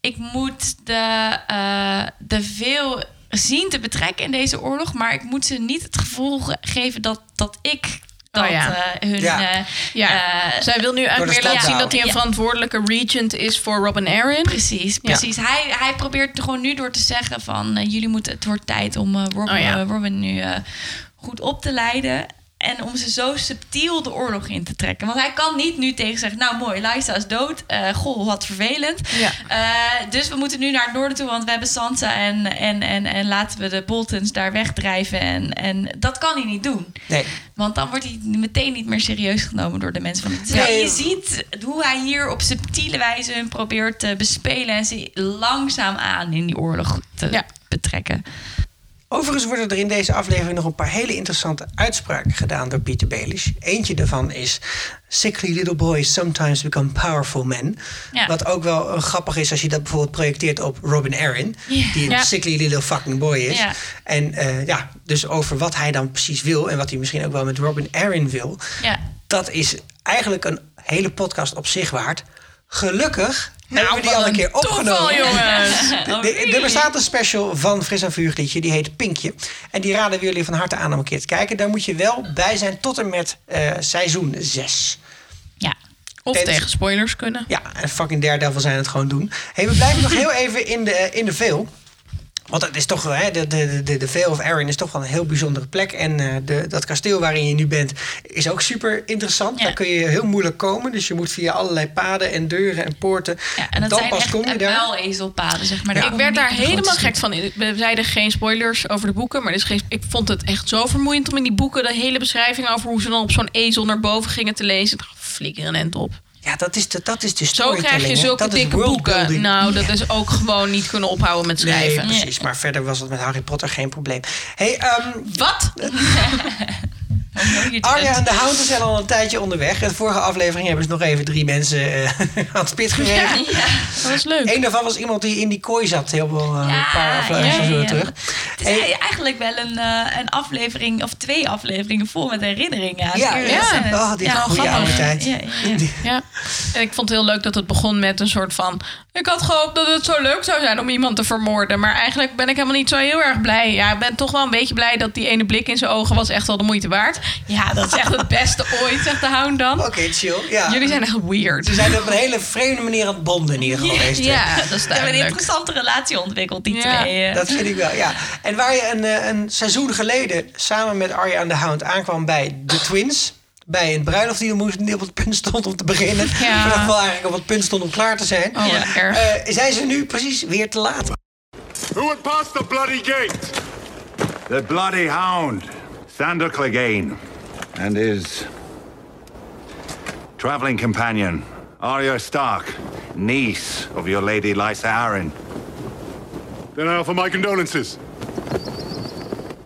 D: ik moet de, eh, de veel zien te betrekken in deze oorlog... maar ik moet ze niet het gevoel ge- geven dat, dat ik dat
E: Oh ja.
D: eh, hun...
A: Ja.
D: eh,
E: ja.
D: eh,
E: Zij wil nu
A: Door de
E: eigenlijk meer laten
A: stad
E: zien dat hij een
D: houden. Ja.
E: verantwoordelijke regent is voor Robin Aaron.
D: Precies, precies. Hij, hij probeert er gewoon nu door te zeggen van... eh, jullie moeten, het wordt tijd om eh, Robin,
E: Oh ja.
D: eh, Robin nu eh, goed op te leiden... En om ze zo subtiel de oorlog in te trekken. Want hij kan niet nu tegen zeggen: Nou, mooi, Lysa is dood. Eh, goh, wat vervelend.
E: Ja.
D: Eh, dus we moeten nu naar het noorden toe, want we hebben Sansa. En, en, en, en laten we de Boltons daar wegdrijven. En, en dat kan hij niet doen.
A: Nee.
D: Want dan wordt hij meteen niet meer serieus genomen door de mensen van het. Dus
A: Nee.
D: Je ziet hoe hij hier op subtiele wijze hun probeert te bespelen en ze langzaam aan in die oorlog te
E: Ja.
D: betrekken.
A: Overigens worden er in deze aflevering nog een paar hele interessante uitspraken gedaan door Peter Baelish. Eentje daarvan is: Sickly little boys sometimes become powerful men.
D: Ja.
A: Wat ook wel eh, grappig is als je dat bijvoorbeeld projecteert op Robin Arryn,
D: Ja.
A: die een
E: Ja.
A: sickly little fucking boy is.
D: Ja.
A: En eh, ja, dus over wat hij dan precies wil en wat hij misschien ook wel met Robin Arryn wil.
D: Ja.
A: Dat is eigenlijk een hele podcast op zich waard. Gelukkig hebben we die
E: wat
A: al een keer opgenomen.
E: Toeval, jongens.
D: Oh,
A: De-
D: really?
A: er bestaat een special van Fris en Vuur liedje, die heet Pinkje. En die raden we jullie van harte aan om een keer te kijken. Daar moet je wel bij zijn tot en met eh, seizoen 6.
D: Ja.
E: Of
A: Tenzij-
E: tegen spoilers kunnen.
A: dus- Ja, en fucking Daredevil zijn het gewoon doen. hey, we blijven nog heel even in de, in de Veil. Want het is toch, wel, hè, de, de, de, de Veil of Arryn is toch wel een heel bijzondere plek. En eh, de, dat kasteel waarin je nu bent is ook super interessant.
D: Ja.
A: Daar kun je heel moeilijk komen. Dus je moet via allerlei paden en deuren en poorten.
D: Ja, en dat
A: Dan
D: zijn
A: pas
D: echt
A: kom je daar.
D: muilezelpaden, zeg maar.
E: Ik
D: kom
E: werd
D: je
E: daar
D: niet in de
E: helemaal
D: grote
E: gek van. We zeiden geen spoilers over de boeken, maar dus geen, ik vond het echt zo vermoeiend om in die boeken de hele beschrijving over hoe ze dan op zo'n ezel naar boven gingen te lezen. Ik dacht, flikker een end op.
A: Ja, dat is de, dat is de
E: Zo
A: storytelling.
E: krijg je
A: hè.
E: zulke
A: Dat is
E: dikke
A: worldbuilding.
E: boeken. Nou, dat is ook gewoon niet kunnen ophouden met
A: Nee,
E: schrijven.
A: precies. Maar verder was het met Harry Potter geen probleem. Hey, ehm
E: Wat?
D: groep. Oh, hier doet
A: Arya
D: het.
A: en de Hound zijn al een tijdje onderweg. In de vorige aflevering hebben ze nog even drie mensen eh, aan het spit gereden.
E: Ja, dat was leuk.
A: Eén daarvan was iemand die in die kooi zat. Heel veel, eh,
D: Ja,
A: een paar afleveringen
D: ja, ja.
A: terug.
D: Het is
A: Hey,
D: eigenlijk wel een, eh, een aflevering of twee afleveringen vol met herinneringen aan
A: ja,
D: Sirius
A: ja.
D: en het-
A: Oh, die
D: ja,
A: goede
D: grappig.
A: oude tijd.
D: Ja, ja, ja.
A: Die-
E: Ja. En ik vond het heel leuk dat het begon met een soort van... Ik had gehoopt dat het zo leuk zou zijn om iemand te vermoorden. Maar eigenlijk ben ik helemaal niet zo heel erg blij. Ja, ik ben toch wel een beetje blij dat die ene blik in zijn ogen was echt wel de moeite waard. Ja, dat is echt het beste ooit, zegt de hound dan.
A: Oké, chill. Ja.
E: Jullie zijn echt weird.
A: Ze zijn op een hele vreemde manier aan het bonden in ieder geval. deze twee.
E: Ja, dat is
D: Ze hebben een
E: duidelijk.
D: interessante relatie ontwikkeld, die
E: Ja.
D: twee. eh.
A: Dat vind ik wel, ja. En waar je een, eh, een seizoen geleden samen met Arya en de Hound aankwam bij de Twins. Bij een bruiloft die er moest, die op het punt stond om te beginnen.
E: Ja.
A: Of in ieder geval eigenlijk op het punt stond om klaar te zijn.
E: Oh, wat
D: Ja.
E: erg.
A: Eh, zijn ze nu precies weer te laat?
H: Who would pass the bloody gate?
I: The bloody hound, Sander Clegane, and his traveling companion, Arya Stark, niece of your lady Lysa Arryn.
H: Then I offer my condolences.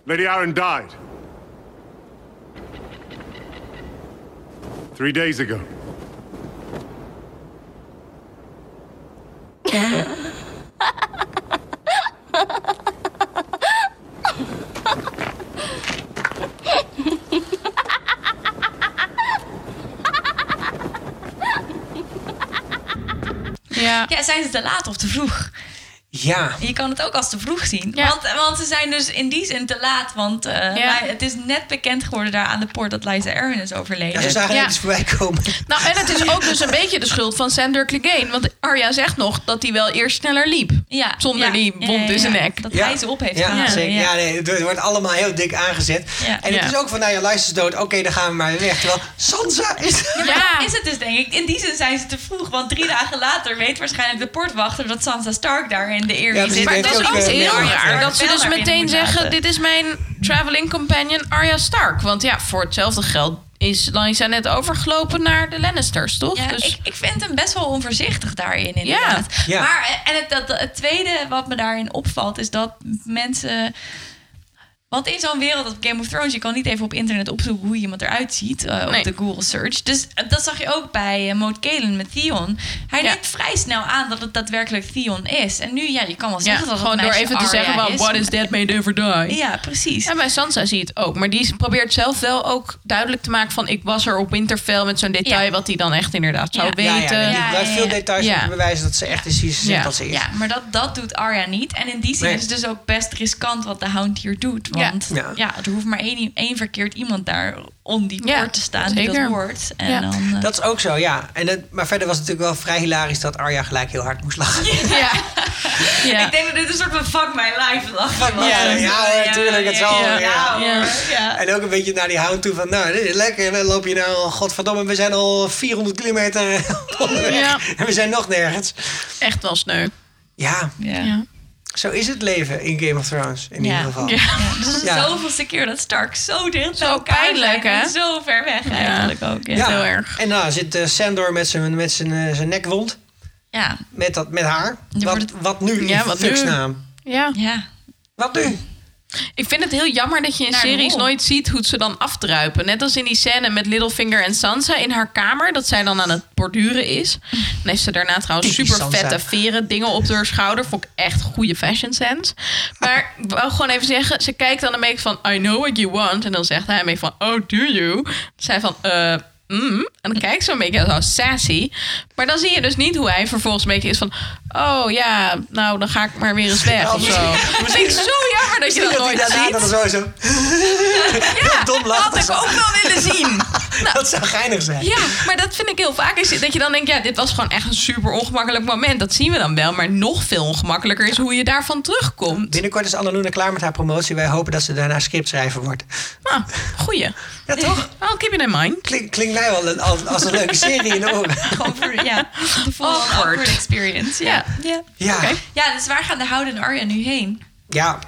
H: Lady Aaron died. Three days ago.
E: Ja.
D: Ja, zijn ze te laat of te vroeg?
A: Ja.
D: Je kan het ook als te vroeg zien.
E: Ja.
D: Want, want ze zijn dus in die zin te laat. Want eh, Ly- het is net bekend geworden daar aan de poort dat Liza Erin is overleden.
A: ja ze zagen
E: Ja.
A: iets voorbij komen.
E: Nou, en het is ook dus een beetje de schuld van Sander Clegane. Want Arya zegt nog dat hij wel eerst sneller liep.
D: Ja,
E: Zonder
D: ja,
E: die
D: ja,
E: wond
D: ja,
E: in zijn
D: ja.
E: nek.
D: Dat hij ze op heeft
A: ja,
D: gehaald.
A: zeker.
D: Ja.
A: Ja, nee, het wordt allemaal heel dik aangezet.
D: Ja.
A: En het
E: Ja.
A: is ook van, nou ja, Lysa is dood. Oké, dan gaan we maar weer weg. Terwijl Sansa is...
D: Ja, maar
E: Ja.
D: dat is het dus denk ik. In die zin zijn ze te vroeg. Want drie dagen later weet waarschijnlijk de poortwachter dat Sansa Stark daar in de eer
A: Ja,
D: zit.
A: precies.
E: Maar
A: Ik
E: het is
A: denk
E: ook
A: ook, eh,
E: heel
A: Arya
E: raar
A: Stark.
E: dat ze
D: Wel
E: dus
D: naar binnen
E: meteen
D: moet laten.
E: zeggen... dit is mijn traveling companion Arya Stark. Want ja, voor hetzelfde geld is Lysa net overgelopen naar de Lannisters, toch?
D: Ja,
E: dus,
D: ik, ik vind hem best wel onvoorzichtig daarin, inderdaad.
A: Ja.
D: Maar, eh, en het, dat, het tweede wat me daarin opvalt, is dat mensen... Want in zo'n wereld op Game of Thrones, je kan niet even op internet opzoeken hoe iemand eruit ziet eh, op
E: Nee.
D: de Google search. Dus eh, dat zag je ook bij eh, Moot Kalen met Theon. Hij
E: Ja.
D: neemt vrij snel aan dat het daadwerkelijk Theon is. En nu, ja, je kan wel
E: ja,
D: zeggen dat het
E: gewoon door
D: meisje
E: even te
D: Arya
E: zeggen... van,
D: is.
E: what is that made ever die?
D: Ja, precies.
E: En bij Sansa zie je het ook. Maar die probeert zelf wel ook duidelijk te maken van... ik was er op Winterfell met zo'n detail...
D: Ja.
E: wat hij dan echt inderdaad zou
D: Ja.
A: Ja,
E: weten.
A: ja,
D: Ja,
A: die gebruikt
D: ja,
A: veel
D: ja.
A: details om
E: Ja.
A: te bewijzen dat ze echt is die ze zegt
E: Ja.
A: dat ze is.
D: Ja, maar dat, dat doet Arya niet. En in die zin
A: Nee.
D: is het dus ook best riskant wat de Hound hier doet. Want Want
A: Ja. Ja.
D: ja. er hoeft maar één, één verkeerd iemand daar om die
E: Ja,
D: poort te staan die
E: zeker.
D: dat hoort. En
E: Ja.
D: dan, eh,
A: Dat is ook zo, ja. En het- maar verder was het natuurlijk wel vrij hilarisch dat Arya gelijk heel hard moest lachen.
E: Ja.
D: Ik denk dat dit een soort van fuck my life lach
A: Fuck
D: was.
A: my life, ja, hoor, tuurlijk, het zal,
D: Oh, Ja,
A: ja.
D: hoor,
E: Ja.
D: ja.
A: En ook een beetje naar die hound toe van, nou, dit is lekker. En dan loop je nou, godverdomme, we zijn al 400 kilometer onderweg.
E: Ja.
A: En we zijn nog nergens.
E: Echt wel sneu.
A: Ja,
D: Ja.
E: Ja.
A: zo is het leven in Game of Thrones in
D: Ja.
A: ieder geval.
E: Ja.
D: Ja, dus het is
A: Ja.
D: de zoveelste keer dat Stark zo dicht bij elkaar
E: pijnlijk,
D: zijn en
E: hè?
D: Zo ver weg eigenlijk ook. Ja.
A: Ja.
E: heel erg.
A: En nou zit eh, Sandor met zijn, met zijn, eh, zijn nekwond.
D: Ja.
A: Met, dat, met haar.
D: Ja,
A: Wat,
D: wordt-
A: wat nu?
E: Ja,
A: in
E: wat
A: fucks
E: nu?
A: naam?
E: Ja.
D: ja.
A: Wat nu?
E: Ik vind het heel jammer dat je in
D: Naar de
E: series
D: mol.
E: nooit ziet hoe het ze dan afdruipen. Net als in die scène met Littlefinger en Sansa in haar kamer. Dat zij dan aan het borduren is. Dan heeft ze daarna trouwens
A: Typisch
E: super vette
A: Sansa.
E: veren dingen op haar schouder. Vond ik echt goede fashion sense. Maar ik wou gewoon even zeggen. Ze kijkt dan een beetje van I know what you want. En dan zegt hij een beetje van Oh do you? Zij van eh... mm. En dan kijkt ze een beetje zo sassy. Maar dan zie je dus niet hoe hij vervolgens een beetje is van... Oh ja, nou dan ga ik maar weer eens weg
A: Ja,
E: of zo.
A: misschien-
E: Dat vind ik zo jammer dat je
A: Ik
E: dat
A: dat hij
E: nooit
A: daarna
E: ziet.
A: dan sowieso...
E: Ja,
A: dom lachen.
E: had ik ook wel willen zien.
A: Dat zou geinig zijn.
E: Ja, maar dat vind ik heel vaak. Is dat je dan denkt, ja, dit was gewoon echt een super ongemakkelijk moment. Dat zien we dan wel. Maar nog veel ongemakkelijker is hoe je daarvan terugkomt.
A: Binnenkort is Annalena klaar met haar promotie. Wij hopen dat ze daarna scriptschrijver wordt.
E: Nou, goeie.
A: Ja, toch?
E: I'll keep it in mind.
A: Klink, klinkt mij wel een- als, als een leuke serie in de oren.
D: Gewoon voor, ja. Voor een
E: Awkward.
D: awkward experience. Ja. Ja.
A: Ja,
E: Oké.
D: ja, dus waar gaan de Hound en Arya nu heen?
A: ja.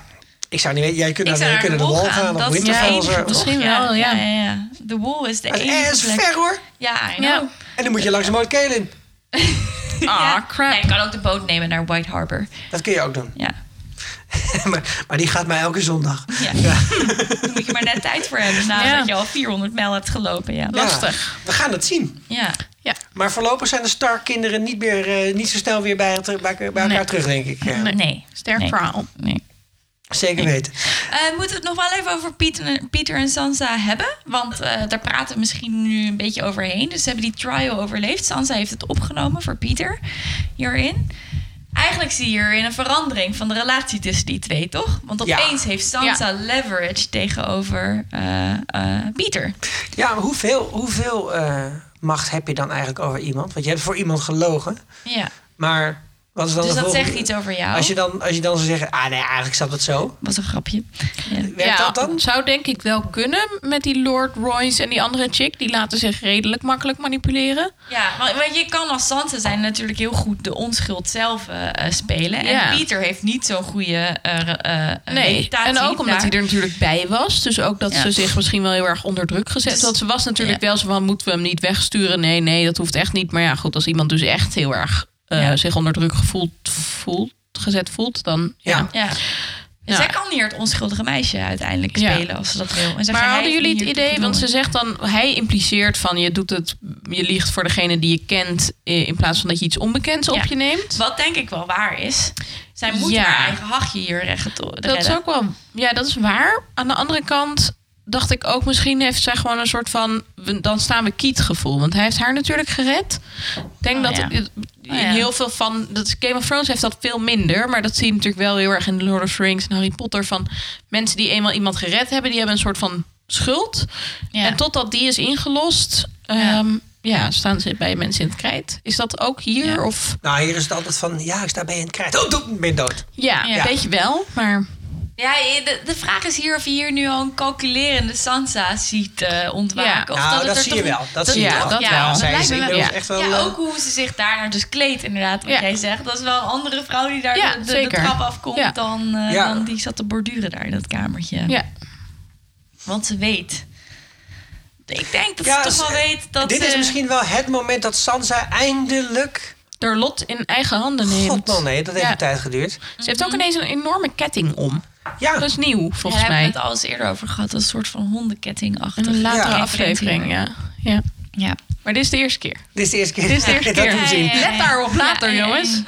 A: Ik zou niet weten. Jij kunt
D: Ik
A: naar
D: zou
A: de, kunnen de wall gaan of
D: Dat is
A: Winterfell.
D: de
A: of zo.
D: enige.
E: Misschien
D: toch? Ja,
E: wel, ja.
D: ja, ja. De wall is de
A: Het
D: enige
A: is
D: plek.
A: ver hoor.
D: Ja, I know.
E: Ja.
A: En dan moet je langs Mount Kalen.
E: Ah,
D: Ja.
E: crap.
D: Nee, je kan ook de boot nemen naar White Harbor.
A: Dat kun je ook doen.
D: Ja.
A: maar, maar die gaat mij elke zondag.
D: ja. Daar moet je maar net tijd voor hebben nadat
E: Ja.
D: je al 400 mijl hebt gelopen. Ja.
A: Ja,
E: Lastig.
A: we gaan het zien.
D: ja.
E: Ja.
A: Maar voorlopig zijn de Stark-kinderen niet, meer, eh, niet zo snel weer bij, het- bij elkaar
E: Nee.
A: terug, denk ik. Ja,
D: Nee.
E: Sterk
D: Nee.
E: verhaal.
D: Nee.
A: Zeker weten.
D: Eh, moeten we het nog wel even over Pieter en, Pieter en Sansa hebben? Want eh, daar praten we misschien nu een beetje overheen. Dus ze hebben die trial overleefd. Sansa heeft het opgenomen voor Pieter hierin. Eigenlijk zie je hierin een verandering van de relatie tussen die twee, toch? Want
A: Ja.
D: opeens heeft Sansa leverage tegenover eh, eh, Pieter.
A: Ja, maar hoeveel, hoeveel eh, macht heb je dan eigenlijk over iemand? Want je hebt voor iemand gelogen.
D: Ja.
A: Maar wat is dan
D: Dus
A: de
D: dat
A: volgende-
D: zegt iets over jou.
A: Als je, dan, als je dan zou zeggen, ah nee, eigenlijk zat het zo.
D: Was een grapje. Ja.
A: Werkt dat dan?
E: zou denk ik wel kunnen met die Lord Royce en die andere chick. Die laten zich redelijk makkelijk manipuleren.
D: Ja, want want je kan als Sansa zijn natuurlijk heel goed de onschuld zelf eh, eh, spelen.
E: Ja.
D: En Pieter heeft niet zo'n goede eh, re- eh, eh,
E: Nee,
D: reputatie.
E: en ook omdat
D: daar.
E: hij er natuurlijk bij was. Dus ook dat
D: Ja.
E: ze zich misschien wel heel erg onder druk gezet.
D: Dus-
E: Want ze was natuurlijk
D: Ja.
E: wel zo van, moeten we hem niet wegsturen? Nee, nee, dat hoeft echt niet. Maar ja, goed, als iemand dus echt heel erg eh,
D: Ja.
E: zich onder druk gevoeld, voelt, gezet voelt, dan... Ja.
A: Ja.
D: Ja.
E: Ja.
D: Zij kan hier het onschuldige meisje uiteindelijk
E: Ja.
D: spelen als ze dat wil. En zij
E: Maar
D: gaat
E: hadden
D: hij
E: jullie het
D: hier
E: idee, want ze
D: doen.
E: zegt dan, hij impliceert van je doet het, je liegt voor degene die je kent, eh, in plaats van dat je iets onbekends op
D: Ja.
E: je neemt.
D: Wat denk ik wel waar is. Zij moet
E: Ja.
D: haar eigen hachje hier recht
E: Dat is ook wel, ja, dat is waar. Aan de andere kant dacht ik ook, misschien heeft zij gewoon een soort van, we- dan staan we kiet gevoel. Want hij heeft haar natuurlijk gered. Ik denk
D: Oh,
E: dat
D: ja.
E: het-
D: Oh,
E: in
D: ja.
E: heel veel van, dat is Game of Thrones heeft dat veel minder. Maar dat zie je natuurlijk wel heel erg in Lord of the Rings en Harry Potter. Van mensen die eenmaal iemand gered hebben, die hebben een soort van schuld.
D: Ja.
E: En totdat die is ingelost,
D: Ja.
E: ehm, ja, staan ze bij mensen in het krijt. Is dat ook hier?
D: Ja.
E: Of,
A: Nou, hier is het altijd van, ja, ik sta bij je in het krijt. Oh, doe, ben je dood.
E: ja,
D: Ja.
E: weet je wel, maar...
D: Ja, de, de vraag is hier of je hier nu al een calculerende Sansa ziet eh, ontwaken.
E: Ja.
D: Of
A: Nou,
D: het
A: dat
D: er
A: zie
D: toch
A: je wel.
D: een-
A: Dat zie je
E: ja,
A: wel.
E: dat
D: ja,
E: wel.
D: dat
A: Zij is
D: lijkt me wel.
A: inmiddels
E: ja.
A: echt wel...
D: Ja,
A: eh,
D: ook hoe ze zich daarnaar dus kleedt, inderdaad, wat
E: Ja.
D: jij zegt. Dat is wel een andere vrouw die daar
E: Ja,
D: de, de- de,
E: zeker.
D: trap afkomt
E: Ja.
D: dan, eh,
A: Ja.
D: dan die zat te borduren daar in dat kamertje.
E: Ja.
D: Want ze weet. Ik denk dat
A: ja,
D: ze toch wel
A: ze-
D: weet dat eh,
A: Dit
D: ze...
A: is misschien wel het moment dat Sansa eindelijk...
E: Door lot in eigen handen neemt.
A: God man, nee, dat heeft
E: Ja.
A: een tijd geduurd.
E: Ze heeft ook ineens een enorme ketting om.
A: Ja,
E: Dat is nieuw,
D: Ja,
E: volgens
D: Daar
E: mij.
D: hebben we het al eens eerder over gehad. Dat is een soort van hondenketting-achtig.
E: Een latere
A: Ja.
E: aflevering, ja. ja.
D: Ja.
E: Maar dit is de eerste keer.
A: dit is de eerste keer.
E: Dit is de eerste
A: dat
E: keer.
A: we hem zien.
D: Ja, ja, ja.
E: Let daarop later,
D: Ja, ja, ja.
E: jongens.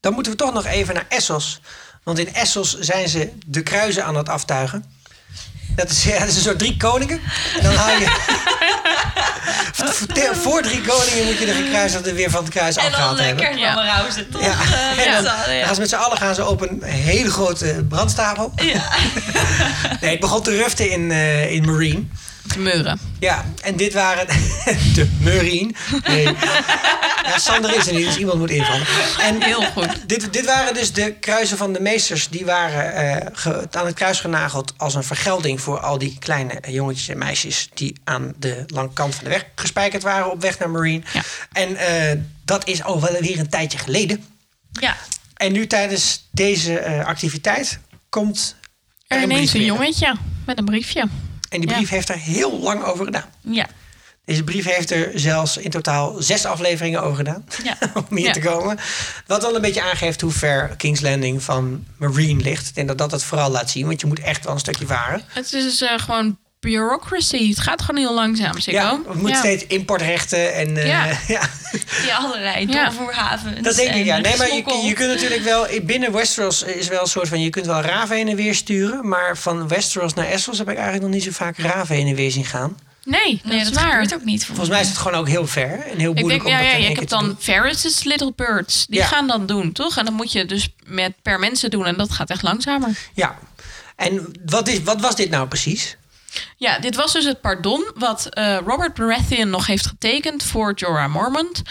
A: Dan moeten we toch nog even naar Essos. Want in Essos zijn ze de kruizen aan het aftuigen. Dat is, ja, dat is een soort drie koningen. En dan haal je... Voor- Voor drie koningen moet je de gekruisigde weer van het kruis
D: En dan
A: afgehaald hebben.
D: lekker gaan we rauzen, toch?
A: Ja.
D: Eh, met
A: En dan
D: z'n allen, ja.
A: gaan ze met z'n allen gaan ze op een hele grote brandstapel. nee, het begon te ruften in, eh, in Marine.
E: Te meuren.
A: Ja, en dit waren de Marine. Nee. Ja, Sander is er niet, dus iemand moet invallen. En
E: Heel goed.
A: dit, dit waren dus de kruisen van de meesters. Die waren eh, ge- aan het kruis genageld als een vergelding voor al die kleine jongetjes en meisjes die aan de lange kant van de weg gespijkerd waren op weg naar Marine.
E: Ja.
A: En eh, dat is al wel weer een tijdje geleden.
D: Ja.
A: En nu tijdens deze eh, activiteit komt
E: Er ineens
A: brief
E: een
A: binnen.
E: jongetje met een briefje.
A: En die
E: Ja.
A: brief heeft er heel lang over gedaan.
D: Ja.
A: Deze brief heeft er zelfs in totaal zes afleveringen over gedaan.
D: Ja.
A: om hier
E: Ja.
A: te komen. Wat dan een beetje aangeeft hoe ver King's Landing van Marine ligt. Ik denk dat dat het vooral laat zien, want je moet echt wel een stukje varen.
E: Het is dus, eh, gewoon bureaucracy. Het gaat gewoon heel langzaam, Sikko.
A: Ja, we moeten steeds importrechten en... eh,
E: Ja.
A: ja.
D: Die allerlei
E: Ja.
D: doorvoerhavens.
A: Dat denk ik,
D: en dus-
A: ja. Nee, maar
D: gesmokkel.
A: je, je kunt natuurlijk wel... Binnen Westeros is wel een soort van... Je kunt wel raven heen en weer sturen. Maar van Westeros naar Essos heb ik eigenlijk nog niet zo vaak raven heen en weer zien gaan.
E: Nee, dat
D: Nee,
E: is
D: dat
E: waar.
D: gebeurt ook niet.
A: Volgens mij is het gewoon ook heel ver. En heel
E: Ik
A: moeilijk
E: denk,
A: om
E: ja,
A: dat
E: ja,
A: in één
E: ik
A: keer
E: heb
A: te doen.
E: dan Ferris's Little Birds. Die
A: Ja.
E: gaan dat doen, toch? En dan moet je dus met per mensen doen. En dat gaat echt langzamer.
A: Ja. En wat, is, wat was dit nou precies?
E: Ja, dit was dus het pardon wat eh, Robert Baratheon nog heeft getekend voor Jorah Mormont.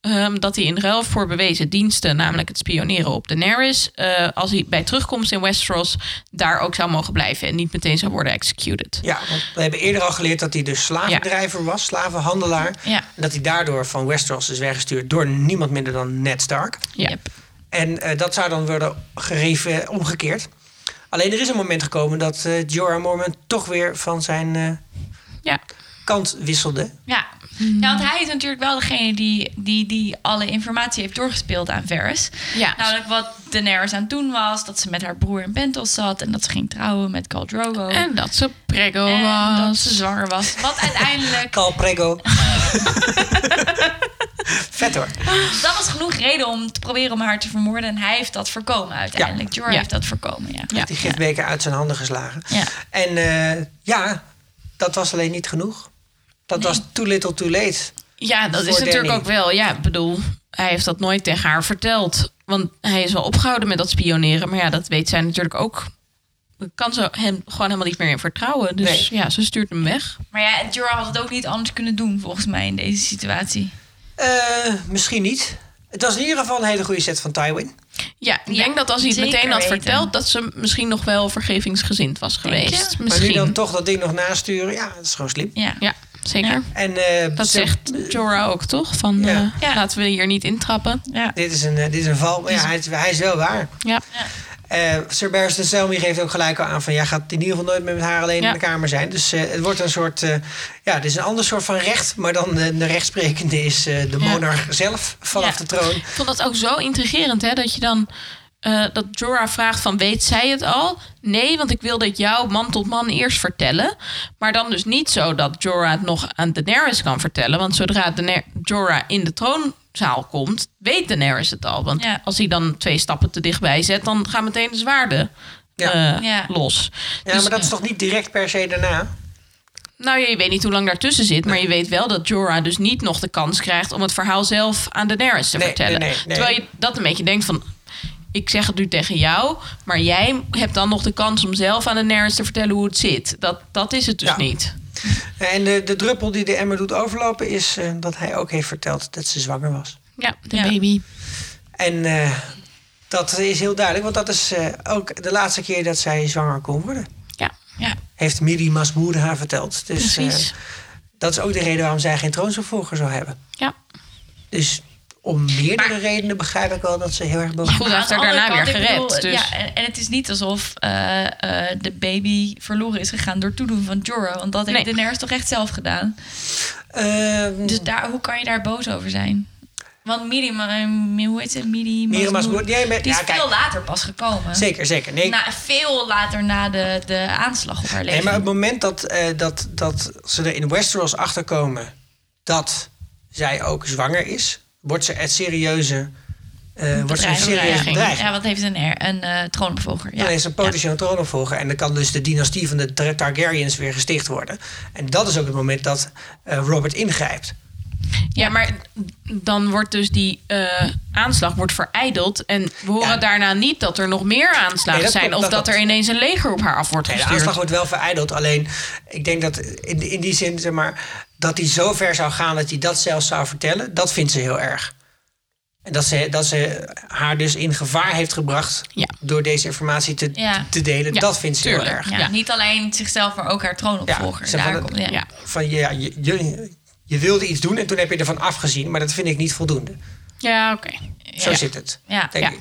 E: Ehm, dat hij in ruil voor bewezen diensten, namelijk het spioneren op Daenerys... eh, als hij bij terugkomst in Westeros daar ook zou mogen blijven... en niet meteen zou worden executed.
A: Ja, want we hebben eerder al geleerd dat hij dus slavendrijver was, slavenhandelaar.
D: Ja.
A: En dat hij daardoor van Westeros is weggestuurd door niemand minder dan Ned Stark.
E: Ja.
D: Yep.
A: En eh, dat zou dan worden gereven, omgekeerd. Alleen er is een moment gekomen dat eh, Jorah Mormont toch weer van zijn eh,
E: ja.
A: kant wisselde.
D: Ja.
E: Hmm.
D: ja, want hij is natuurlijk wel degene die, die, die alle informatie heeft doorgespeeld aan Varys.
E: Ja.
D: Namelijk wat Daenerys aan het doen was. Dat ze met haar broer in Pentos zat. En dat ze ging trouwen met Khal Drogo.
E: En dat ze preggo
D: En
E: was.
D: dat ze zwanger was. Wat uiteindelijk...
A: Cal Prego. Vet hoor.
D: dat was genoeg reden om te proberen om haar te vermoorden. En hij heeft dat voorkomen uiteindelijk. Jorah
E: Ja.
D: heeft dat voorkomen, ja.
E: Ja.
A: Die gifbeker uit zijn handen geslagen.
D: Ja.
A: En eh, ja, dat was alleen niet genoeg. Dat was too little too late.
E: Ja, dat is
A: voor
E: natuurlijk
A: Danny.
E: ook wel. Ja, ik bedoel, hij heeft dat nooit tegen haar verteld. Want hij is wel opgehouden met dat spioneren. Maar ja, dat weet zij natuurlijk ook. Ik kan ze hem gewoon helemaal niet meer in vertrouwen. Dus ja, ze stuurt hem weg.
D: Maar ja, Jorah had het ook niet anders kunnen doen volgens mij in deze situatie.
A: Eh, misschien niet. Het was in ieder geval een hele goede set van Tywin.
E: Ja, ik
D: Ja,
E: denk dat als hij het
D: zeker
E: meteen had
D: weten.
E: verteld... dat ze misschien nog wel vergevingsgezind was
D: je?
E: geweest.
D: Maar
A: Maar nu
E: Misschien.
A: dan toch dat ding nog nasturen. Ja, dat is gewoon slim.
D: Ja.
E: Ja, zeker.
D: Ja.
A: En eh,
E: Dat
A: ze-
E: zegt Jorah ook, toch? Van
A: Ja.
E: eh,
D: Ja.
E: laten we hier niet intrappen.
D: Ja.
A: Dit is een, eh, dit is een val. Maar ja, hij, is- hij is wel waar.
E: Ja,
A: Eh, Sir Barristan Selmy geeft ook gelijk al aan van... jij gaat in ieder geval nooit meer met haar alleen
E: Ja.
A: in de kamer zijn. Dus eh, het wordt een soort... eh, ja, het is een ander soort van recht. Maar dan eh, de rechtsprekende is eh, de
E: Ja.
A: monarch zelf vanaf
E: Ja.
A: de troon.
E: Ik vond dat ook zo intrigerend, hè? Dat je dan eh, dat Jorah vraagt van weet zij het al? Nee, want ik wil dat jouw man tot man eerst vertellen. Maar dan dus niet zo dat Jorah het nog aan Daenerys kan vertellen. Want zodra Daener- Jorah in de troonzaal komt, weet Daenerys het al. Want
D: Ja.
E: als hij dan twee stappen te dichtbij zet, dan gaan meteen de zwaarden
A: Ja.
E: eh,
D: Ja.
E: los.
A: Ja,
E: Dus-
A: maar dat is toch niet direct per se daarna?
E: nou ja, je weet niet hoe lang daartussen zit, maar je weet wel dat Jorah dus niet nog de kans krijgt om het verhaal zelf aan Daenerys te
A: Nee,
E: vertellen.
A: nee, nee, nee.
E: Terwijl je dat een beetje denkt van, ik zeg het nu tegen jou, maar jij hebt dan nog de kans om zelf aan Daenerys te vertellen hoe het zit. Dat, dat is het dus
A: Ja.
E: niet.
A: Eh, En de, de druppel die de emmer doet overlopen is eh, dat hij ook heeft verteld dat ze zwanger was.
E: Ja, de
D: Ja.
E: baby.
A: En eh, dat is heel duidelijk, want dat is eh, ook de laatste keer dat zij zwanger kon worden.
E: Ja,
D: Ja.
A: Heeft Miri Masmoer haar verteld. Dus eh,
E: precies.
A: dat is ook de reden waarom zij geen troonsopvolger zou hebben.
E: ja.
A: Dus om meerdere redenen begrijp ik wel dat ze heel erg boos
E: Goed, hij heeft
D: Maar
E: haar
D: aan de
E: daarna weer
D: andere kant, ik
E: gered.
D: bedoel,
E: dus.
D: ja, en, en het is niet alsof eh, eh, de baby verloren is gegaan door toedoen van Jorah. Want dat heeft
E: Nee.
D: Daenerys toch echt zelf gedaan.
A: Mm. Ehm,
D: Dus daar, hoe kan je daar boos over zijn? Want Miri, ma- mi- hoe heet ze?
A: Miri
D: Miri Masmoud.
A: Masmoer, nee, maar-
D: Die is
A: ja, kijk.
D: veel later pas gekomen.
A: Zeker, zeker. Nee,
D: Na, veel later na de, de aanslag op haar leven.
A: Nee, maar op het moment dat, eh, dat, dat ze er in Westeros achterkomen dat zij ook zwanger is, wordt ze het serieuze eh, eh, wordt ze een serieuze
D: Bedreiging.
A: bedreiging.
D: Ja, want heeft een, her, een eh, troonopvolger. Ja.
A: Dan is er een potentieel troonopvolger. En dan kan dus de dynastie van de Tar- Targaryens weer gesticht worden. En dat is ook het moment dat eh, Robert ingrijpt.
E: Ja, maar dan wordt dus die eh, aanslag wordt verijdeld. En we horen
A: Ja.
E: daarna niet dat er nog meer aanslagen
A: Nee, dat
E: zijn.
A: klopt,
E: of
A: dat
E: dat, er
A: klopt.
E: ineens een leger op haar af wordt
A: Nee, de
E: gestuurd.
A: aanslag wordt wel verijdeld. Alleen, ik denk dat in, in die zin, zeg maar, dat hij zo ver zou gaan dat hij dat zelf zou vertellen, dat vindt ze heel erg. En dat ze, dat ze haar dus in gevaar heeft gebracht
E: Ja.
A: door deze informatie te,
D: Ja.
A: te delen,
E: Ja,
A: dat vindt ze heel
E: tuurlijk.
A: erg.
D: Ja,
E: Ja.
D: Niet alleen zichzelf, maar ook haar troonopvolger.
A: Ja, ze
D: Daar
A: van-
D: komt, ja.
E: ja.
A: Van ja, je, je, je wilde iets doen en toen heb je ervan afgezien, maar dat vind ik niet voldoende.
E: Ja, oké.
A: Zo
D: Ja.
A: zit het,
D: Ja.
A: denk
E: Ja.
A: ik.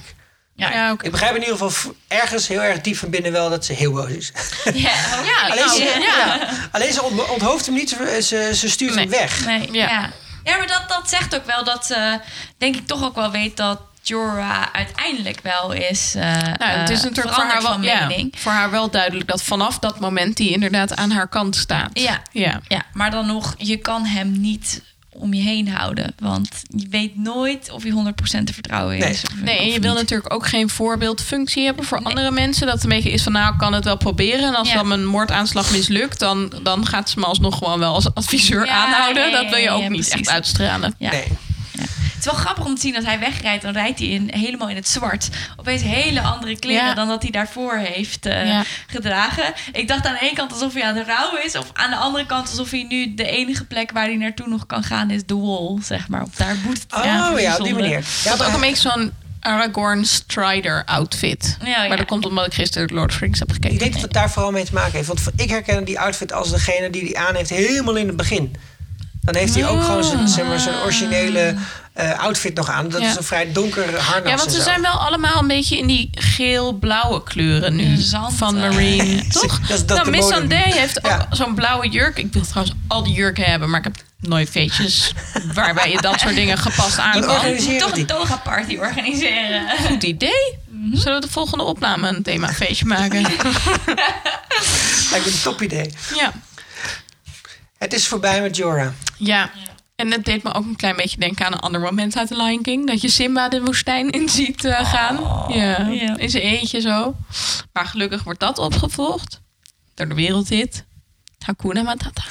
D: Ja.
E: Ja,
A: Ik
E: oké.
A: begrijp in ieder geval v- ergens heel erg diep van binnen wel dat ze heel boos is.
D: Ja, ja,
A: Alleen
D: nou,
A: ze,
D: ja.
A: ja, alleen ze ont- onthooft hem niet, ze, ze- ze stuurt hem
E: Nee.
A: weg.
D: Nee,
E: Ja.
D: ja. ja. maar dat, dat zegt ook wel dat ze, denk ik, toch ook wel weet dat Jorah uiteindelijk wel is. eh
E: Nou, het is natuurlijk voor haar, wel,
D: van
E: ja,
D: mening.
E: voor haar wel duidelijk dat vanaf dat moment die inderdaad aan haar kant staat.
D: Ja.
E: ja.
D: Ja, maar dan nog, je kan hem niet om je heen houden. Want je weet nooit of hij 100% te vertrouwen
A: Nee.
D: is. of-
E: Nee, en
D: of
E: je wil
D: niet.
E: natuurlijk ook geen voorbeeldfunctie hebben voor
D: Nee.
E: andere mensen. Dat het een beetje is van, nou, ik kan het wel proberen. En als
D: Ja.
E: dan mijn moordaanslag mislukt, dan, dan gaat ze me alsnog gewoon wel als adviseur
D: Ja,
E: aanhouden.
D: nee,
E: dat wil je ook
D: ja,
E: niet
D: precies.
E: echt uitstralen.
D: Ja.
A: Nee.
D: Het is wel grappig om te zien dat hij wegrijdt. Dan rijdt hij in, helemaal in het zwart. Opeens hele andere kleren
E: Ja.
D: dan dat hij daarvoor heeft eh,
E: Ja.
D: gedragen. Ik dacht aan de ene kant alsof hij aan de rouw is. Of aan de andere kant alsof hij nu de enige plek waar hij naartoe nog kan gaan is de wall. Zeg maar. Op daar boet het
A: Oh ja, op die manier. Ja,
E: Ik had ook
A: maar-
E: een beetje zo'n Aragorn Strider outfit.
D: Ja, ja.
E: Maar dat komt omdat ik gisteren Lord of the Rings heb
A: ik
E: gekeken.
A: denk dat het daar vooral mee te maken heeft. Want ik herken die outfit als degene die die aan heeft helemaal in het begin. Dan heeft hij ook gewoon zijn, zeg maar, zijn originele eh, outfit nog aan. Dat
E: Ja.
A: is een vrij donker harnas.
E: Ja, want
A: en Nou,
E: ze
A: zo.
E: zijn wel allemaal een beetje in die geel-blauwe kleuren nu.
D: De zand.
E: Van Marine, toch?
A: dat is dat
E: nou,
A: de
E: Miss
A: mode.
E: Sandé heeft ook
A: Ja.
E: zo'n blauwe jurk. Ik wil trouwens al die jurken hebben, maar ik heb nooit feestjes... waarbij je dat soort dingen gepast aan
A: Dan
E: kan.
A: organiseer-
D: Je moet toch
A: die.
D: een toga party organiseren.
E: Goed idee. Zullen we de volgende opname een themafeestje maken?
A: Lijkt me een top idee.
E: ja.
A: Het is voorbij met Jorah.
E: ja. En het deed me ook een klein beetje denken aan een ander moment uit The Lion King. Dat je Simba de woestijn in ziet eh, gaan. ja.
D: ja.
E: In zijn eentje zo. Maar gelukkig wordt dat opgevolgd door de wereldhit. Hakuna Matata.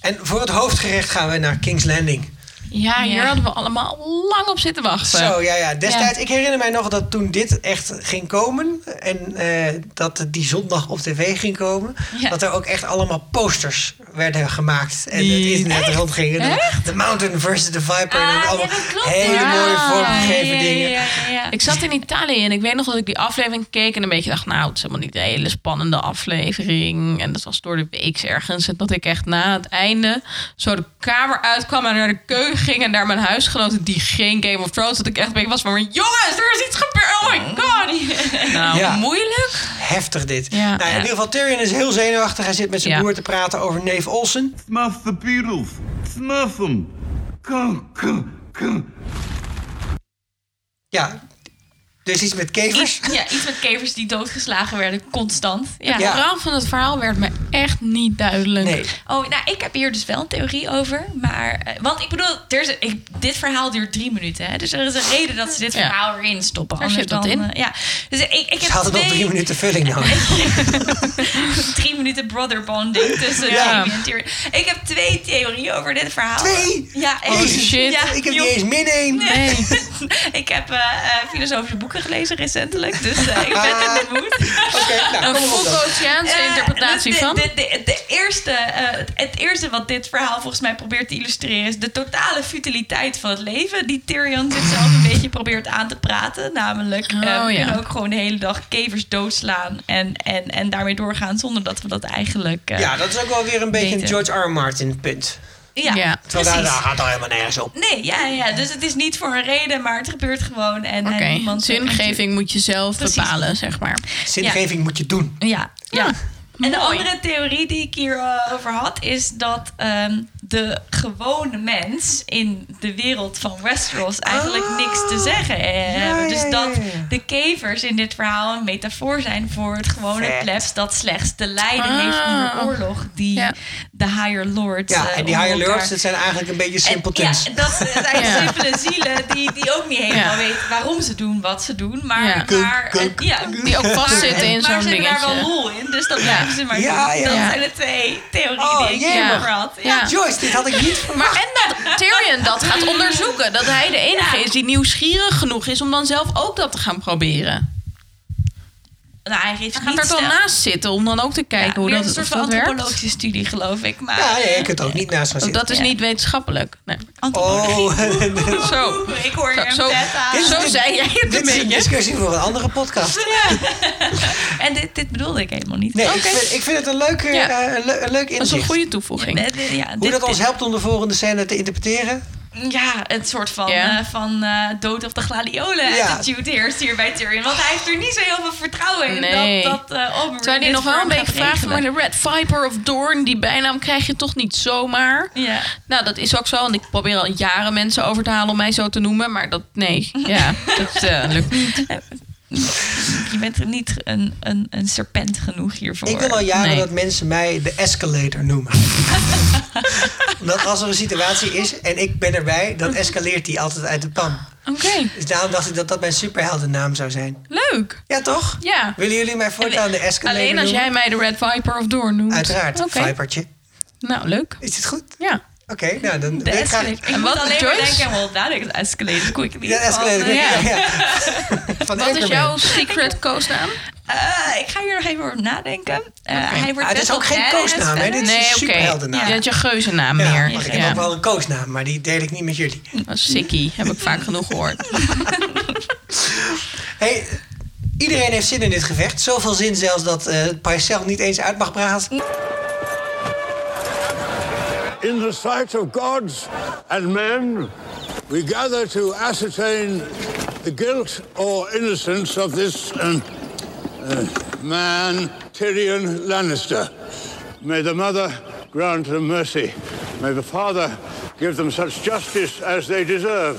A: En voor het hoofdgerecht gaan we naar King's Landing.
E: Ja, hier
D: Ja.
E: hadden we allemaal lang op zitten wachten.
A: Zo, ja, ja. Destijds, ik herinner mij nog dat toen dit echt ging komen... en eh, dat het die zondag op tv ging komen...
D: Ja.
A: dat er ook echt allemaal posters werden gemaakt... en het internet rondgingen. De- The Mountain versus the Viper. en
D: Ah,
A: allemaal
D: ja, dat klopt,
A: hele
D: ja.
A: mooie vormgegeven
D: Ja, ja,
A: dingen.
D: ja, ja, ja.
E: Ik zat in Italië en ik weet nog dat ik die aflevering keek en een beetje dacht, nou, het is helemaal niet een hele spannende aflevering. En dat was door de week ergens. En dat ik echt na het einde zo de kamer uitkwam en naar de keuken ging en naar mijn huisgenoten die geen Game of Thrones. Dat ik echt een beetje was van, jongens, er is iets gebeurd. Oh my god. Nou,
A: Ja.
E: moeilijk.
A: Heftig dit.
E: Ja.
A: nou, in
E: Ja.
A: ieder geval, Tyrion is heel zenuwachtig. Hij zit met zijn
E: Ja.
A: broer te praten over neef Olsen.
C: Smuff the Beatles! Smuff them! Come, come, come!
A: Ja, dus iets met kevers.
D: Iets, ja, iets met kevers die doodgeslagen werden, constant. Ja.
A: Ja.
E: Vooral van het verhaal werd me echt niet duidelijk.
A: Nee.
D: Oh, nou, ik heb hier dus wel een theorie over. Maar, eh, want ik bedoel, er is, ik, dit verhaal duurt drie minuten. Hè, dus er is een reden dat ze dit
E: Ja.
D: verhaal erin stoppen.
E: Daar
D: Anders
E: zit wat
D: dan,
E: in.
D: eh, ja. Dus ik, ik heb
A: Ze hadden
D: twee,
A: nog drie minuten vulling nodig.
D: drie minuten brother bonding tussen
A: Ja.
D: Jamie en Tyrion. Ik heb twee theorieën over dit verhaal.
A: Twee?
D: Ja,
A: Holy
D: echt.
E: Oh, shit.
D: Ja,
A: ik heb
D: joh.
A: niet eens min één.
E: Nee.
D: ik heb eh, eh, filosofische boeken gelezen recentelijk. Dus eh, ik ben in de mood.
A: Oké, nou,
E: Een
A: kom op dan.
E: Foucaultiaanse
D: Eh,
E: interpretatie
D: dus de,
E: van.
D: De, de, de eerste, eh, het- het eerste wat dit verhaal volgens mij probeert te illustreren... is de totale futiliteit van het leven... die Tyrion zichzelf een beetje probeert aan te praten. Namelijk, eh,
E: Oh,
D: we
E: ja.
D: kunnen ook gewoon de hele dag kevers doodslaan... en, en, en daarmee doorgaan zonder dat we dat eigenlijk... eh,
A: Ja, dat is ook wel weer een beetje een
D: Beter.
A: George R. R. Martin punt.
E: Ja.
D: ja,
A: Terwijl daar,
D: precies.
A: daar gaat al helemaal nergens op.
D: Nee, ja, ja, dus het is niet voor een reden, maar het gebeurt gewoon. En,
E: Oké,
D: en niemand
E: zingeving moet je zelf
D: Precies.
E: bepalen, zeg maar.
A: Zingeving moet je doen.
D: Ja, ja. En de
E: Mooi.
D: andere theorie die ik hierover had, is dat ehm de gewone mens in de wereld van Westeros eigenlijk niks te zeggen eh, hebben. Dus
A: Ah. ja, ja,
D: dat
A: ja.
D: de kevers in dit verhaal een metafoor zijn voor het gewone
A: Vet. Ah.
D: plebs dat slechts te lijden heeft in de oorlog die
E: Ja.
D: de higher lords.
A: Ja,
D: eh,
A: en die
D: onder
A: higher lords,
D: elkaar-
A: dat zijn eigenlijk een beetje
D: en-
A: simpletons.
D: Ja, dat zijn
E: Ja.
D: simpele zielen die, die ook niet helemaal
E: Ja.
D: weten waarom ze doen wat ze doen. Maar,
E: Ja.
D: maar
A: Kuk, kuk,
D: ja,
A: kuk.
E: Die ook vastzitten in
D: maar
E: zo'n
D: ze hebben daar wel
E: dingetje.
D: lol in, dus dat blijven ze maar
A: Ja,
D: doen.
A: ja.
D: Dat
E: Ja.
D: zijn de twee theorieën
A: Oh,
D: die ik
A: jemig.
D: hierover had. Ja.
E: Ja.
A: Joyce, dit had ik niet verwacht.
E: Maar en dat Tyrion dat gaat onderzoeken. Dat hij de enige is die nieuwsgierig genoeg is om dan zelf ook dat te gaan proberen.
D: Nou, hij geeft
E: Hij
D: niet
E: gaat er dan
D: snel-
E: naast zitten om dan ook te
D: Ja,
E: kijken hoe
D: weer
E: dat,
D: een soort
E: of
D: van
E: dat werkt.
D: antropologische studie, geloof ik. Maar,
A: Ja, ja, je kunt ook niet naast gaan
E: Ook
A: zitten.
E: Oh, dat is
D: Ja.
E: niet wetenschappelijk. Nee.
D: Antropologie.
A: Oh,
E: Zo.
D: Ik hoor je hem
E: Zo,
D: net aan.
E: zo zei jij het een
A: dit is een
E: beetje.
A: discussie voor een andere podcast.
D: En dit, dit bedoelde ik helemaal niet.
A: Nee,
D: Oh,
A: ik, vind, ik vind het een leuke,
E: Ja.
A: eh, een le- een leuk
E: Dat is een
A: inzicht.
E: goede toevoeging.
D: eh, dit- ja,
A: Hoe
D: dit-
A: dat ons helpt om de volgende scène te interpreteren.
D: Ja, het soort van,
E: Ja.
D: eh, van eh, dood op de gladiolen
A: Ja.
D: attitude heerst hier bij Tyrion. Want hij heeft er niet zo heel veel vertrouwen in
E: Nee.
D: dat, dat eh Oberyn
E: Terwijl hij
D: dit
E: nog wel
D: voor
E: een
D: hem
E: beetje
D: gaat
E: vraagt, maar
D: regelen.
E: de Red Viper of Doorn, die bijnaam krijg je toch niet zomaar?
D: Ja.
E: Nou, dat is ook zo, want ik probeer al jaren mensen over te halen om mij zo te noemen, maar dat, nee, ja, dat eh, lukt niet.
D: Je bent niet een, een, een serpent genoeg hiervoor.
A: Ik wil al jaren
E: Nee.
A: dat mensen mij de escalator noemen. Omdat als er een situatie is en ik ben erbij, dan escaleert die altijd uit de pan.
E: Oké,
A: Dus daarom dacht ik dat dat mijn superheldennaam zou zijn.
E: leuk.
A: Ja, toch?
E: Ja.
A: Willen jullie mij voortaan de escalator
E: Alleen als
A: noemen?
E: jij mij de Red Viper of Doorn noemt.
A: Uiteraard,
E: Oké.
A: Vipertje.
E: Nou, leuk.
A: Is dit goed?
E: Ja.
A: Oké, nou dan
D: De
A: ben ik graag...
D: escalator. Ik
E: En
D: moet
E: wat,
D: alleen maar
E: Joyce?
D: denken, well, that is escalated quickly.
A: Ja, escalator.
D: Van, eh,
A: Ja.
E: ja.
A: ja. Van
E: Wat is
A: Anchorman.
E: jouw secret koosnaam?
D: eh, ik ga hier nog even over nadenken. Eh, hij
A: Ah,
D: wordt
A: dit
D: best
A: is ook
D: wel
A: geen
D: badass
A: koosnaam, hè?
D: verder.
A: Dit is
E: Nee,
A: een
E: oké.
A: superheldennaam.
E: Je hebt je geuzennaam
A: Ja,
E: meer.
A: maar ik heb
E: Ja.
A: ook wel een koosnaam, maar die deel ik niet met jullie.
E: Sikkie, heb ik vaak genoeg gehoord.
A: Hey, iedereen heeft zin in dit gevecht. Zoveel zin zelfs dat eh Paisel niet eens uit mag praten.
H: In the sight of gods and men, we gather to ascertain the guilt or innocence of this um, uh, man, Tyrion Lannister. May the mother grant them mercy. May the father give them such justice as they deserve.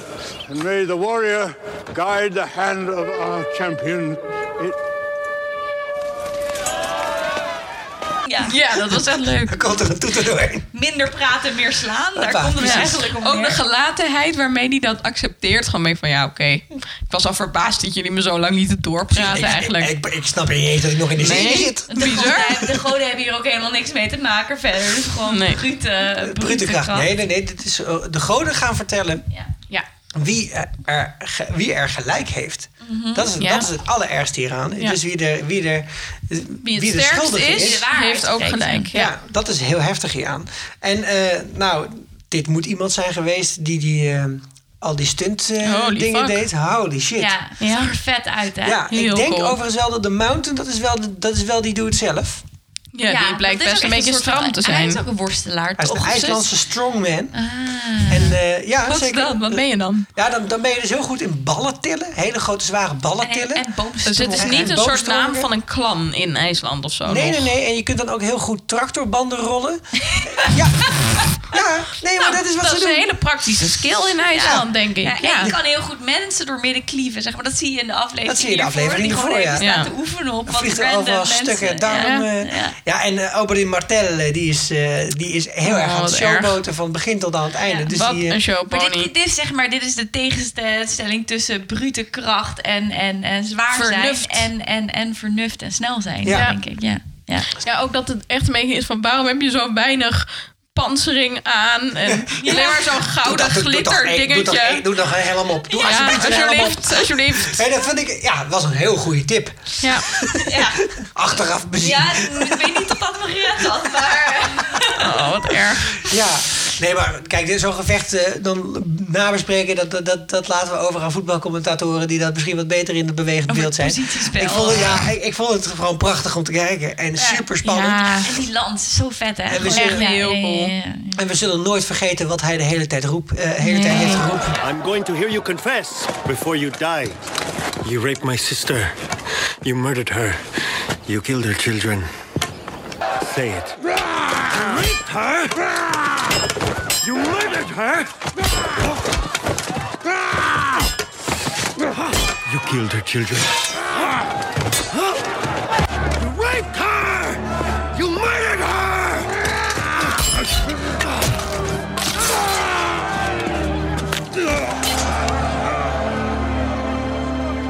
H: And may the warrior guide the hand of our champion. It-
D: Ja.
E: Ja, dat was echt leuk.
A: Dan komt er een toeter doorheen.
D: Minder praten, meer slaan. Daar
A: Hoppa,
D: komt het
A: precies.
D: eigenlijk om
E: Ook
D: neer.
E: de gelatenheid waarmee hij dat accepteert. Gewoon mee van, ja, oké. Ik was al verbaasd dat jullie me zo lang lieten doorpraten eigenlijk.
A: Ik, ik, ik snap niet eens dat ik nog in de serie zit.
D: De
E: Bizar.
D: goden, de goden hebben hier ook helemaal niks mee te maken verder. Dus gewoon
E: Nee.
D: brute, brute,
A: Eh, Brute kracht.
D: kracht.
A: Nee, nee, nee. Dit is, eh, de goden gaan vertellen
D: Ja.
E: ja.
A: wie eh, er, ge- wie er gelijk heeft. dat, is,
E: Mhm. Ja.
A: dat is het allerergste hieraan.
E: Ja.
A: Dus wie, de, wie, de,
E: Wie
A: wie,
E: het
A: de
E: sterkst
A: schuldige
E: is,
A: is,
D: waarheid
E: heeft ook
D: spreekt.
E: gelijk. Ja.
A: Ja. dat is heel heftig hieraan. En eh, nou, dit moet iemand zijn geweest die, die eh, al die stunt eh,
E: Holy
A: dingen
E: fuck.
A: deed. Holy shit.
D: Ja, het zag er vet uit, hè?
A: Ja, ik
E: heel
A: denk
E: cool.
A: overigens wel dat de Mountain, dat is wel, de- dat is wel die doet het zelf.
E: Ja, die blijkt
D: dat is
E: best
D: ook
E: een
D: echt
E: beetje
D: soort van-
E: stram te
D: Hij
E: zijn.
D: is ook een worstelaar,
A: Hij is
D: toch?
A: een
D: Of zo?
A: IJslandse strongman. En eh, ja,
E: Ah. Wat is
A: zeker.
E: dat? Wat ben je dan?
A: Ja, dan, dan ben je dus heel goed in ballen tillen. Hele grote, zware ballen
D: En, en,
A: tillen.
D: en boomstroom.
E: Dus het is
A: En
E: niet een soort
A: boomstroom,
E: naam
A: hè?
E: van een clan in IJsland of zo.
A: Nee,
E: nog.
A: nee, nee. En je kunt dan ook heel goed tractorbanden rollen. ja. ja, nee, maar dat is wat
E: Nou, dat
A: ze
E: is
A: doen.
E: een hele praktische skill in IJsland, denk ik.
D: Ja,
E: Ja,
D: en die kan heel goed mensen door midden klieven, zeg maar. Dat zie je in de aflevering
A: Dat zie je in de
D: hiervoor,
A: aflevering
D: Die gewoon
A: hiervoor,
D: even
E: ja.
D: staan
E: Ja.
D: te oefenen op
A: Dan
D: wat
A: vliegt er
D: random
A: overal
D: mensen.
A: stukken. Daarom,
D: ja.
A: eh,
D: Ja.
A: ja, en eh, Oberyn Martell, eh, die is, eh, die is heel
E: Oh,
A: erg aan het
E: wat erg.
A: showboten van het begin tot aan het einde.
D: Ja.
A: dus
E: Wat
A: die, eh,
E: een
D: Maar
E: showpony.
D: dit, dit is zeg maar, dit is de tegenstelling tussen brute kracht en, en, en zwaar
E: Vernuft.
D: zijn. En, en, en vernuft en snel zijn,
A: Ja.
D: denk ik. Ja. Ja.
E: Ja, ook dat het echt een beetje is van waarom heb je zo weinig pansering aan en alleen maar zo'n
A: doe
E: gouden
A: dat- doe- doe toch
E: glitter
A: één- Doe nog
E: dingetje.
A: één- doe nog een helm op. Doe
E: Ja,
A: alsjeblieft een helm op.
E: alsjeblieft, alsjeblieft.
A: Hé, dat vind ik, ja, dat was een heel goede tip.
E: Ja.
D: Ja.
A: Achteraf bezien.
D: ja,
A: Ja.
D: ik weet niet of dat me gered had, maar...
E: Oh, wat erg.
A: Nee, maar kijk, dit is zo'n gevecht eh, dan nabespreken... Dat, dat- dat, dat laten we over aan voetbalcommentatoren... die dat misschien wat beter in het bewegend
D: Over
A: beeld zijn.
D: positiespel.
A: Ik vond, het, ja, ik, ik vond het gewoon prachtig om te kijken. En super spannend.
E: Ja.
D: En die lans, zo vet, hè?
A: En we
D: Gewoon
A: zullen-
D: ja,
E: Heel
D: ja, ja,
E: cool.
D: ja, ja.
A: En we zullen nooit vergeten wat hij de hele tijd, roep, eh, hele tijd heeft geroepen.
J: I'm going to hear you confess before you die. You raped my sister. You murdered her. You killed her children. Say it. Raped her? You murdered her? You killed her children. You raped her! You murdered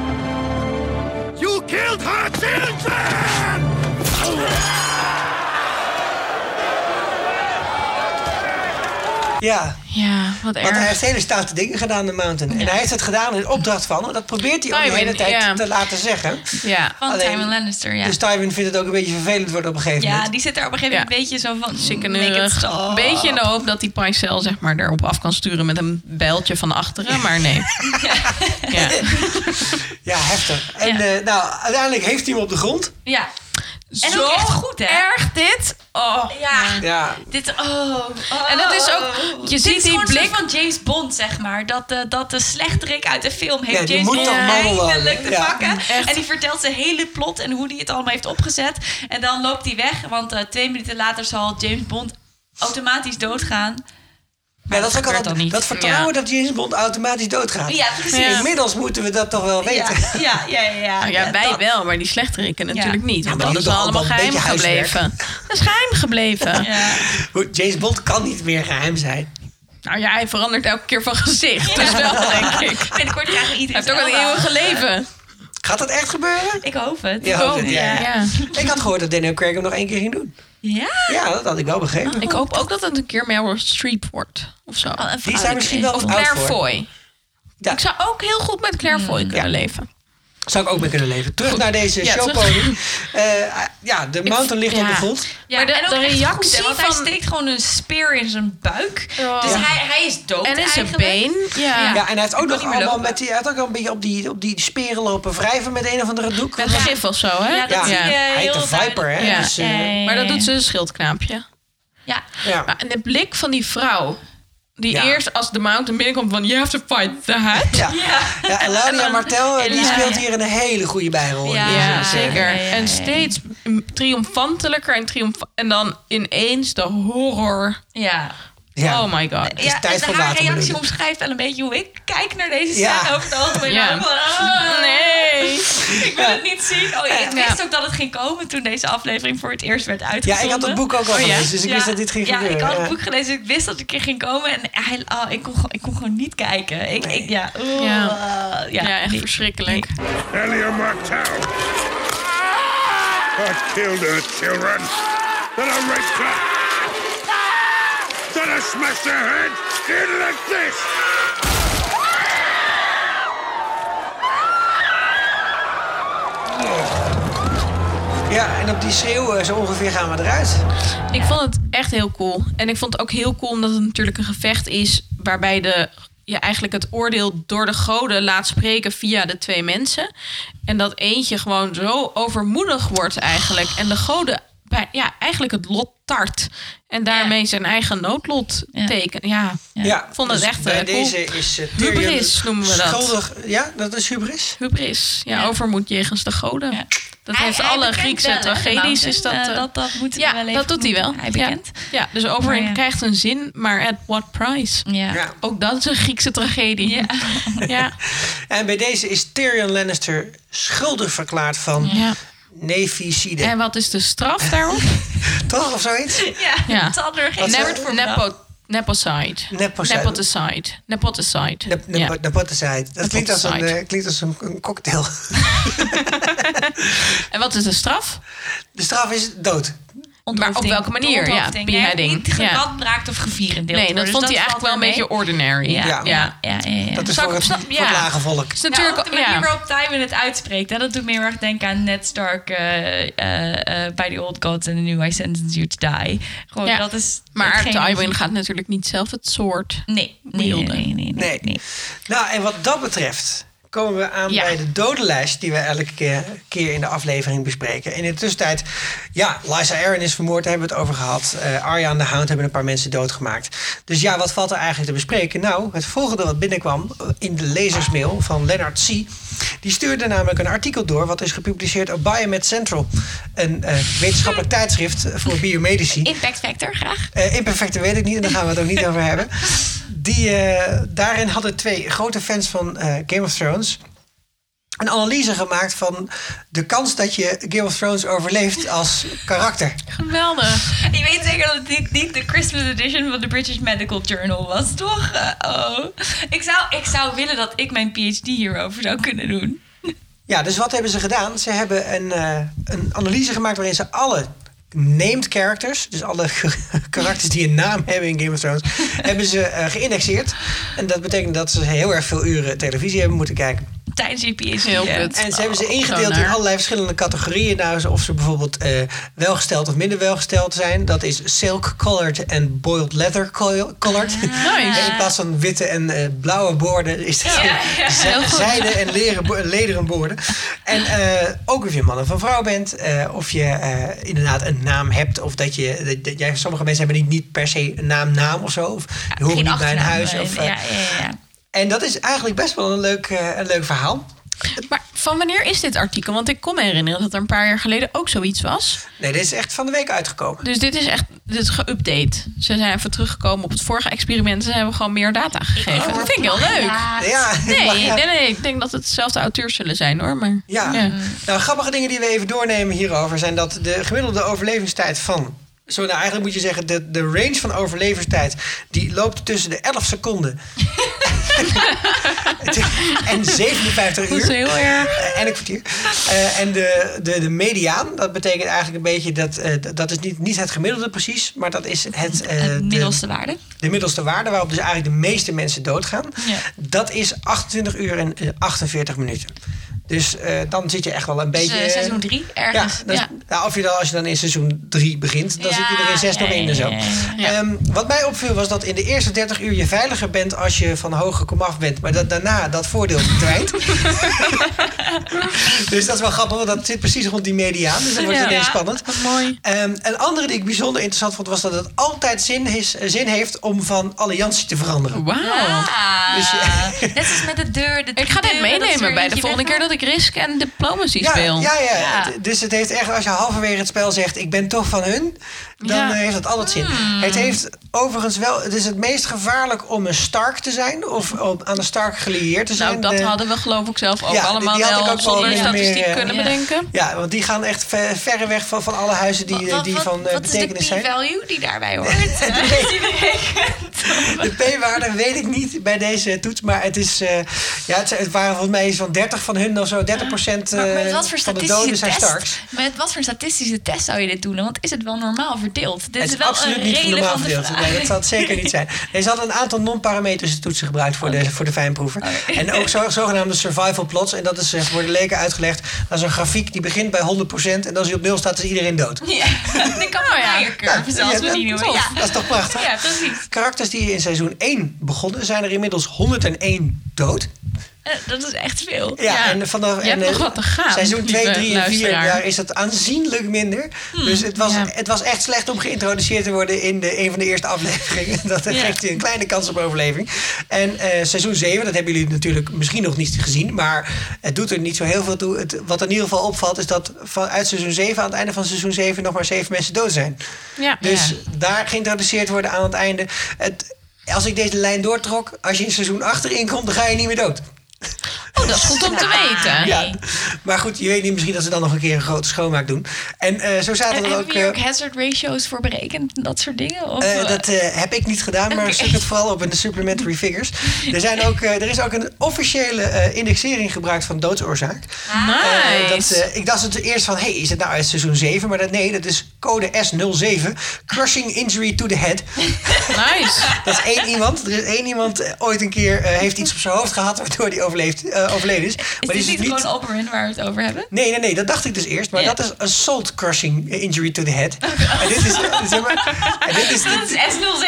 J: her! You killed her children!
A: Ja,
E: Ja, wat
A: want hij
E: erg.
A: heeft hele stoute dingen gedaan, de Mountain. En hij heeft het gedaan in opdracht van, en dat probeert hij ook de
E: Tywin,
A: hele tijd
E: ja.
A: te laten zeggen.
E: Ja,
D: Van
A: Alleen-
D: Tywin Lannister, ja.
A: Dus Tywin vindt het ook een beetje vervelend worden op een gegeven
D: ja,
A: moment.
D: die zit daar op een gegeven moment
E: Ja.
D: een beetje zo van... make it
E: sikkenurig.
D: stop.
E: Een beetje in de hoop dat die Pycelle zeg maar erop af kan sturen met een bijltje van achteren, maar nee. Ja.
A: Ja, heftig. En
D: Ja.
A: eh, nou, uiteindelijk heeft hij hem op de grond.
D: Ja. En ook echt goed, hè?
E: erg dit. Oh.
D: Ja.
A: Ja,
D: Dit, oh, oh.
E: En dat is ook- je
D: Dit
E: ziet
D: is
E: die
D: gewoon een
E: blik-
D: soort van James Bond, zeg maar. Dat de, dat de slechterik uit de film heeft
A: Ja, die
D: James
A: moet
D: Bond
A: toch monologen,
D: eindelijk te
A: ja.
D: pakken.
E: Echt.
D: En die vertelt zijn hele plot en hoe hij het allemaal heeft opgezet. En dan loopt hij weg, want eh, twee minuten later zal James Bond automatisch doodgaan.
A: ja dat, is ook
D: gebeurt
A: altijd-
D: dan niet.
A: dat vertrouwen dat James Bond automatisch doodgaat.
D: Ja, precies.
E: Ja.
A: Inmiddels moeten we dat toch wel
D: Ja,
A: weten.
D: ja, ja, ja, ja.
E: Nou ja,
D: Ja,
E: wij
D: dat-
E: wel, maar die slechteriken natuurlijk niet. Want
A: maar
E: dat
A: die
E: is
A: doen
E: wel
A: toch
E: allemaal
A: allemaal een
E: geheim
A: beetje huiswerk.
E: gebleven. Dat is geheim gebleven.
D: Ja.
A: Hoe- James Bond kan niet meer geheim zijn.
E: Nou ja, hij verandert elke keer van gezicht. Dus wel, denk ik. Hij
D: Binnenkort krijgen we iedereen.
E: heeft ook een eeuwige leven.
A: Gaat dat echt gebeuren?
D: Ik hoop het.
A: Ja, hoop het, ja.
E: Ja.
A: Ik had gehoord dat Daniel Craig hem nog één keer ging doen.
D: Ja?
A: Ja, dat had ik wel begrepen.
E: Ik hoop ook dat het een keer Meryl Streep wordt. Of zo.
D: Oh,
A: Die
D: een vrouwelijke
A: zijn misschien wel
D: eeuw.
A: wat
E: Of
A: oud
E: Claire
A: voor.
E: Foy.
A: Ja.
E: Ik zou ook heel goed met Claire Foy kunnen leven.
A: Zou ik ook mee kunnen leven. Terug naar deze
E: Ja,
A: showpony. Eh, ja, de mountain ligt op de
E: ja.
A: grond.
D: Ja,
E: Maar de-
D: en ook
E: de
D: echt
E: reactie
D: goed, hè, want
E: van-
D: hij steekt gewoon een speer in zijn buik.
E: Ja.
D: Dus
E: Ja.
D: hij, hij is dood
E: En in zijn
D: eigenlijk.
E: been. Ja.
A: Ja, en hij heeft ook nog
D: niet meer
A: allemaal
D: lopen.
A: met die, hij heeft ook al een beetje op die, op die speren lopen wrijven met een of andere doek.
E: Met gif of zo, hè?
D: Ja,
A: ja,
D: dat zie je
A: hij heet
D: heel
A: de Viper, hè?
D: duidelijk.
E: Ja.
A: Dus, eh,
D: Ja.
E: Maar dat doet ze een schildknaapje.
D: Ja.
A: ja.
E: Maar en de blik van die vrouw. Die
A: Ja.
E: eerst als de mountain binnenkomt van... You have to fight that.
A: Ja. Ja, en Laudia Martel eh, die
D: Ja.
A: speelt hier een hele goede bijrol. in
D: Ja.
A: deze
E: Ja,
A: serie.
E: zeker.
D: ja, ja, ja.
E: En steeds triomfantelijker en, triomf en dan ineens de horror.
D: Ja.
A: Ja.
E: Oh my god.
A: is
D: Ja,
A: tijd
D: en
A: voor
D: haar
A: water, bedoel
D: reactie
A: je?
D: omschrijft wel een beetje hoe ik kijk naar deze
A: Ja.
D: scène over het algemeen.
E: Ja. Oh,
D: Van, ah,
E: Nee.
D: Ik wil het niet zien. Oh, ik
E: Ja.
D: wist ook dat het ging komen toen deze aflevering voor het eerst werd
A: Ja,
D: uitgezonden.
A: ik had het boek ook al
E: Oh, ja.
A: gelezen, dus ik wist dat dit ging
D: ja,
A: gebeuren.
D: ik had het
A: Ja.
D: boek gelezen, dus ik wist dat ik er ging komen. En hij, ah, ik, kon, gewoon- ik kon gewoon niet kijken. Ik, ik, ja, oeh, eh,
E: Ja.
D: ja.
E: Ja, echt
D: Nee.
E: verschrikkelijk.
C: Elia Martel has killed her children. Then I raped her. Then I smashed her head in like this.
A: Ja, en op die schreeuw eh, zo ongeveer gaan we eruit.
E: Ik vond het echt heel cool. En ik vond het ook heel cool omdat het natuurlijk een gevecht is... waarbij de, ja, eigenlijk het oordeel door de goden laat spreken via de twee mensen. En dat eentje gewoon zo overmoedig wordt eigenlijk. En de goden bij, ja, eigenlijk het lot tart. En daarmee zijn eigen noodlot
D: Ja.
E: tekenen. Ja.
A: Ja,
E: vond het
A: dus
E: echt,
A: bij
E: eh, cool.
A: deze is eh, Tyrion
E: Hubris noemen we dat.
A: Schuldig, ja, dat is hubris.
E: Hubris. Ja,
D: Ja.
E: overmoed jegens de goden.
D: Ja.
E: Dat
D: Hij-
E: heeft
D: hij
E: alle
D: bekent wel,
E: Griekse
D: hè,
E: tragedies.
D: Mountain.
E: Is dat,
D: Eh,
E: eh,
D: dat, dat moeten we
E: ja,
D: wel even
E: dat doet hij wel.
D: noemen. Hij bekent.
E: Ja, ja dus overin
D: Maar ja.
E: krijgt een zin, maar at what price?
D: Ja.
A: Ja.
E: Ook dat is een Griekse tragedie. Ja. ja.
A: En bij deze is Tyrion Lannister schuldig verklaard van neficide.
E: En wat is de straf daarop?
A: Toch, of zoiets?
D: Ja,
E: Ja.
D: het had er geen
A: Wat
D: woord
A: zei-
D: voor bedacht.
E: Nepo, nepocide.
A: Nepocide.
E: Nepoticide. Nepoticide.
A: De, de,
E: Ja.
A: de bottenside. Dat klinkt als, een,
E: bottenside.
A: eh, klinkt als een, een cocktail.
E: En wat is de straf?
A: De straf is dood.
E: Maar op welke manier? Ja,
D: Onthoofding. Nee, hij
E: beheading.
D: Niet
E: Ja.
D: gebrandbraakt of gevierendeeld.
E: Nee, dat
D: worden,
E: vond
D: dus
E: hij eigenlijk wel
D: valt
E: een
D: mee.
E: beetje ordinary.
D: Ja.
A: Ja.
E: ja.
D: Ja, ja, ja.
A: Dat is
E: Zou
A: voor
E: ik
A: het,
E: snap-
A: voor
E: ja.
A: het lage volk.
E: Is
D: Ja, ook
E: natuurlijk,
D: de manier
E: ja.
D: waarop Tywin het uitspreekt. Hè? Dat doet me heel erg denken aan Ned Stark eh, eh, eh, bij The Old Gods and the New I Sentence You to Die. Gewoon,
E: Ja.
D: Oh, dat is
E: Maar
D: hetgeen-
E: Tywin gaat natuurlijk niet zelf het soort.
D: Nee, nee, nee, nee, nee,
A: Nee.
D: nee.
A: Nou, en wat dat betreft komen we aan
D: Ja.
A: bij de dodenlijst die we elke keer, keer in de aflevering bespreken. En in de tussentijd, ja, Liza Aaron is vermoord, daar hebben we het over gehad. Eh Arya en de Hound hebben een paar mensen doodgemaakt. Dus ja, wat valt er eigenlijk te bespreken? Nou, het volgende wat binnenkwam eh, in de lezersmail van Lennart C. Die stuurde namelijk een artikel door, wat is gepubliceerd op Biomed Central. Een eh, wetenschappelijk tijdschrift voor biomedici.
D: Impact factor, graag.
A: Eh, imperfecte weet ik niet, en daar gaan we het ook niet over hebben. Die, eh, daarin hadden twee grote fans van eh, Game of Thrones een analyse gemaakt van de kans dat je Game of Thrones overleeft als karakter.
E: Geweldig.
D: Ik weet zeker dat het niet, niet de Christmas edition van de British Medical Journal was, toch? Eh, oh. Ik zou, ik zou willen dat ik mijn PhD hierover zou kunnen doen.
A: Ja, dus wat hebben ze gedaan? Ze hebben een, eh, een analyse gemaakt waarin ze alle named characters, dus alle karakters die een naam hebben in Game of Thrones, hebben ze eh, geïndexeerd. En dat betekent dat ze heel erg veel uren televisie hebben moeten kijken.
D: Tijdens je PhD.
E: Heel
D: eh,
E: kut.
A: En ze hebben ze
E: Oh,
A: ingedeeld
E: zo naar.
A: in allerlei verschillende categorieën. Nou, ze- of ze bijvoorbeeld eh, welgesteld of minder welgesteld zijn. Dat is silk colored en boiled leather col-
D: Ah.
A: colored. En in plaats van witte en eh, blauwe boorden is dat zij- zijde en leren, bo- lederen boorden. En eh, ook of je man of een vrouw bent. eh, of je eh, inderdaad een naam hebt. Of dat je... Dat, dat- ja, sommige mensen hebben niet, niet per se een naam, naam of zo. Of je hoort
D: geen
A: niet bij een
D: achternaam,
A: huis.
D: eh,
A: Of, eh,
D: ja, ja, ja, ja.
A: En dat is eigenlijk best wel een leuk, eh, een leuk verhaal.
E: Maar van wanneer is dit artikel? Want ik kon me herinneren dat er een paar jaar geleden ook zoiets was.
A: Nee, dit is echt van de week uitgekomen.
E: Dus dit is echt dit is geüpdate. Ze zijn even teruggekomen op het vorige experiment. en Ze hebben gewoon meer data gegeven. dat vind ik heel leuk.
A: Ja,
E: Nee,
A: maar ja.
E: nee, nee, ik denk dat het dezelfde auteurs zullen zijn hoor. Maar,
A: Ja. Nou, grappige dingen die we even doornemen hierover zijn dat de gemiddelde overlevingstijd van. Zo, nou, eigenlijk moet je zeggen, de, de range van overlevingstijd die loopt tussen de 11 seconden en 57
E: Dat is
A: uur.
E: heel erg.
A: Eh, en een kwartier. Eh, en de, de, de mediaan, dat betekent eigenlijk een beetje dat. eh, d- dat is niet, niet het gemiddelde precies, maar dat is het. eh,
D: Het
A: de,
D: middelste waarde.
A: de middelste waarde waarop dus eigenlijk de meeste mensen doodgaan.
D: Ja.
A: Dat is 28 uur en eh, 48 minuten. Dus eh, dan zit je echt wel een
D: Dus,
A: beetje...
D: eh, seizoen 3
A: Ja,
D: ergens.
A: dat is-
D: ja.
A: nou, of je dan, als je dan in seizoen 3 begint, dan
D: Ja,
A: zit je er in 6 nog
D: ja,
A: in en zo.
D: ja, ja,
A: Ehm, wat mij opviel was dat in de eerste 30 uur je veiliger bent als je van hoge komaf bent. Maar dat, daarna dat voordeel verdwijnt. dus dat is wel grappig, want dat zit precies rond die mediaan. Dus dat wordt
E: Ja.
A: ineens
E: Ja,
A: spannend.
E: wat mooi.
A: Ehm, een andere die ik bijzonder interessant vond, was dat het altijd zin, is, zin heeft om van alliantie te veranderen.
E: Wauw.
D: Ah,
A: Dus je-
D: net als met de deur. De
E: Ik ga dit
D: deuren, dat is er
E: meenemen bij de
D: eentje
E: volgende
D: weg.
E: keer dat ik Risk en Diplomacy
A: Ja,
E: speel.
A: ja, ja,
D: Ja.
A: Het- Dus het heeft echt, als je halverwege het spel zegt: Ik ben toch van hun, dan
E: Ja.
A: eh, heeft dat altijd zin.
D: Hmm.
A: Het heeft overigens wel, het is het meest gevaarlijk om een Stark te zijn of om aan een Stark gelieerd te zijn. eh,
E: Nou, dat
A: De-
E: hadden we geloof ik zelf ook
A: Ja, die-
E: allemaal
A: die had ik ook
E: wel
A: wel
E: zonder
A: meer,
E: statistiek
A: eh,
E: kunnen
D: ja.
E: bedenken.
A: Ja, want die gaan echt ver, verre weg van, van alle huizen die, eh,
D: Wat-
A: die
D: wat-
A: van eh,
D: Wat is
A: betekenis
D: de
A: zijn. Eh,
D: p-value die daarbij hoort? Die berekent.
A: De P-waarde weet ik niet bij deze toets, maar het is, eh, ja, het, zijn- het waren volgens mij iets van 30 van hun of zo, 30 procent eh,
D: Maar met wat voor
A: van de doden
D: statistische
A: zijn
D: test?
A: Starks.
D: Met wat voor statistische test zou je dit doen? Want is het wel normaal verdeeld? Dit
A: Het
D: is
A: is
D: wel
A: absoluut
D: een
A: niet van normaal
D: relevante
A: verdeeld. Nee, dat
D: vraag.
A: zal het zeker niet zijn. Nee, ze hadden een aantal non-parametrische toetsen gebruikt voor, de, voor de fijnproever. En ook zo, zogenaamde survival plots. En dat is eh, voor de leken uitgelegd. Dat is een grafiek die begint bij 100%. En als hij op nul staat, is iedereen dood.
D: Ja, die
E: Oh
D: kan maar ja. curve, zoals we die noemen.
A: tof.
D: Ja.
A: Dat is toch prachtig?
D: Ja, precies.
A: Karakters die in seizoen 1 begonnen, zijn er inmiddels 101 dood.
D: Eh, Dat is echt veel.
A: Ja, en vanaf,
E: je hebt nog wat te gaan,
A: Seizoen 2,
E: lieve
A: 3 en 4,
E: luisteraar. Hmm,
A: daar is dat aanzienlijk minder. dus het was,
E: ja.
A: het was echt slecht om geïntroduceerd te worden in de, een van de eerste afleveringen. Dat geeft je een kleine kans op overleving. En eh, seizoen 7, dat hebben jullie natuurlijk misschien nog niet gezien. Maar het doet er niet zo heel veel toe. Het, wat in ieder geval opvalt, is dat van, uit seizoen 7, aan het einde van seizoen 7, nog maar 7 mensen dood zijn.
E: Ja.
A: Dus
E: Ja.
A: daar geïntroduceerd worden aan het einde. Het, als ik deze lijn doortrok, als je in seizoen 8 erin komt, dan ga je niet meer dood.
E: Oh, dat is goed om te weten.
A: Ja, maar goed, je weet niet, misschien dat ze dan nog een keer een grote schoonmaak doen. En eh, zo zaten
D: En
A: er
D: hebben
A: ook...
D: we hier
A: eh,
D: ook hazard ratios voor berekend? en Dat soort dingen? Of,
A: eh,
D: eh,
A: dat eh, heb ik niet gedaan, maar
D: Oké.
A: zoek het vooral op in de supplementary figures. Er, zijn ook, eh, er is ook een officiële eh, indexering gebruikt van doodsoorzaak.
D: Ah,
A: Eh,
E: Nice.
A: dat, eh, ik dacht het eerst van, hey, is het nou uit seizoen 7? Maar dat, nee, dat is code S07, Crushing Injury to the Head.
E: Nice.
A: Dat is één iemand. Er is één iemand eh, ooit een keer eh, heeft iets op zijn hoofd gehad waardoor die overleefd, eh, overleden is.
D: Is
A: maar
D: dit
A: die
D: niet gewoon Oberyn waar we het over hebben?
A: Nee, nee, nee, dat dacht ik dus eerst. Maar
D: Ja.
A: dat is een salt crushing injury to the head. En dit is, eh, zeg maar, en dit is
D: Dat is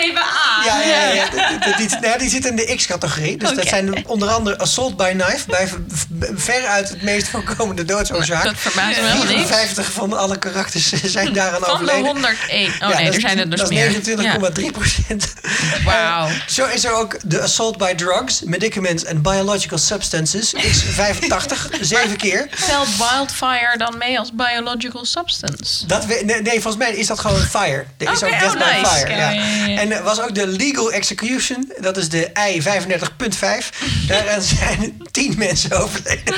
D: S07A.
A: ja, ja, ja. Die- Die, die, nou ja, die zitten in de X-categorie. Dus dat
D: Oké.
A: zijn onder andere assault by knife. Bij v- v- veruit het meest voorkomende doodsoorzaak.
E: Dat verbaast me helemaal niks.
A: 54 van alle karakters zijn daaraan
E: Van de
A: overleden.
E: 101. Oh
A: Ja,
E: nee,
A: dat
E: er
A: is-
E: zijn er dus
A: Dat
E: meer.
A: is 29,3 procent. Eh,
E: Wauw.
A: Zo is er ook de assault by drugs, medicaments en biological substances. X85, zeven keer.
E: Telt wildfire dan mee als biological substance?
A: Dat we, nee, nee, volgens mij is dat gewoon fire. Er is
E: Oké,
A: ook death
E: oh,
A: by
E: nice.
A: fire.
D: Ja,
A: Ja.
D: ja, ja, ja.
A: En er was ook de legal execution. Dat is de I 35.5. Daaraan zijn tien mensen overleden.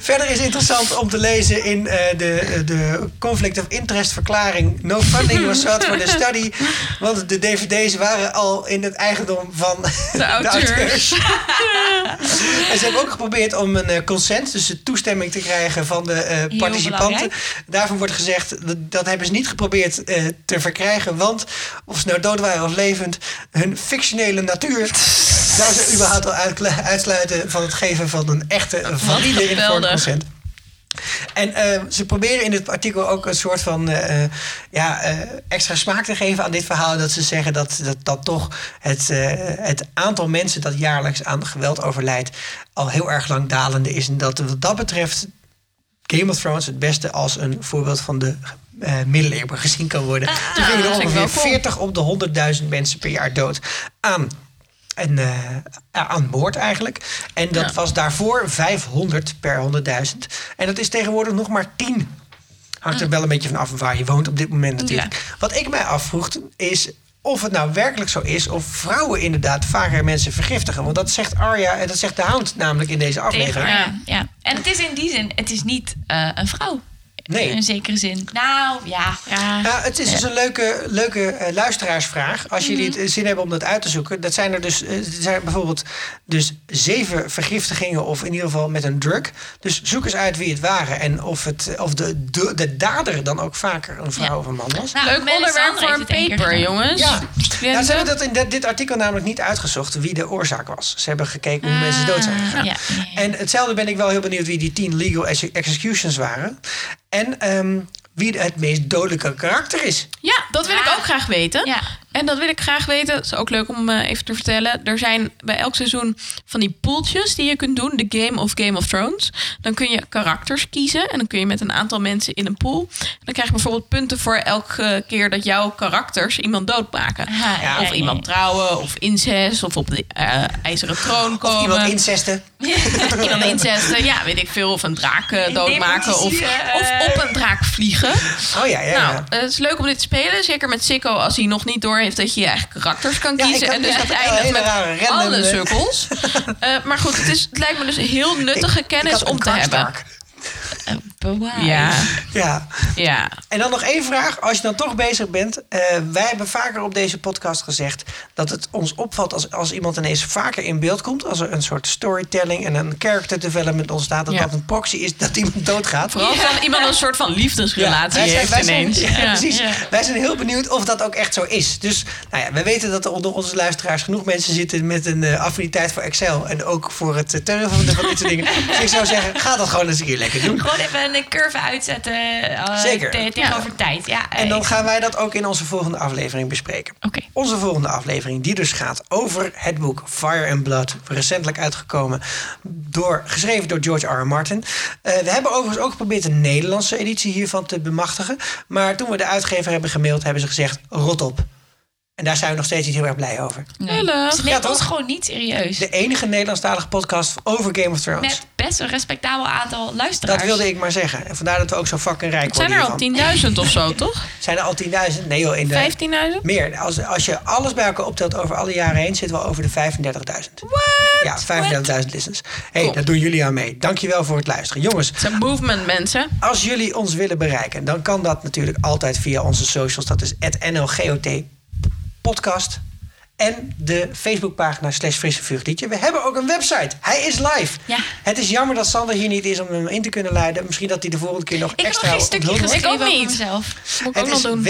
A: Verder is interessant om te lezen in eh, de, de Conflict of Interest verklaring. No funding was sought for the study. Want de dvd's waren al in het eigendom van de,
E: auteurs.
A: en ze hebben ook geprobeerd om een eh, consent, dus de toestemming te krijgen van de eh, participanten.
D: belangrijk.
A: Daarvan wordt gezegd, dat, dat hebben ze niet geprobeerd eh, te verkrijgen. Want of ze nou dood waren of levend, hun fictionele natuur zou ze überhaupt al uitkle- uitsluiten van het geven van een echte, valide informed
E: geweldig.
A: consent. En eh, ze proberen in dit artikel ook een soort van eh, eh, ja, eh, extra smaak te geven aan dit verhaal. Dat ze zeggen dat, dat, dat toch het, eh, het aantal mensen dat jaarlijks aan geweld overlijdt al heel erg lang dalende is. En dat wat dat betreft Game of Thrones het beste als een voorbeeld van de eh, middeleeuwen gezien kan worden. Toen gingen er
E: Ah, dat vind ik
A: ongeveer
E: wel cool.
A: 40 op de 100.000 mensen per jaar dood aan, en, eh, aan moord eigenlijk. En dat was daarvoor 500 per 100.000. En dat is tegenwoordig nog maar 10. Hangt er wel een beetje van af waar je woont op dit moment natuurlijk. Wat ik mij afvroeg is of het nou werkelijk zo is... of vrouwen inderdaad vaker mensen vergiftigen. Want dat zegt Arya en dat zegt de Hound namelijk in deze aflevering.
D: Ja, ja. En het is in die zin, het is niet eh, een vrouw.
A: Nee.
D: In zekere zin. Nou, ja. ja. Mhm.
A: Ja, het is dus een leuke, leuke eh, luisteraarsvraag. Als jullie het eh, zin hebben om dat uit te zoeken. Dat zijn er dus eh, er zijn bijvoorbeeld dus zeven vergiftigingen. Of in ieder geval met een drug. Dus zoek eens uit wie het waren. En of, het, eh, of de, de, de dader dan ook vaker een vrouw
D: Ja.
A: of een man was.
D: Nou,
E: Leuk
D: Melisandre
E: onderwerp voor
D: heeft
E: een
D: het één keer
E: paper,
D: gedaan.
E: jongens.
A: Ja,
E: Ja,
A: nou, ze
E: zo-
A: hebben dat in dit- dit artikel namelijk niet uitgezocht wie de oorzaak was. Ze hebben gekeken hoe mensen dood zijn gegaan.
D: Ah, Ja, ja, ja.
A: En hetzelfde ben ik wel heel benieuwd wie die tien legal exe- executions waren. En ehm, wie het meest dodelijke karakter is.
E: Ja, dat wil
D: Ja.
E: ik ook graag weten.
D: Ah. Ja.
E: En dat wil ik graag weten. Het is ook leuk om eh, even te vertellen. Er zijn bij elk seizoen van die poeltjes die je kunt doen. De Game of Game of Thrones. Dan kun je karakters kiezen. En dan kun je met een aantal mensen in een pool. En dan krijg je bijvoorbeeld punten voor elke keer dat jouw karakters iemand doodmaken.
D: Aha, Ah, ja,
E: of
D: ja,
E: iemand trouwen. Of incest. Of op de eh, ijzeren troon komen.
A: Of
D: eh,
A: iemand incesten.
E: Iemand incesten. Ja, weet ik veel. Of een draak eh, doodmaken. Of,
D: Nepotiseren.
E: of op een draak vliegen.
A: Oh ja, ja, ja.
E: Nou, eh, het is leuk om dit te spelen. Zeker met Sikko als hij nog niet door heeft dat je je eigen karakters kan
A: Ja, ik
E: kiezen.
A: had-
E: en dus
A: ja,
E: het
A: ja, hele
E: eindigt met
A: rare random,
E: alle
A: eh.
E: sukkels. Eh, maar goed, het, is, het lijkt me dus heel nuttige
A: Ik- ik
E: kennis
A: had een
E: om te hebben.
A: Karstark.
D: Eh, bewaar.
E: Ja,
A: Ja.
E: ja.
A: En dan nog één vraag. Als je dan toch bezig bent. eh, wij hebben vaker op deze podcast gezegd dat het ons opvalt als, als iemand ineens vaker in beeld komt. Als er een soort storytelling en een character development ontstaat. Dat
E: Ja.
A: dat een proxy is dat iemand doodgaat.
E: Vooral van iemand een soort van liefdesrelatie
A: wij zijn-
E: heeft
A: wij zijn-
E: ineens.
A: ja,
E: Ja.
A: precies. Wij zijn heel benieuwd of dat ook echt zo is. Dus nou ja, we weten dat er onder onze luisteraars genoeg mensen zitten met een eh, affiniteit voor Excel. En ook voor het eh, turven van dit soort dingen. Dus ik zou zeggen, ga dat gewoon eens een keer lekker doen.
D: Gewoon even een curve uitzetten. eh,
A: Zeker.
D: te- tegenover tijd. Ja, eh,
A: En dan
D: ik-
A: gaan wij dat ook in onze volgende aflevering bespreken.
D: Oké.
A: Onze volgende aflevering, die dus gaat over het boek Fire and Blood, recentelijk uitgekomen, door, geschreven door George R. R. Martin. Eh, we hebben overigens ook geprobeerd een Nederlandse editie hiervan te bemachtigen. Maar toen we de uitgever hebben gemaild, hebben ze gezegd: rot op. En daar zijn we nog steeds niet heel erg blij over.
E: Hallo.
D: Ze neemt
A: Ja,
D: ons
A: toch?
D: gewoon niet serieus.
A: De enige Nederlandstalige podcast over Game of Thrones.
D: Met best een respectabel aantal luisteraars.
A: Dat wilde ik maar zeggen. En vandaar dat we ook zo fucking rijk
E: Zijn er
A: worden
E: al
A: hiervan.
E: 10.000 of zo, toch?
A: Zijn er al 10.000? Nee joh, in de...
E: 15.000?
A: Meer. Als, als je alles bij elkaar optelt over alle jaren heen, zitten we al over de 35.000. Ja, 35.000 listeners. Hé, hey,
E: Cool.
A: daar doen jullie aan mee. Dankjewel voor het luisteren. Jongens,
E: Het is een movement, mensen.
A: als jullie ons willen bereiken, dan kan dat natuurlijk altijd via onze socials. Dat is @nlgotpodcast. En de Facebookpagina slash Frisse Vuur Liedje. We hebben ook een website. Hij is live.
D: Ja.
A: Het is jammer dat Sander hier niet is om hem in te kunnen leiden. Misschien dat hij de volgende keer nog
D: Ik heb
A: extra...
D: nog geen stukje
A: onthuld wordt.
D: geschreven
E: Ik ook
D: over
E: niet.
D: mezelf.
E: Moet ik
A: Het
E: ook nog
A: is
E: doen.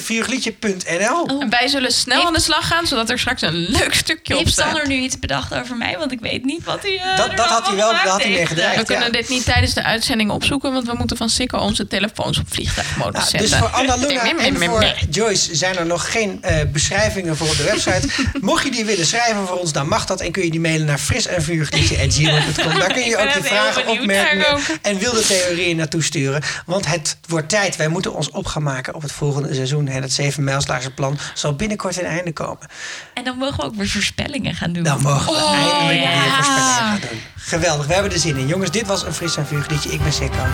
A: www.frissevuurliedje.nl
E: En wij zullen snel aan de slag gaan, zodat er straks een leuk stukje op
D: Heeft
E: staat.
D: Sander nu iets bedacht over mij? Want ik weet niet wat hij. eh,
A: Dat-
D: er
A: dat had hij wel-
D: van
A: dat had hij
D: heeft.
A: mee gedreigd.
E: We
A: Ja.
E: kunnen dit niet tijdens de uitzending opzoeken, want we moeten van Sikko onze telefoons op vliegtuigmodus
A: Nou,
E: zetten.
A: dus voor Anna
E: Nee,
A: Luna
E: nee,
A: en
E: nee,
A: voor
E: nee.
A: Joyce zijn er nog geen eh, beschrijvingen voor op de website. Mocht je die willen schrijven voor ons, dan mag dat. En kun je die mailen naar frisenvuurgliedje.gmail.com. Daar kun je
E: Ik ben
A: ook je
E: echt heel
A: vragen,
E: benieuwd
A: opmerkingen
E: daarover.
A: en wilde theorieën naartoe sturen. Want het wordt tijd. Wij moeten ons op gaan maken op het volgende seizoen. En het 7 mijlslaagse plan zal binnenkort een einde komen.
D: eh, En dan mogen we ook weer voorspellingen gaan doen. Oh,
A: Dan mogen we
E: Oh,
A: eindelijk weer
D: ja.
A: voorspellingen gaan doen. Geweldig, we hebben er zin in. Jongens, dit was een fris en vuur liedje. Ik ben Sikko.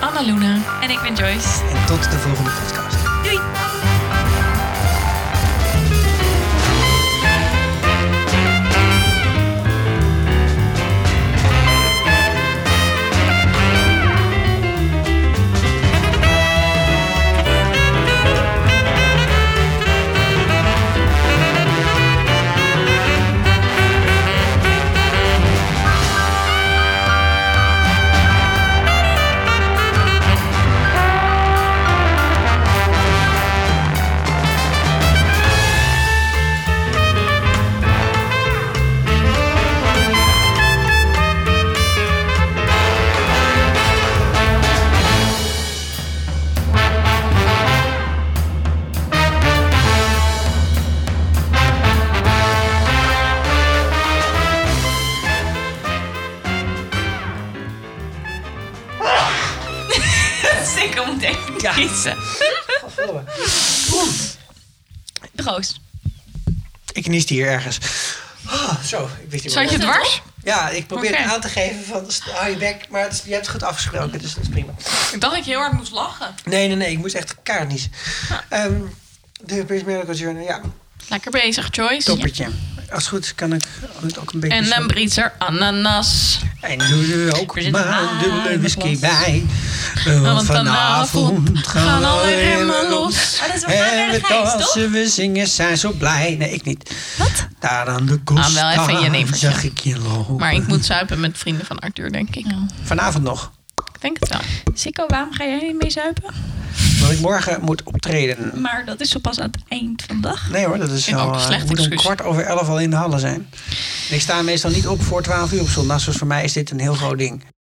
E: Anna Luna.
D: En ik ben Joyce.
A: En tot de volgende podcast.
D: Doei! Zeker moet even kiezen. Proost.
A: Ik nieste hier ergens. Ah, zo, ik wist niet
E: Zat
A: meer.
E: je dwars?
A: Ja, ik probeer
E: Oké.
A: het aan te geven van st- hou je bek, maar het is- je hebt het goed afgesproken, dus dat is prima.
E: Ik dacht dat je heel hard moest lachen.
A: Nee, nee, nee, ik moest echt kaart niet. Ehm de Europees Medical Journal, ja,
E: Lekker bezig, Joyce.
A: toppertje. Als het goed is, kan ik het ook een beetje...
E: En
A: zo-
E: een Britser ananas.
A: en doe er ook
E: Er zit een
A: maar de
E: wijn
A: whisky
E: in
A: bij. Want vanavond gaan alle remmen los.
D: Maar dat is wel
A: En we
D: een gijs, toch?
A: dansen, we zingen, zijn zo blij. Nee, ik niet. Wat? Daar aan de kost.
E: Ah, wel even je nevertje.
A: Zag ik je lopen.
E: Maar ik moet zuipen met vrienden van Arthur, denk ik.
A: Vanavond nog.
E: Ik denk het wel.
D: Sikko, waarom ga jij niet mee zuipen?
A: Want ik morgen moet optreden.
D: Maar dat is zo pas aan het eind van de dag.
A: Nee hoor, dat is
E: Vind ik
A: al,
E: ook een
A: eh,
E: slecht
A: moet om
E: excuus.
A: kwart over elf al in de hallen zijn. En ik sta meestal niet op voor twaalf uur op zondag. Dus voor mij is dit een heel groot ding.